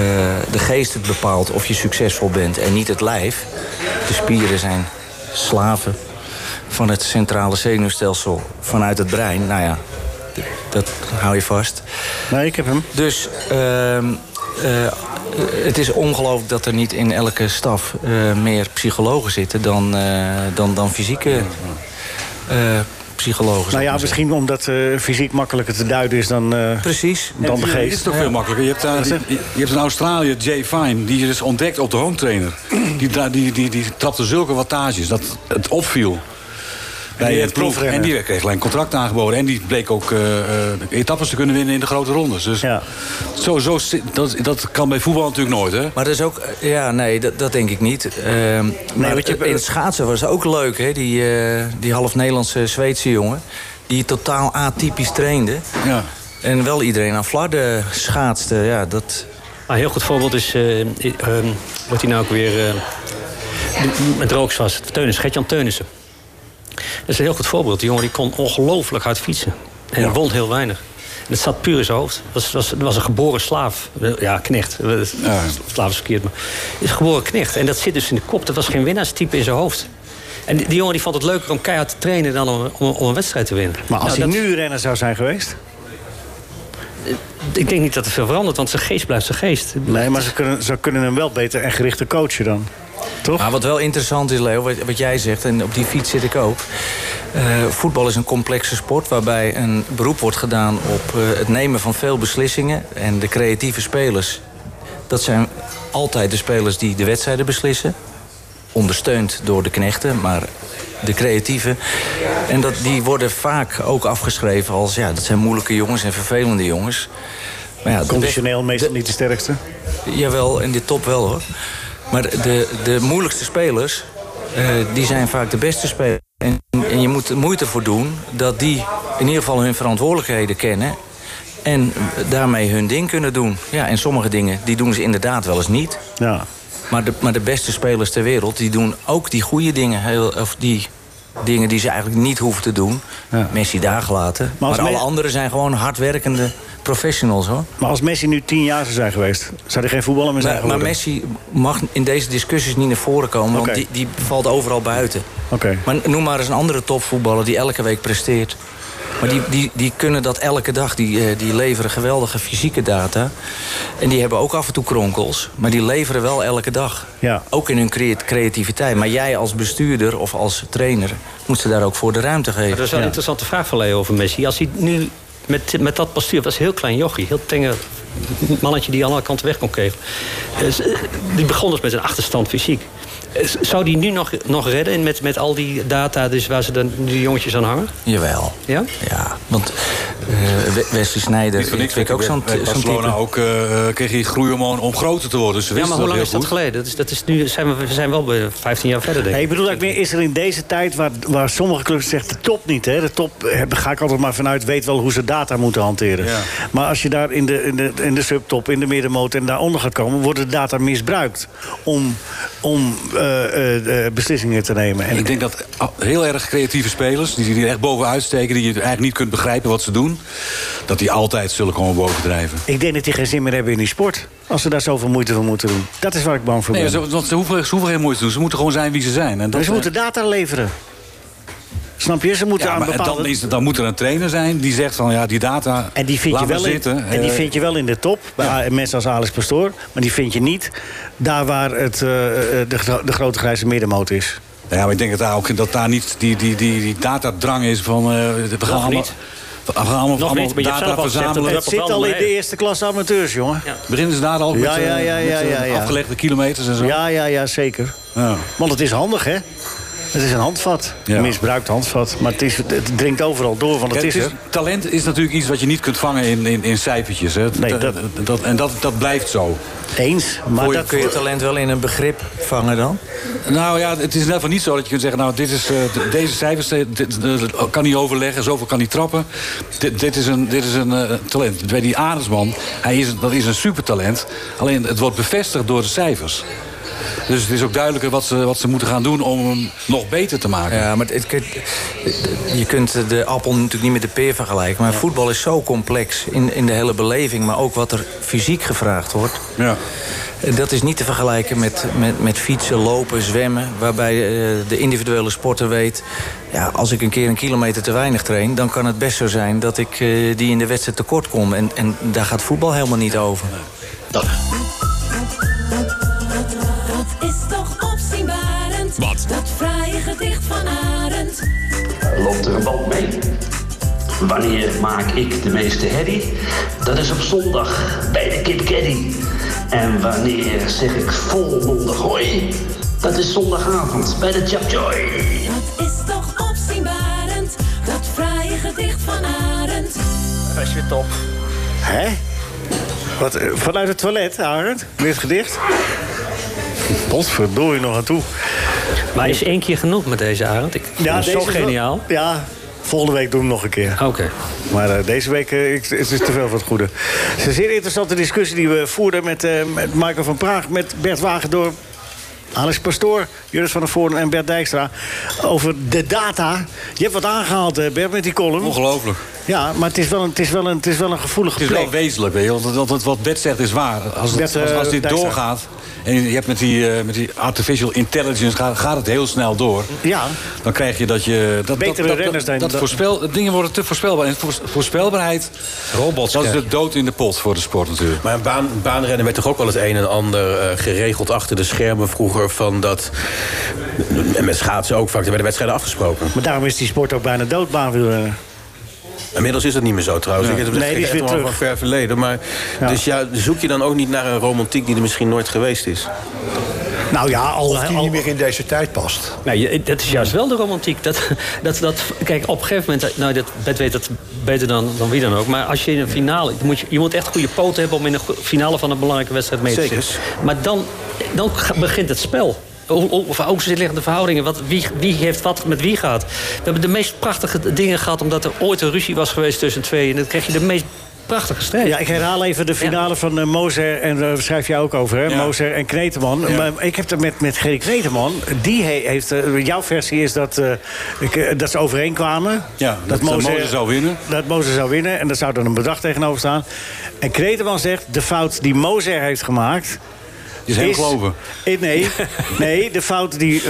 de geest het bepaalt of je succesvol bent en niet het lijf. De spieren zijn slaven van het centrale zenuwstelsel vanuit het brein. Nou ja, d- dat hou je vast.
Nee, ik heb hem.
Dus ehm, eh, het is ongelooflijk dat er niet in elke staf eh, meer psychologen zitten dan, eh, dan, dan fysieke eh, psychologen.
Nou
zou ik
ja,
maar zeggen.
misschien omdat eh, fysiek makkelijker te duiden is dan, eh,
Precies.
dan de
Ja, dit is
geest.
toch veel makkelijker. Je hebt,
eh,
daar, je, je hebt een Australiër, Jay Fine, die is dus ontdekt op de home trainer. Die, dra- die, die, die trapte zulke wattages dat het opviel. bij
die
het
ploeg.
ploeg. En die kreeg een contract aangeboden. En die bleek ook eh, eh, etappes te kunnen winnen in de grote rondes. Dus zo, zo, zit- dat, dat kan bij voetbal natuurlijk nooit, hè?
Maar dat is ook... eh, Ja, nee, dat, dat denk ik niet. Ehm, maar
want je-
in het schaatsen was het ook leuk, hè? Die, eh, die half-Nederlandse Zweedse jongen. Die totaal atypisch trainde.
Ja.
En wel iedereen aan flarden schaatste. Ja, dat...
Een Ah, heel goed voorbeeld is, eh, i- ehm, wordt hij nou ook weer eh, die- met rooks was, Teunissen, Gertjan Teunissen. Dat is een heel goed voorbeeld. Die jongen die kon ongelooflijk hard fietsen. En won heel weinig. En het zat puur in zijn hoofd. Dat was, was, was een geboren slaaf. Ja, knecht. Slaaf is verkeerd, maar... Is een geboren knecht. En dat zit dus in de kop. Dat was geen winnaarstype in zijn hoofd. En die, die jongen die vond het leuker om keihard te trainen... dan om, om, om een wedstrijd te winnen.
Maar als
Nou,
hij
dat-
nu renner zou zijn geweest...
Eh, Ik denk niet dat er veel verandert, want zijn geest blijft zijn geest.
Nee, maar ze kunnen, ze kunnen hem wel beter en gerichter coachen dan.
Maar wat wel interessant is, Leo, wat, wat jij zegt, en op die fiets zit ik ook. eh, voetbal is een complexe sport waarbij een beroep wordt gedaan op eh, het nemen van veel beslissingen. En de creatieve spelers, dat zijn altijd de spelers die de wedstrijden beslissen. Ondersteund door de knechten, maar de creatieve. En dat, die worden vaak ook afgeschreven als, ja, dat zijn moeilijke jongens en vervelende jongens. Maar ja, de-
Conditioneel meestal niet de sterkste.
Jawel, in dit top wel hoor. Maar de, de moeilijkste spelers, eh, die zijn vaak de beste spelers. En, en je moet er moeite voor doen dat die in ieder geval hun verantwoordelijkheden kennen. En daarmee hun ding kunnen doen. Ja, en sommige dingen, die doen ze inderdaad wel eens niet.
Ja.
Maar de, maar de beste spelers ter wereld, die doen ook die goede dingen. Heel, of die dingen die ze eigenlijk niet hoeven te doen. Messi daar gelaten. Maar,
als
alle
me-
anderen zijn gewoon hardwerkende professionals hoor.
Maar als Messi nu tien jaar zou zijn geweest... zou hij geen voetballer meer zijn
Maar, maar
geworden?
Messi mag in deze discussies niet naar voren komen, want
Oké.
die, die valt overal buiten.
Oké.
Maar noem maar eens een andere topvoetballer die elke week presteert. Maar die, die, die kunnen dat elke dag. Die, eh, die leveren geweldige fysieke data. En die hebben ook af en toe kronkels. Maar die leveren wel elke dag.
Ja.
Ook in hun crea- creativiteit. Maar jij als bestuurder of als trainer moet ze daar ook voor de ruimte
Maar
geven.
dat is wel een interessante vraag van Leo over Messi. Als hij nu met, met dat postuur, dat is een heel klein jochie, heel tenger mannetje die aan alle kanten weg kon kegelen. Dus, eh, die begon dus met een achterstand fysiek. Eh, z- Zou die nu nog, nog redden in met, met al die data dus waar ze dan die jongetjes aan hangen?
Jawel.
Ja?
Ja, want eh, We- Wesley Sneijder
Niet voor niks
vind ik ook zo'n
Bij
zo'n
Barcelona
type.
ook eh, kreeg hij groeihormoon om groter te worden. Dus ze
Ja, maar
wisten
hoe lang is dat
heel goed.
geleden? Dat is, dat is nu, zijn we, we zijn wel bij 15 jaar verder, denk
Nee,
ik.
ik bedoel eigenlijk meer, is er in deze tijd waar, waar sommige clubs zeggen de top niet. Hè? De top, eh, daar ga ik altijd maar vanuit, weet wel hoe ze data moeten hanteren.
Ja.
Maar als je daar in de, in, de, in de subtop, in de middenmoot en daaronder gaat komen... worden de data misbruikt om, om eh, eh, eh, beslissingen te nemen. En
Ik denk dat ah, heel erg creatieve spelers, die, die er echt bovenuit steken... die je eigenlijk niet kunt begrijpen wat ze doen... dat die altijd zullen komen bovendrijven.
ik denk dat die geen zin meer hebben in die sport. Als ze daar zoveel moeite voor moeten doen. Dat is waar ik bang voor ben.
Nee, ze, want ze, hoeven, ze hoeven geen moeite te doen. Ze moeten gewoon zijn wie ze zijn. En dat, eh,
Maar ze moeten data leveren. Snap je? Ze moeten
ja,
aan
maar en
bepaalde...
dan, is, het- dan moet er een trainer zijn die zegt van ja, die data
En die vind,
laat
je wel
maar zitten.
in, en die
Eh,
vind je wel in de top. Bij A- mensen als Alex Pastoor. Maar die vind je niet daar waar het, eh, eh, de, gro- de grote grijze middenmoot is.
Nou ja, maar ik denk dat daar ook dat daar niet die, die, die, die datadrang is van eh we gaan allemaal,
niet.
Ah, we gaan allemaal,
Nog
allemaal
niet, maar je hebt zelf
data
al gezegd dat
verzamelen.
Het zit al in de eerste klasse amateurs, jongen.
Ja.
Beginnen ze daar al met,
Ja, ja,
eh,
ja,
met,
ja,
eh,
ja, ja.
afgelegde kilometers en zo?
Ja, ja, ja, zeker.
Ja.
Want het is handig, hè? Het is een handvat.
Ja.
Een misbruikt handvat. Maar het, is, het dringt overal door, want het
Kijk,
is
het
er.
is, talent is natuurlijk iets wat je niet kunt vangen in, in, in cijfertjes. Hè.
Nee,
Dat-
dat-
dat, en dat, dat blijft zo.
Eens. Maar
Voor je-
dat,
Kun je talent wel in een begrip vangen dan?
Nou ja, het is in ieder geval niet zo dat je kunt zeggen... nou, dit is, eh, d- deze cijfers eh, dit- dit kan hij overleggen, zoveel kan hij trappen. Dit, dit is een, dit is een eh, talent. Bij die Arendsman, hij is, een- dat is een supertalent. Alleen het wordt bevestigd door de cijfers. Dus het is ook duidelijker wat ze, wat ze moeten gaan doen om hem nog beter te maken.
Ja, maar het, het- je kunt de appel natuurlijk niet met de peer vergelijken. Maar voetbal is zo complex in, in de hele beleving. Maar ook wat er fysiek gevraagd wordt.
Ja.
Dat is niet te vergelijken met, met, met fietsen, lopen, zwemmen. Waarbij eh, de individuele sporter weet... Ja, als ik een keer een kilometer te weinig train... dan kan het best zo zijn dat ik eh, die in de wedstrijd tekort kom. En, en daar gaat voetbal helemaal niet over.
Dat is toch opzienbarend. Wat? Dat fraaie gedicht van Arend.
loopt er een band mee. Wanneer maak ik de meeste herrie? Dat is op zondag bij de Kid Caddy. En wanneer zeg ik volmondig hoi? Dat is zondagavond bij de Chapjoy.
Dat is toch opzienbarend.
is weer top.
Hè? Wat, eh, vanuit het toilet, Arend? Licht gedicht? Potverdorie nog aan toe.
Maar is één keer genoeg met deze Arend? Ik vond hem zo
deze is wel-
geniaal.
ja, volgende week doen we hem nog een keer. Oké. Maar eh, deze week eh, ik, het is te veel van het goede. Het is een zeer interessante discussie die we voerden met, eh, met Michael van Praag, met Bert Wagendorp. Alex Pastoor, Juris van der Voorn en Bert Dijkstra. Over de data. Je hebt wat aangehaald, eh, Bert, met die column.
Ongelooflijk.
Ja, maar het is wel een, het is wel een, het is wel een gevoelige
Het is wel
plek.
wezenlijk, weet je, want dat- dat, wat Bert zegt is waar. Als, het-
Bert, eh,
als, als dit
Dijkstra.
doorgaat en je hebt met die, eh, met die artificial intelligence gaat, gaat het heel snel door.
Ja.
Dan krijg je dat je... Dat,
Betere
dat, dat,
renners zijn
dat
dat-
voorspel, Dingen worden te voorspelbaar. En voors- voorspelbaarheid, Robots dat is de dood in de pot voor de sport natuurlijk.
Maar een baan, baanrennen werd toch ook wel het een en ander eh, geregeld achter de schermen vroeger van dat. En met schaatsen ook vaak, er werden wedstrijden afgesproken.
Maar daarom is die sport ook bijna eh, doodbaan wielrennen.
Inmiddels is dat niet meer zo trouwens.
Ja.
Ik, dat is
Nee, die is
echt
weer
wel
terug.
van ver verleden. Maar, Dus ja, zoek je dan ook niet naar een romantiek die er misschien nooit geweest is?
Nou ja, al...
Of die niet meer in deze tijd past.
Nou, je- dat is juist wel de romantiek. Dat, dat, dat, kijk, op een gegeven moment... Nou, dat, dat weet dat beter dan, dan wie dan ook. Maar als je in een finale... dan Moet je, je moet echt goede poten hebben om in de go- finale van een belangrijke wedstrijd mee te
Zeker.
zitten. Maar dan, dan ga- begint het spel. Hoe- hoe- Of ook liggende verhoudingen. Wat, wie, wie heeft wat met wie gehad? We hebben de meest prachtige dingen gehad... omdat er ooit een ruzie was geweest tussen twee. En dan krijg je de meest prachtige strijd.
Ja, ik herhaal even de finale van eh, Moser. En daar schrijf jij ook over, hè? Moser en Kneteman. Maar ik heb het met, met Gerry Kneteman. Die he- heeft... eh, jouw versie is dat, eh, ik, eh, dat ze overeenkwamen.
Ja, dat, dat Moser zou winnen.
Dat Moser zou winnen. En daar zou dan een bedrag tegenover staan. En Kneteman zegt... De fout die Moser heeft gemaakt...
Is hem geloven.
eh, Nee, nee, de fout die,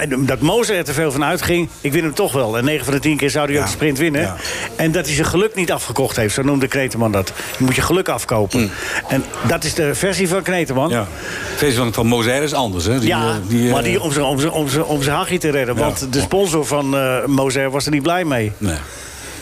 eh, dat Mozer er te veel van uitging... ik win hem toch wel. En 9 van de 10 keer zou hij ook de sprint winnen. En dat hij zijn geluk niet afgekocht heeft. Zo noemde Kneteman dat. Je moet je geluk afkopen. En dat is de versie van Kneteman.
Mm. Ja.
Ja,
Het feest van, van Moser is anders. Hè? Die, eh, eh,
maar die om zijn, om, zijn, om, zijn, om zijn hachje te redden. Want de sponsor van eh Mozer was er niet blij mee.
Nee.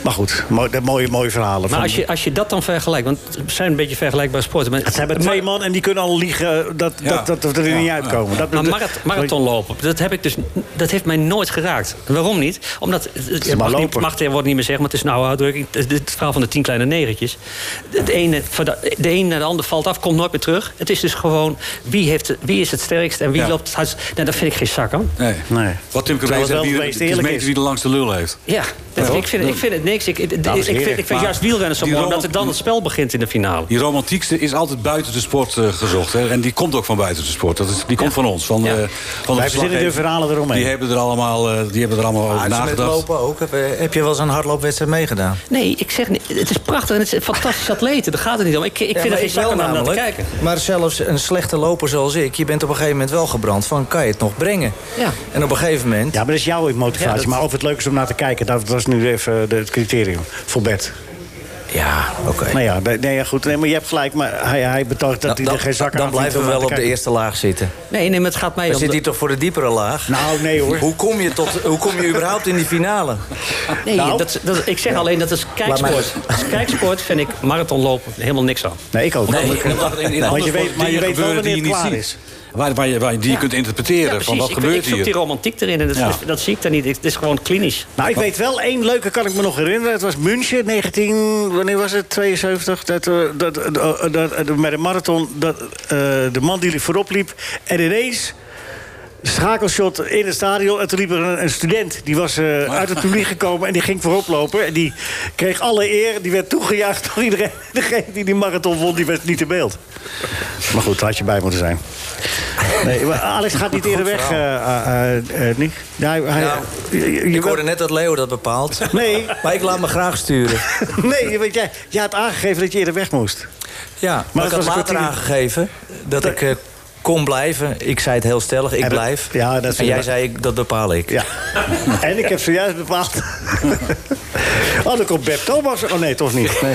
Maar goed, mooi, dat mooie, mooie verhalen.
Maar
van-
als je, als je dat dan vergelijkt... want het zijn een beetje vergelijkbare sporten. Maar,
Het zijn maar twee man en die kunnen al liegen eh, dat,
Ja.
dat, dat, dat we er niet
Ja,
uitkomen. Dat,
Maar
dat-
marath- marathon lopen, dat, heb ik dus, dat heeft mij nooit geraakt. Waarom niet? Omdat, het
maar
mag, niet,
lopen.
mag tegenwoordig niet meer zeggen, maar het is een oude uitdrukking. Het, het- het verhaal van de tien kleine negertjes. Het ene, van de de een naar de ander valt af, komt nooit meer terug. Het is dus gewoon, wie, heeft, het- wie is het sterkst en wie
Ja.
loopt het hardst? Nou, dat vind ik geen zak aan.
Nee.
Nee.
Wat
Terwijl
Tim Krabbe
het wel
zegt,
het
wie,
meest
het is
eerlijk
meter
is.
wie de langste lul heeft.
Ja, dat-
Ja.
ik, vind, ik vind het niks. Ik, ik, ik,
Dames en
vind,
heren.
ik vind juist wielrennen zo
Die
mooi,
rol-
omdat het dan het spel begint in de finale.
Die romantiekste is altijd buiten de sport eh, gezocht. Hè? En die komt ook van buiten de sport. Dat is, die komt van ons. Van, eh, van de
Wij verzinnen de
verslaggevers.
verhalen eromheen.
Die hebben er allemaal, eh, die hebben er allemaal over
Maar het is met
nagedacht.
lopen ook. Heb, eh, heb je wel eens een hardloopwedstrijd meegedaan?
Nee, ik zeg niet. Het is prachtig en het is fantastisch atleten. Daar gaat het niet om. Ik, ik vind
Ja,
er geen
maar
zak aan om naar te kijken.
Maar zelfs een slechte loper zoals ik, je bent op een gegeven moment wel gebrand van kan je het nog brengen?
Ja.
En op een gegeven moment,
Ja, maar dat is jouw motivatie.
Ja, dat-
Maar of het leuk is om naar te kijken, dat was nu even de- het criterium voor Bert.
ja, oké.
Nou ja, nee, nee, ja, goed. Nee, maar je hebt gelijk, maar hij, hij betoont dat
Dan-
hij
dan-
er geen zak aan
dan
vindt
blijven
om
we
naar
wel
te
op de
kijken.
eerste laag zitten.
Nee, nee, maar het gaat mij
Dan
om...
zit
de-
hij toch voor de diepere laag.
Nou, nee hoor.
Hoe kom je, tot, hoe kom je überhaupt in die finale?
Nee,
Nou.
dat, dat, ik zeg alleen dat is kijksport. Als kijksport vind ik marathonlopen helemaal niks aan.
Nee, ik ook.
Nee, omdat er in- in
Want
andere
je weet-
sporten
maar je weet
dingen
wel
gebeuren die je
wanneer het
niet
klaar
ziet. Waar, waar je, waar je die kunt interpreteren. van wat
ik, vind-
gebeurt
ik zoek die
hier?
romantiek erin en dat,
Ja.
is- dat zie ik daar niet. Het is gewoon klinisch.
Nou, ik weet wel, één leuke kan ik me nog herinneren. Het was München, 19... Wanneer was het? 72? Dat, eh, dat, eh, dat, eh, met de marathon, dat, eh, de man die voorop liep. En ineens, schakelshot in het stadion. En toen liep er een, een student, die was eh, uit het publiek gekomen... en die ging voorop lopen. En die kreeg alle eer, die werd toegejuicht door iedereen. Degene die die marathon won, die werd niet in beeld. Maar goed, daar had je bij moeten zijn. Nee, maar Alex gaat niet eerder weg, eh eh, eh, eh, Nick. Ja, hij, hij-
Nou,
je- je- je
Ik
wil-
hoorde net dat Leo dat bepaalt.
Nee.
Maar ik laat me graag sturen.
Nee, want jij, jij had aangegeven dat je eerder weg moest.
Ja, maar,
dat
ik had
was een
later
kwartier-
aangegeven dat ik eh, kon blijven. Ik zei het heel stellig, ik
En dat-
blijf.
ja, dat
en
vind
jij
ik-
zei, ik, dat bepaal ik.
Ja. en ik heb zojuist bepaald. oh, dan komt Beb Thomas. Oh nee, toch niet. Nee.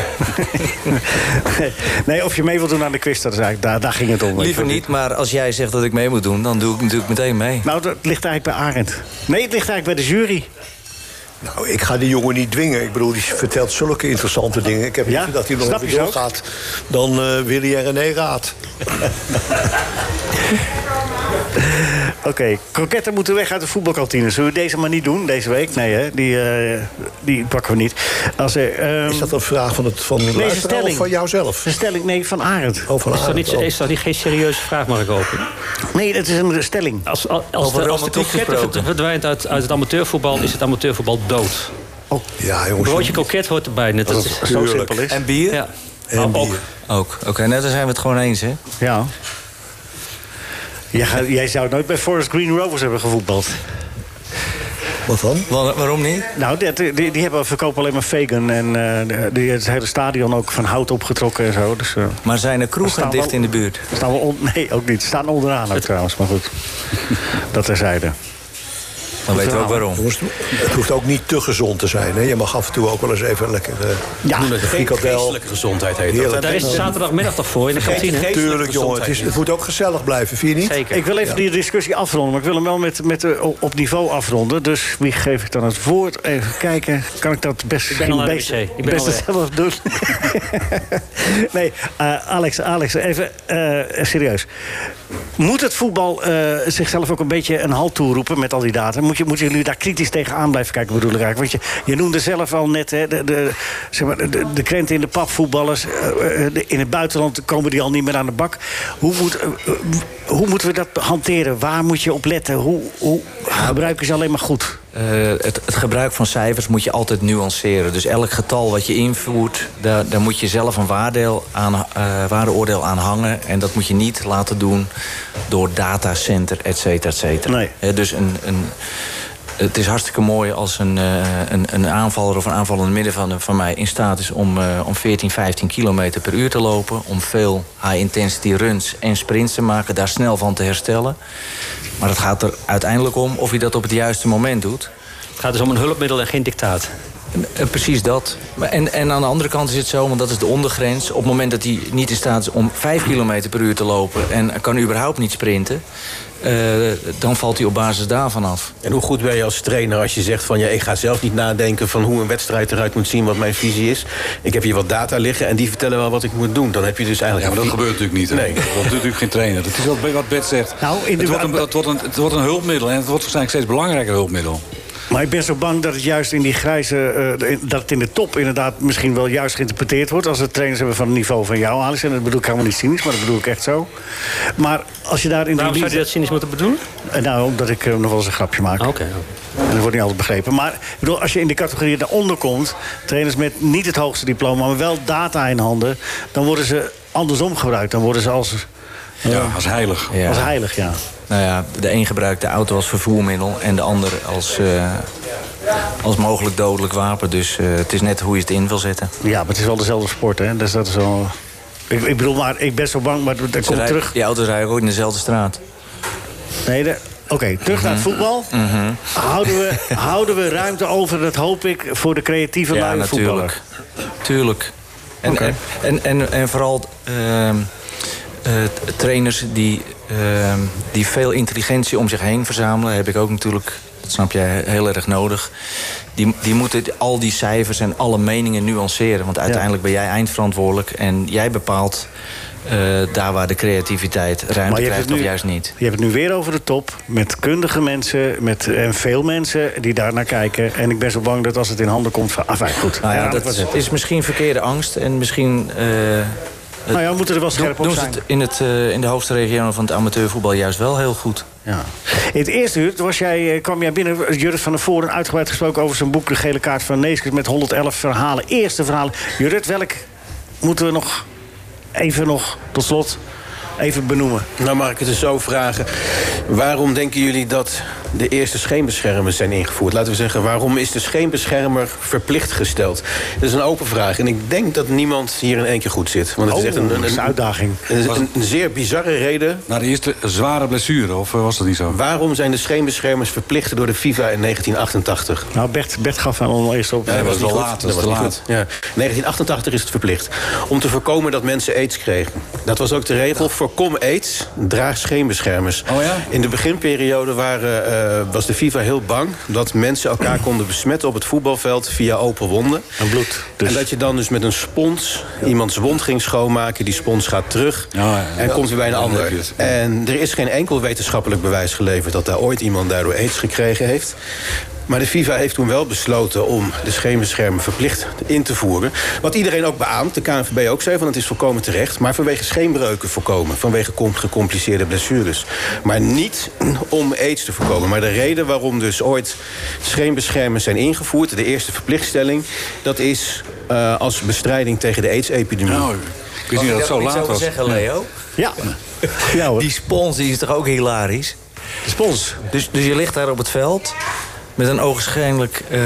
nee, of je mee wilt doen aan de quiz, dat is eigenlijk, daar, daar ging het om.
Liever niet, maar als jij zegt dat ik mee moet doen... dan doe ik natuurlijk meteen mee.
Nou, dat ligt eigenlijk bij Arend. Nee, het ligt eigenlijk bij de jury.
Nou, ik ga die jongen niet dwingen. Ik bedoel, die vertelt zulke interessante dingen. Ik heb
Ja?
liever dat hij nog
Snap
even
je ze ook?
doorgaat dan eh Willy en René Raad.
Oké, kroketten moeten weg uit de voetbalkantine. Zullen we deze maar niet doen, deze week? Nee, hè? Die, eh, die pakken we niet. Als er, ehm,
Is dat een vraag van, het, van de
Nee,
luisteraar
is een stelling.
of van jouzelf?
Een stelling, nee, van Arend.
Oh, van
Is dat,
Arend,
niet,
oh.
is dat niet geen serieuze vraag, mag ik hopen?
Nee, dat is een stelling.
Als, als, als
Over
de, als de
romantiek
kroket
gesproken.
verdwijnt uit, uit het amateurvoetbal, is het amateurvoetbal dood.
Oh.
Ja,
Een
jongens.
broodje kroket hoort erbij. Net als,
Zo simpel is.
En bier?
ja.
en
Ook.
bier.
Ook. Oké, nou daar zijn we het gewoon eens, hè?
Ja. Jij, gaat- jij zou nooit bij Forest Green Rovers hebben gevoetbald.
Wat dan?
Wa- waarom niet?
Nou, dat- die, die, hebben verkopen alleen maar vegan. En eh, die, het hele stadion ook van hout opgetrokken en zo. Dus, eh,
Maar zijn
Er
er
staan
kroegen dicht
wel-
in de buurt?
er staan we on- nee, ook niet. Ze staan onderaan ook trouwens. Maar goed, dat terzijde.
Dan weten we ook
verhaal.
waarom.
Jongens, het hoeft ook niet te gezond te zijn. Hè? Je mag af en toe ook wel eens even lekker... eh,
Ja,
een frikandel.
Geestelijke gezondheid heet dat.
Heerlijk.
Daar is het zaterdagmiddag toch voor in de kantine. hè?
Tuurlijk, jongen. Het, is, het moet ook gezellig blijven, vind je niet?
Zeker.
Ik wil even die discussie afronden, maar ik wil hem wel met, met, eh, op niveau afronden. Dus wie geef ik dan het woord? Even kijken. Kan ik dat best
ben al aan de
best,
wc. Ik ben
best
al weg.
zelf doen? nee, eh, Alex, Alex, even eh, serieus. Moet het voetbal eh, zichzelf ook een beetje een halt toeroepen met al die data? Moet je, moeten jullie daar kritisch tegenaan blijven kijken, bedoel ik eigenlijk? Want je, je noemde zelf al net hè, de, de, zeg maar, de, de krenten in de pap, voetballers. eh, eh, de- in het buitenland komen die al niet meer aan de bak. Hoe, moet, eh, eh, hoe moeten we dat hanteren? Waar moet je op letten? Hoe, hoe gebruiken ze alleen maar goed?
Eh, het, het gebruik van cijfers moet je altijd nuanceren. Dus elk getal wat je invoert, daar, daar moet je zelf een waardeel aan, eh, waardeoordeel aan hangen. En dat moet je niet laten doen door datacenter, et cetera, et cetera.
Nee.
Eh, dus een, een, het is hartstikke mooi als een, eh, een, een aanvaller of een aanvallende midden van, van mij in staat is om, eh, om 14, 15 kilometer per uur te lopen. Om veel high-intensity runs en sprints te maken, daar snel van te herstellen. Maar het gaat er uiteindelijk om of je dat op het juiste moment doet.
Het gaat dus om een hulpmiddel en geen dictaat.
Eh, Precies dat. Maar En, en aan de andere kant is het zo, want dat is de ondergrens. Op het moment dat hij niet in staat is om 5 km per uur te lopen en kan überhaupt niet sprinten, eh, dan valt hij op basis daarvan af.
En hoe goed ben je als trainer als je zegt van... Ja, ik ga zelf niet nadenken van hoe een wedstrijd eruit moet zien... wat mijn visie is. Ik heb hier wat data liggen en die vertellen wel wat ik moet doen. Dan heb je dus
Ja,
eigenlijk...
maar dat
die-
gebeurt natuurlijk niet. hè.
Nee.
Dat doet natuurlijk geen trainer. Dat is wat, wat Bert zegt.
Nou, in de-
het, wordt een, het, wordt een, het wordt een hulpmiddel en het wordt waarschijnlijk steeds belangrijker hulpmiddel.
Maar ik ben zo bang dat het juist in die grijze... eh, in- dat het in de top inderdaad misschien wel juist geïnterpreteerd wordt... als het trainers hebben van het niveau van jou, Alex. En dat bedoel ik helemaal niet cynisch, maar dat bedoel ik echt zo. Maar als je daar in
Waarom
de...
zou je dat cynisch moeten bedoelen?
Eh, Nou, omdat ik eh, nog wel eens een grapje maak.
Ah, Oké.
En dat wordt niet altijd begrepen. Maar ik bedoel, als je in de categorie daaronder komt... trainers met niet het hoogste diploma, maar wel data in handen... dan worden ze andersom gebruikt. Dan worden ze als, eh,
Ja, als heilig.
Ja.
als heilig, ja.
Nou ja, de een gebruikt de auto als vervoermiddel en de ander als, eh, als mogelijk dodelijk wapen. Dus eh, het is net hoe je het in wil zetten.
Ja, maar het is wel dezelfde sport, hè. Dus dat is wel... Ik, ik bedoel, maar ik ben zo bang, maar dat
Ze
komt
rij-
terug...
Die auto's rijden ook in dezelfde straat.
Nee, de- Oké, terug naar het
Mhm.
voetbal. Houden, we, houden we ruimte over, dat hoop ik, voor de creatieve
Ja,
lui
natuurlijk.
voetballer.
Tuurlijk. En, en, en, en vooral ehm, eh, trainers die, ehm, die veel intelligentie om zich heen verzamelen, heb ik ook natuurlijk, dat snap jij, heel erg nodig. Die, die moeten al die cijfers en alle meningen nuanceren. Want uiteindelijk ben jij eindverantwoordelijk en jij bepaalt eh, daar waar de creativiteit ruimte
hebt het
krijgt of
nu-
juist niet.
Je hebt het nu weer over de top, met kundige mensen met, en veel mensen die daar naar kijken. En ik ben zo bang dat als het in handen komt van... Enfin, goed.
Nou ja,
Herhaal ik wat
dat
ik-
is misschien verkeerde angst en misschien. eh,
nou ja, we moeten er wel scherp op
Doen ze
zijn.
het in, het, eh, in de hoogste regionen van het amateurvoetbal juist wel heel goed.
Ja. In het eerste uur was jij, eh, kwam jij binnen, Jurrit van der Voren... uitgebreid gesproken over zijn boek De Gele Kaart van Neeskens... met 111 verhalen, eerste verhalen. Jurrit, welk moeten we nog even nog, tot slot, even benoemen?
Nou mag ik het dus zo vragen. Waarom denken jullie dat de eerste scheenbeschermers zijn ingevoerd? Laten we zeggen, waarom is de scheenbeschermer verplicht gesteld? Dat is een open vraag. En ik denk dat niemand hier in één keer goed zit. Want het
Oh,
is echt een, een,
dat is een uitdaging.
een- een- een zeer bizarre reden
Na de eerste zware blessure, of eh, was dat niet zo?
Waarom zijn de scheenbeschermers verplicht door de FIFA in 1988?
Nou, Bert, Bert gaf hem al eerst op.
dat
Nee,
was
niet
wel
goed. Dat
laat, dat
was
was
niet
te
goed. Ja. 1988 is het verplicht. Om te voorkomen dat mensen aids kregen. Dat was ook de regel. Voorkom aids, draag scheenbeschermers.
Oh ja?
In de beginperiode waren eh,
was de FIFA heel bang dat mensen elkaar konden besmetten op het voetbalveld via open wonden.
En bloed.
En dat je dan dus met een spons iemands wond ging schoonmaken. Die spons gaat terug
ja.
en komt weer bij een
Dan
ander.
heb je het.
En er is geen enkel wetenschappelijk bewijs geleverd... dat daar ooit iemand daardoor aids gekregen heeft. Maar de FIFA heeft toen wel besloten om de scheenbeschermen verplicht in te voeren. Wat iedereen ook beaamt, de KNVB ook zei, van het is volkomen terecht... maar vanwege scheenbreuken voorkomen, vanwege com- gecompliceerde blessures. Maar niet om aids te voorkomen. Maar de reden waarom dus ooit scheenbeschermen zijn ingevoerd... de eerste verplichtstelling, dat is eh, als bestrijding tegen de aids-epidemie.
Nou, ik wist niet dat het zo laat was.
zeggen, Leo?
Ja. ja hoor.
Die spons die is toch ook hilarisch?
De spons.
Dus, dus je ligt daar op het veld met een ogenschijnlijk eh,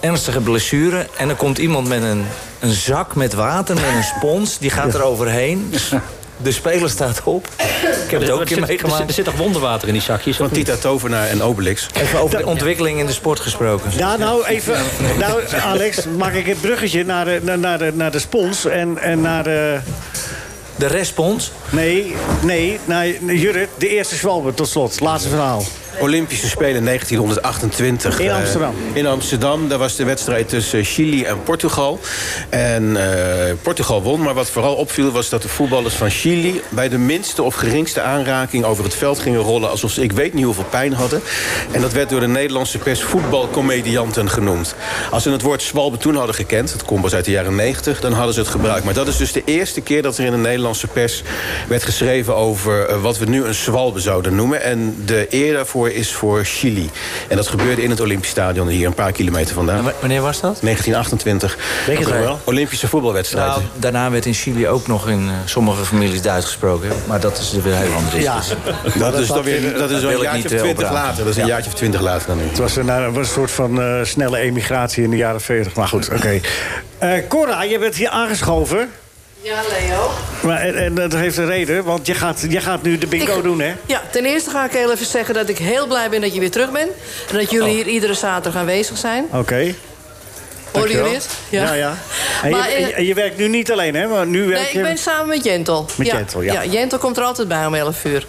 ernstige blessure. En dan komt iemand met een, een zak met water, met een spons. Die gaat er overheen. Dus De speler staat op. Ik heb het ook een keer
Er zit- er zit- Er
meegemaakt.
zit toch wonderwater in die zakjes?
Van Tita Tovenaar en Obelix.
Even over de ontwikkeling in de sport gesproken.
Ja, nou even. Nou, Alex, maak ik het bruggetje naar de, naar, naar de, naar de spons en, en naar de.
De respons.
Nee, nee, naar Jurrit, de eerste Zwalbe tot slot. Laatste verhaal.
Olympische Spelen 1928.
In
eh,
Amsterdam.
in Amsterdam. Daar was de wedstrijd tussen Chili en Portugal. En eh, Portugal won. Maar wat vooral opviel was dat de voetballers van Chili... bij de minste of geringste aanraking over het veld gingen rollen... alsof ze ik weet niet hoeveel pijn hadden. En dat werd door de Nederlandse pers voetbalcomedianten genoemd. Als ze het woord zwalbe toen hadden gekend... dat komt pas uit de jaren 90, dan hadden ze het gebruikt. Maar dat is dus de eerste keer dat er in de Nederlandse pers... werd geschreven over eh, wat we nu een zwalbe zouden noemen. En de eer daarvoor is voor Chili. En dat gebeurde in het Olympisch Stadion hier een paar kilometer vandaan.
En wa- wanneer was dat?
1928.
Weet je het nog wel?
Olympische voetbalwedstrijd.
Nou, daarna werd in Chili ook nog in eh, sommige families Duits gesproken. Maar dat is weer heel anders. Dus, eh,
Ja.
dat, is dan weer dat is
wil
wel een
ik
jaartje of
niet, eh,
twintig
oprapen.
later. Dat is een jaartje of twintig later dan nu.
Het was een, nou, was een soort van eh, snelle emigratie in de jaren 40. Maar goed, oké. Eh, Cora, je bent hier aangeschoven.
Ja, Leo.
Maar, en, en dat heeft een reden, want je gaat, je gaat nu de bingo
Ik-
doen, hè?
Ja, ten eerste ga ik heel even zeggen dat ik heel blij ben dat je weer terug bent. En dat
Oh.
jullie hier iedere zaterdag aanwezig zijn.
Oké.
Horen
dankjewel.
jullie het?
Ja, ja. En,
Maar,
je,
eh,
en je werkt nu niet alleen, hè? Maar nu werk
Nee,
je...
ik ben samen met Jentel.
Met Jentel, ja.
Jentel komt er altijd bij om 11 uur.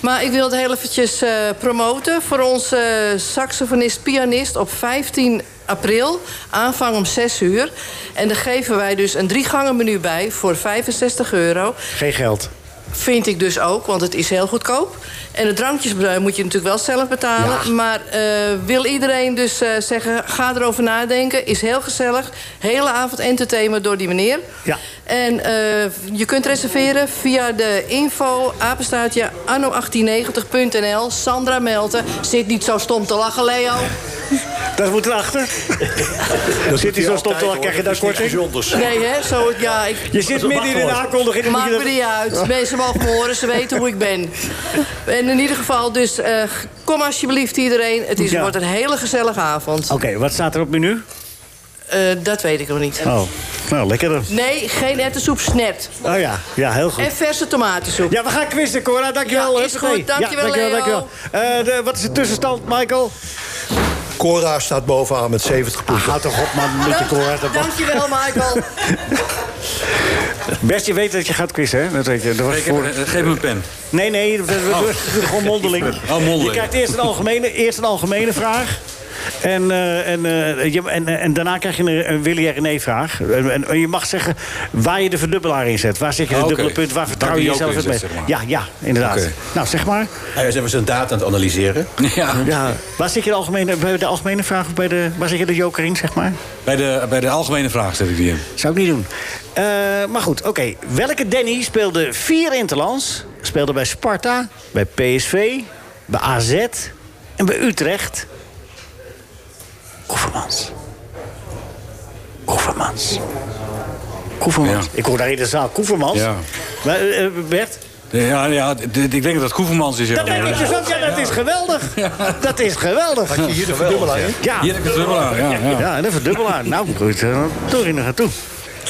Maar ik wil het heel eventjes eh, promoten voor onze saxofonist-pianist op 15 april, aanvang om 6 uur. En daar geven wij dus een driegangen menu bij voor 65 euro.
Geen geld.
Vind ik dus ook, want het is heel goedkoop. En de drankjes eh, moet je natuurlijk wel zelf betalen. Maar eh, wil iedereen dus eh, zeggen, ga erover nadenken. Is heel gezellig. Hele avond entertainment door die meneer.
Ja.
En eh, je kunt reserveren via de info apenstaartje anno1890.nl. Sandra Melten. Zit niet zo stom te lachen, Leo.
Dat moet erachter. Dan zit hij zo stom te lachen, krijg je daar korting.
Nee, hè? Zo, ja, ik...
Je zit midden in de aankondiging. dan moet
Maakt
je
me
dat-
niet uit. Mensen mogen me horen, ze weten hoe ik ben. En in ieder geval, dus eh, kom alsjeblieft iedereen. Het is,
Ja.
wordt een hele gezellige avond.
Oké, wat staat er op menu?
Eh, dat weet ik nog niet.
Oh, nou, lekker dan.
Nee, geen ettensoep, snapt.
Oh ja, ja, heel goed.
En verse tomatensoep.
Ja, we gaan quizzen, Cora. Dankjewel.
Ja, is
Huppatee.
goed. Dankjewel, Leo.
Eh, de- wat is de tussenstand, Michael?
Cora staat bovenaan met 70 punten.
Houd toch op, man. Met je
Dank-
Cora.
Dankjewel, Michael.
Best, je weet dat je gaat quizzen, hè? Dat weet je. Dat was
Ik heb-
voor...
eh, Geef me een pen.
Nee, nee. We, we- we- we- Gewoon mondeling.
Oh, mondeling.
Je krijgt eerst een algemene, eerst een algemene vraag. En, eh, en, eh, je- en, eh, en daarna krijg je een, een Willy en René vraag. En, en- en je mag zeggen waar je de verdubbelaar in zet. Waar zit je
Ah,
het
oké.
dubbele punt? Waar vertrouw
Waar
je
die joker
jezelf het
in
meest?
zit,
Ja,
zeg maar.
ja, inderdaad.
Oké.
Nou, zeg maar.
Hij is even zijn data aan het analyseren.
Ja.
Ja, waar zit je de algemene, bij de algemene vraag of bij de, waar zit je de joker in, zeg maar?
Bij, de, bij de algemene vraag zet ik die in.
Zou ik niet doen. Eh, maar goed, oké. Welke Danny speelde vier interlands? Speelde bij Sparta, bij PSV, bij AZ en bij Utrecht. Koevermans. Koevermans. Koevermans.
Ja.
Ik hoor daar in de zaal Koevermans.
Ja.
Maar, eh, Bert?
Ja, ja d- d- ik denk dat dat Koevermans is. Ja.
Dat denk ik dus ook. Ja, dat is geweldig. Dat is geweldig.
Had je hier de verdubbelaar in?
Ja,
Hier heb ik het wel aan, ja, ja.
ja en een verdubbelaar. Nou, goed. eh, Door in de gaat toe.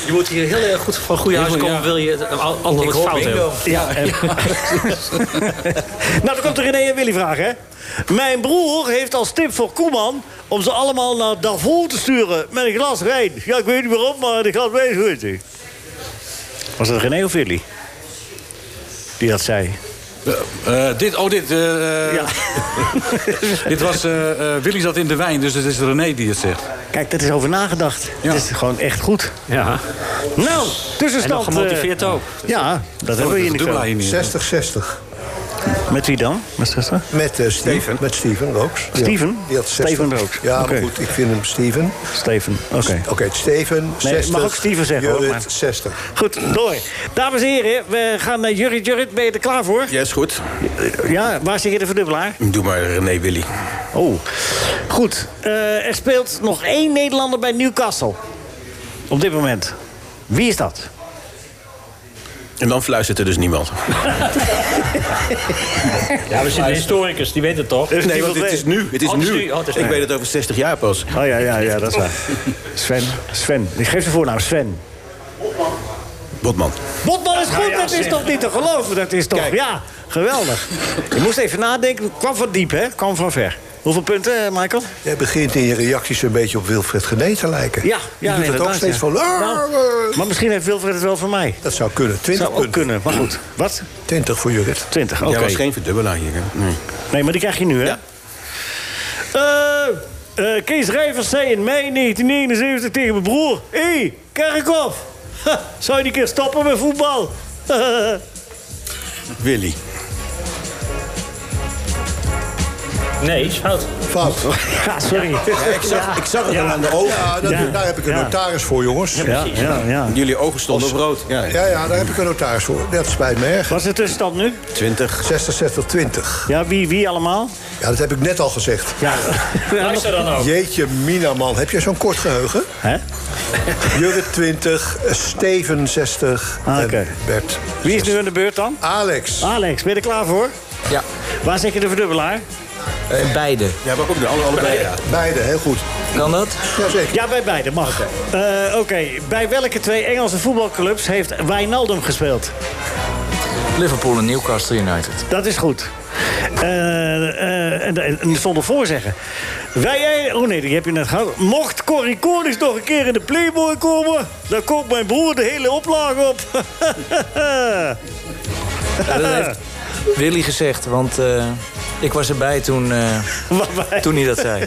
Je moet hier heel erg goed van goede
Heel
huis
goed,
komen,
ja.
wil je het eh, antwoord
hoor
fout
bingo.
hebben.
Ja. en- nou, dan komt er René en Willy vraag, hè? Mijn broer heeft als tip voor Koeman om ze allemaal naar Davos te sturen met een glas wijn. Ja, ik weet niet waarom, maar de glas wijn is goed. Was dat René of Willy? Die dat zei.
Eh, dit, oh, dit. eh, eh, dit was, eh, eh, Willy zat in de wijn, dus het is René die het zegt.
Kijk, dat is over nagedacht. Het is gewoon echt goed.
Ja.
Nou, tussenstand.
En nog gemotiveerd
eh,
ook.
Ja, dat hebben we hier niet zo.
60-60.
Met wie dan? Met Steven?
Met eh, Steven. Met Steven Rooks. Ja.
Steven?
Die had 60.
Steven Rooks.
Ja,
Oké.
maar goed, ik vind hem Steven.
Steven, oké.
Oké, Steven, 60.
mag ook Steven zeggen, hoor,
Judith,
maar-
60.
Goed, door. Dames en heren, we gaan naar Jurrit. Jurrit, ben je er klaar voor?
Ja, is goed.
Ja, waar zit je de verdubbelaar?
Doe maar René Willy.
Oh, goed. Eh, er speelt nog één Nederlander bij Newcastle. Op dit moment. Wie is dat?
En dan fluistert er dus niemand.
Ja, we zitten historicus, die weten het toch?
Er is
Nee, want
niemand
het is
bij.
nu. Het is
Oh, het is
nu.
nu. Oh, het is
Ik
nu.
weet het over 60 jaar pas.
Oh ja, ja, ja, dat is waar. Sven, Sven. Ik geef de voornaam, Sven.
Botman.
Botman is goed,
Nou
dat is toch niet te geloven? Dat is toch, ja, geweldig. Ik moest even nadenken, het kwam van diep, hè? Het kwam van ver. Hoeveel punten, eh, Michael?
Jij begint in je reacties een beetje op Wilfred Gené te lijken.
Ja, ja,
Die doet het ook
inderdaad,
steeds
ja.
van...
Nou, maar misschien heeft Wilfred het wel voor mij.
Dat zou kunnen. 20
Zou ook
punten.
kunnen, maar goed. Wat?
20 voor Jurrit.
20, oké.
Jij was geen verdubbelaar hier. Hè? Nee.
Nee, maar die krijg je nu, hè?
Ja.
Eh, eh, Kees Rijvers zei in mei 1979 tegen mijn broer... Hé, hey, Kerkhoff, ha, zou je die keer stoppen met voetbal?
Willy.
Nee, is fout.
Fout.
ja, sorry.
Ik zag, ik zag het al aan de ogen.
Ja, dat-
Ja.
daar heb ik een
Ja.
notaris voor, jongens. Ja.
Ja, ja, ja.
Jullie ogen stonden op rood. Ja.
ja, daar heb ik een notaris voor. Dat spijt me erg.
Wat is de tussenstand nu?
20.
60, 60, 20.
Ja, wie, wie allemaal?
Ja, dat heb ik net al gezegd.
Ja,
Luister dan ook.
Jeetje, Mina, man. Heb jij zo'n kort geheugen?
hè?
Jurrit 20, Steven 60
Ah,
en
oké.
Bert.
Wie is nu aan de beurt dan?
Alex.
Alex, ben je er klaar voor?
Ja, Eh,
Waar zit je de verdubbelaar?
beide.
Ja, maar ook de alle, allebei. Ja.
Beide, heel goed.
Kan dat?
Jazeker.
Ja, bij beide, mag. Eh, Oké, bij welke twee Engelse voetbalclubs heeft Wijnaldum gespeeld?
Liverpool en Newcastle United.
Dat is goed. Eh, eh, en, en, en zonder voorzeggen. Wij, jij- oh nee, die heb je net gehad. Mocht Corrie Konings nog een keer in de Playboy komen... dan koopt mijn broer de hele oplage op.
Willy gezegd, want eh, ik was erbij toen, eh,
Waarbij-
toen hij dat zei.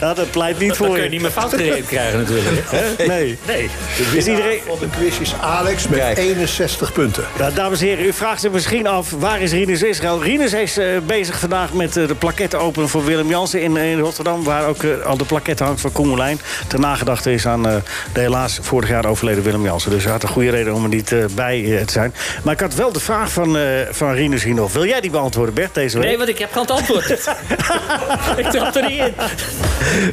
Nou, dat pleit niet
Dan
voor
kun je
je.
niet meer fout gereed krijgen natuurlijk.
Hè? Nee.
Nee.
Is iedereen...
Van de quiz is Alex met 61 punten.
Nou, dames en heren, u vraagt zich misschien af, waar is Rinus Israël? Rinus is eh, bezig vandaag met eh, de plaquette openen voor Willem Jansen in, in Rotterdam... waar ook eh, al de plaquette hangt van Koemelijn. Ter nagedachte is aan eh, de helaas vorig jaar overleden Willem Jansen. Dus hij had een goede reden om er niet eh, bij eh, te zijn. Maar ik had wel de vraag van, eh, van Rinus hier nog. Wil jij die beantwoorden, Bert, deze week?
Nee, want ik heb geen antwoord. ik trap er niet in.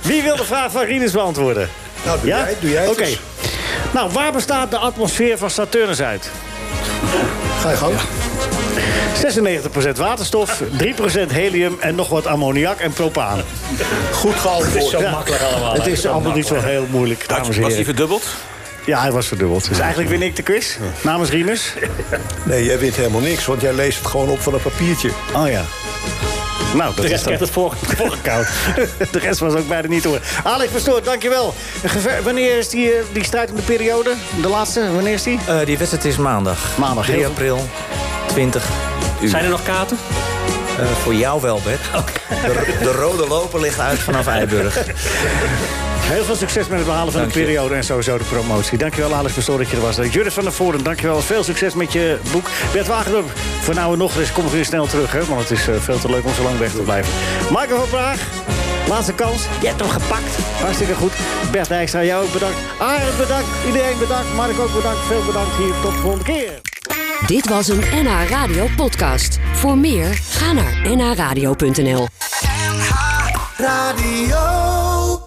Wie wil de vraag van Rinus beantwoorden?
Nou, doe jij, doe jij het
Oké.
eens.
Nou, waar bestaat de atmosfeer van Saturnus uit?
Ga je gang.
96% waterstof, 3% helium en nog wat ammoniak en propaan.
Goed geantwoord.
Zo makkelijk allemaal.
Het is allemaal niet zo heel moeilijk, dames en
Was hij
heren.
verdubbeld?
Ja, hij was verdubbeld. Dus eigenlijk win ik de quiz namens Rinus.
Nee, jij wint helemaal niks, want jij leest het gewoon op van een papiertje.
Oh ja. Nou, dat
De
is
rest
dan
krijgt het voor.
koud. De rest was ook bijna niet hoor. Alex Pastoor, dankjewel. Gever- wanneer is die, eh, die strijd om de periode? De laatste, wanneer is die?
Eh, die wedstrijd is maandag.
Maandag, heel
3
goed.
april, 20 uur.
Zijn er nog kaarten?
Eh, voor jou wel, Bert. De, de rode loper ligt uit vanaf Eiburg.
Heel veel succes met het behalen van de periode en sowieso de promotie. Dankjewel Alex Pastoor dat je er was. Jurrit van der Voren, dankjewel. Veel succes met je boek. Bert Wagendorp, voor nou en nog eens kom ik weer snel terug. Hè, want het is eh, veel te leuk om zo lang weg te blijven. Michael van Praag, laatste kans. Je hebt hem gepakt. Hartstikke goed. Bert Dijkstra, jou ook bedankt. Arend bedankt. Iedereen bedankt. Mark ook bedankt. Veel bedankt hier. Tot de volgende keer.
Dit was een NH Radio podcast. Voor meer, ga naar nhradio.nl.
Radio.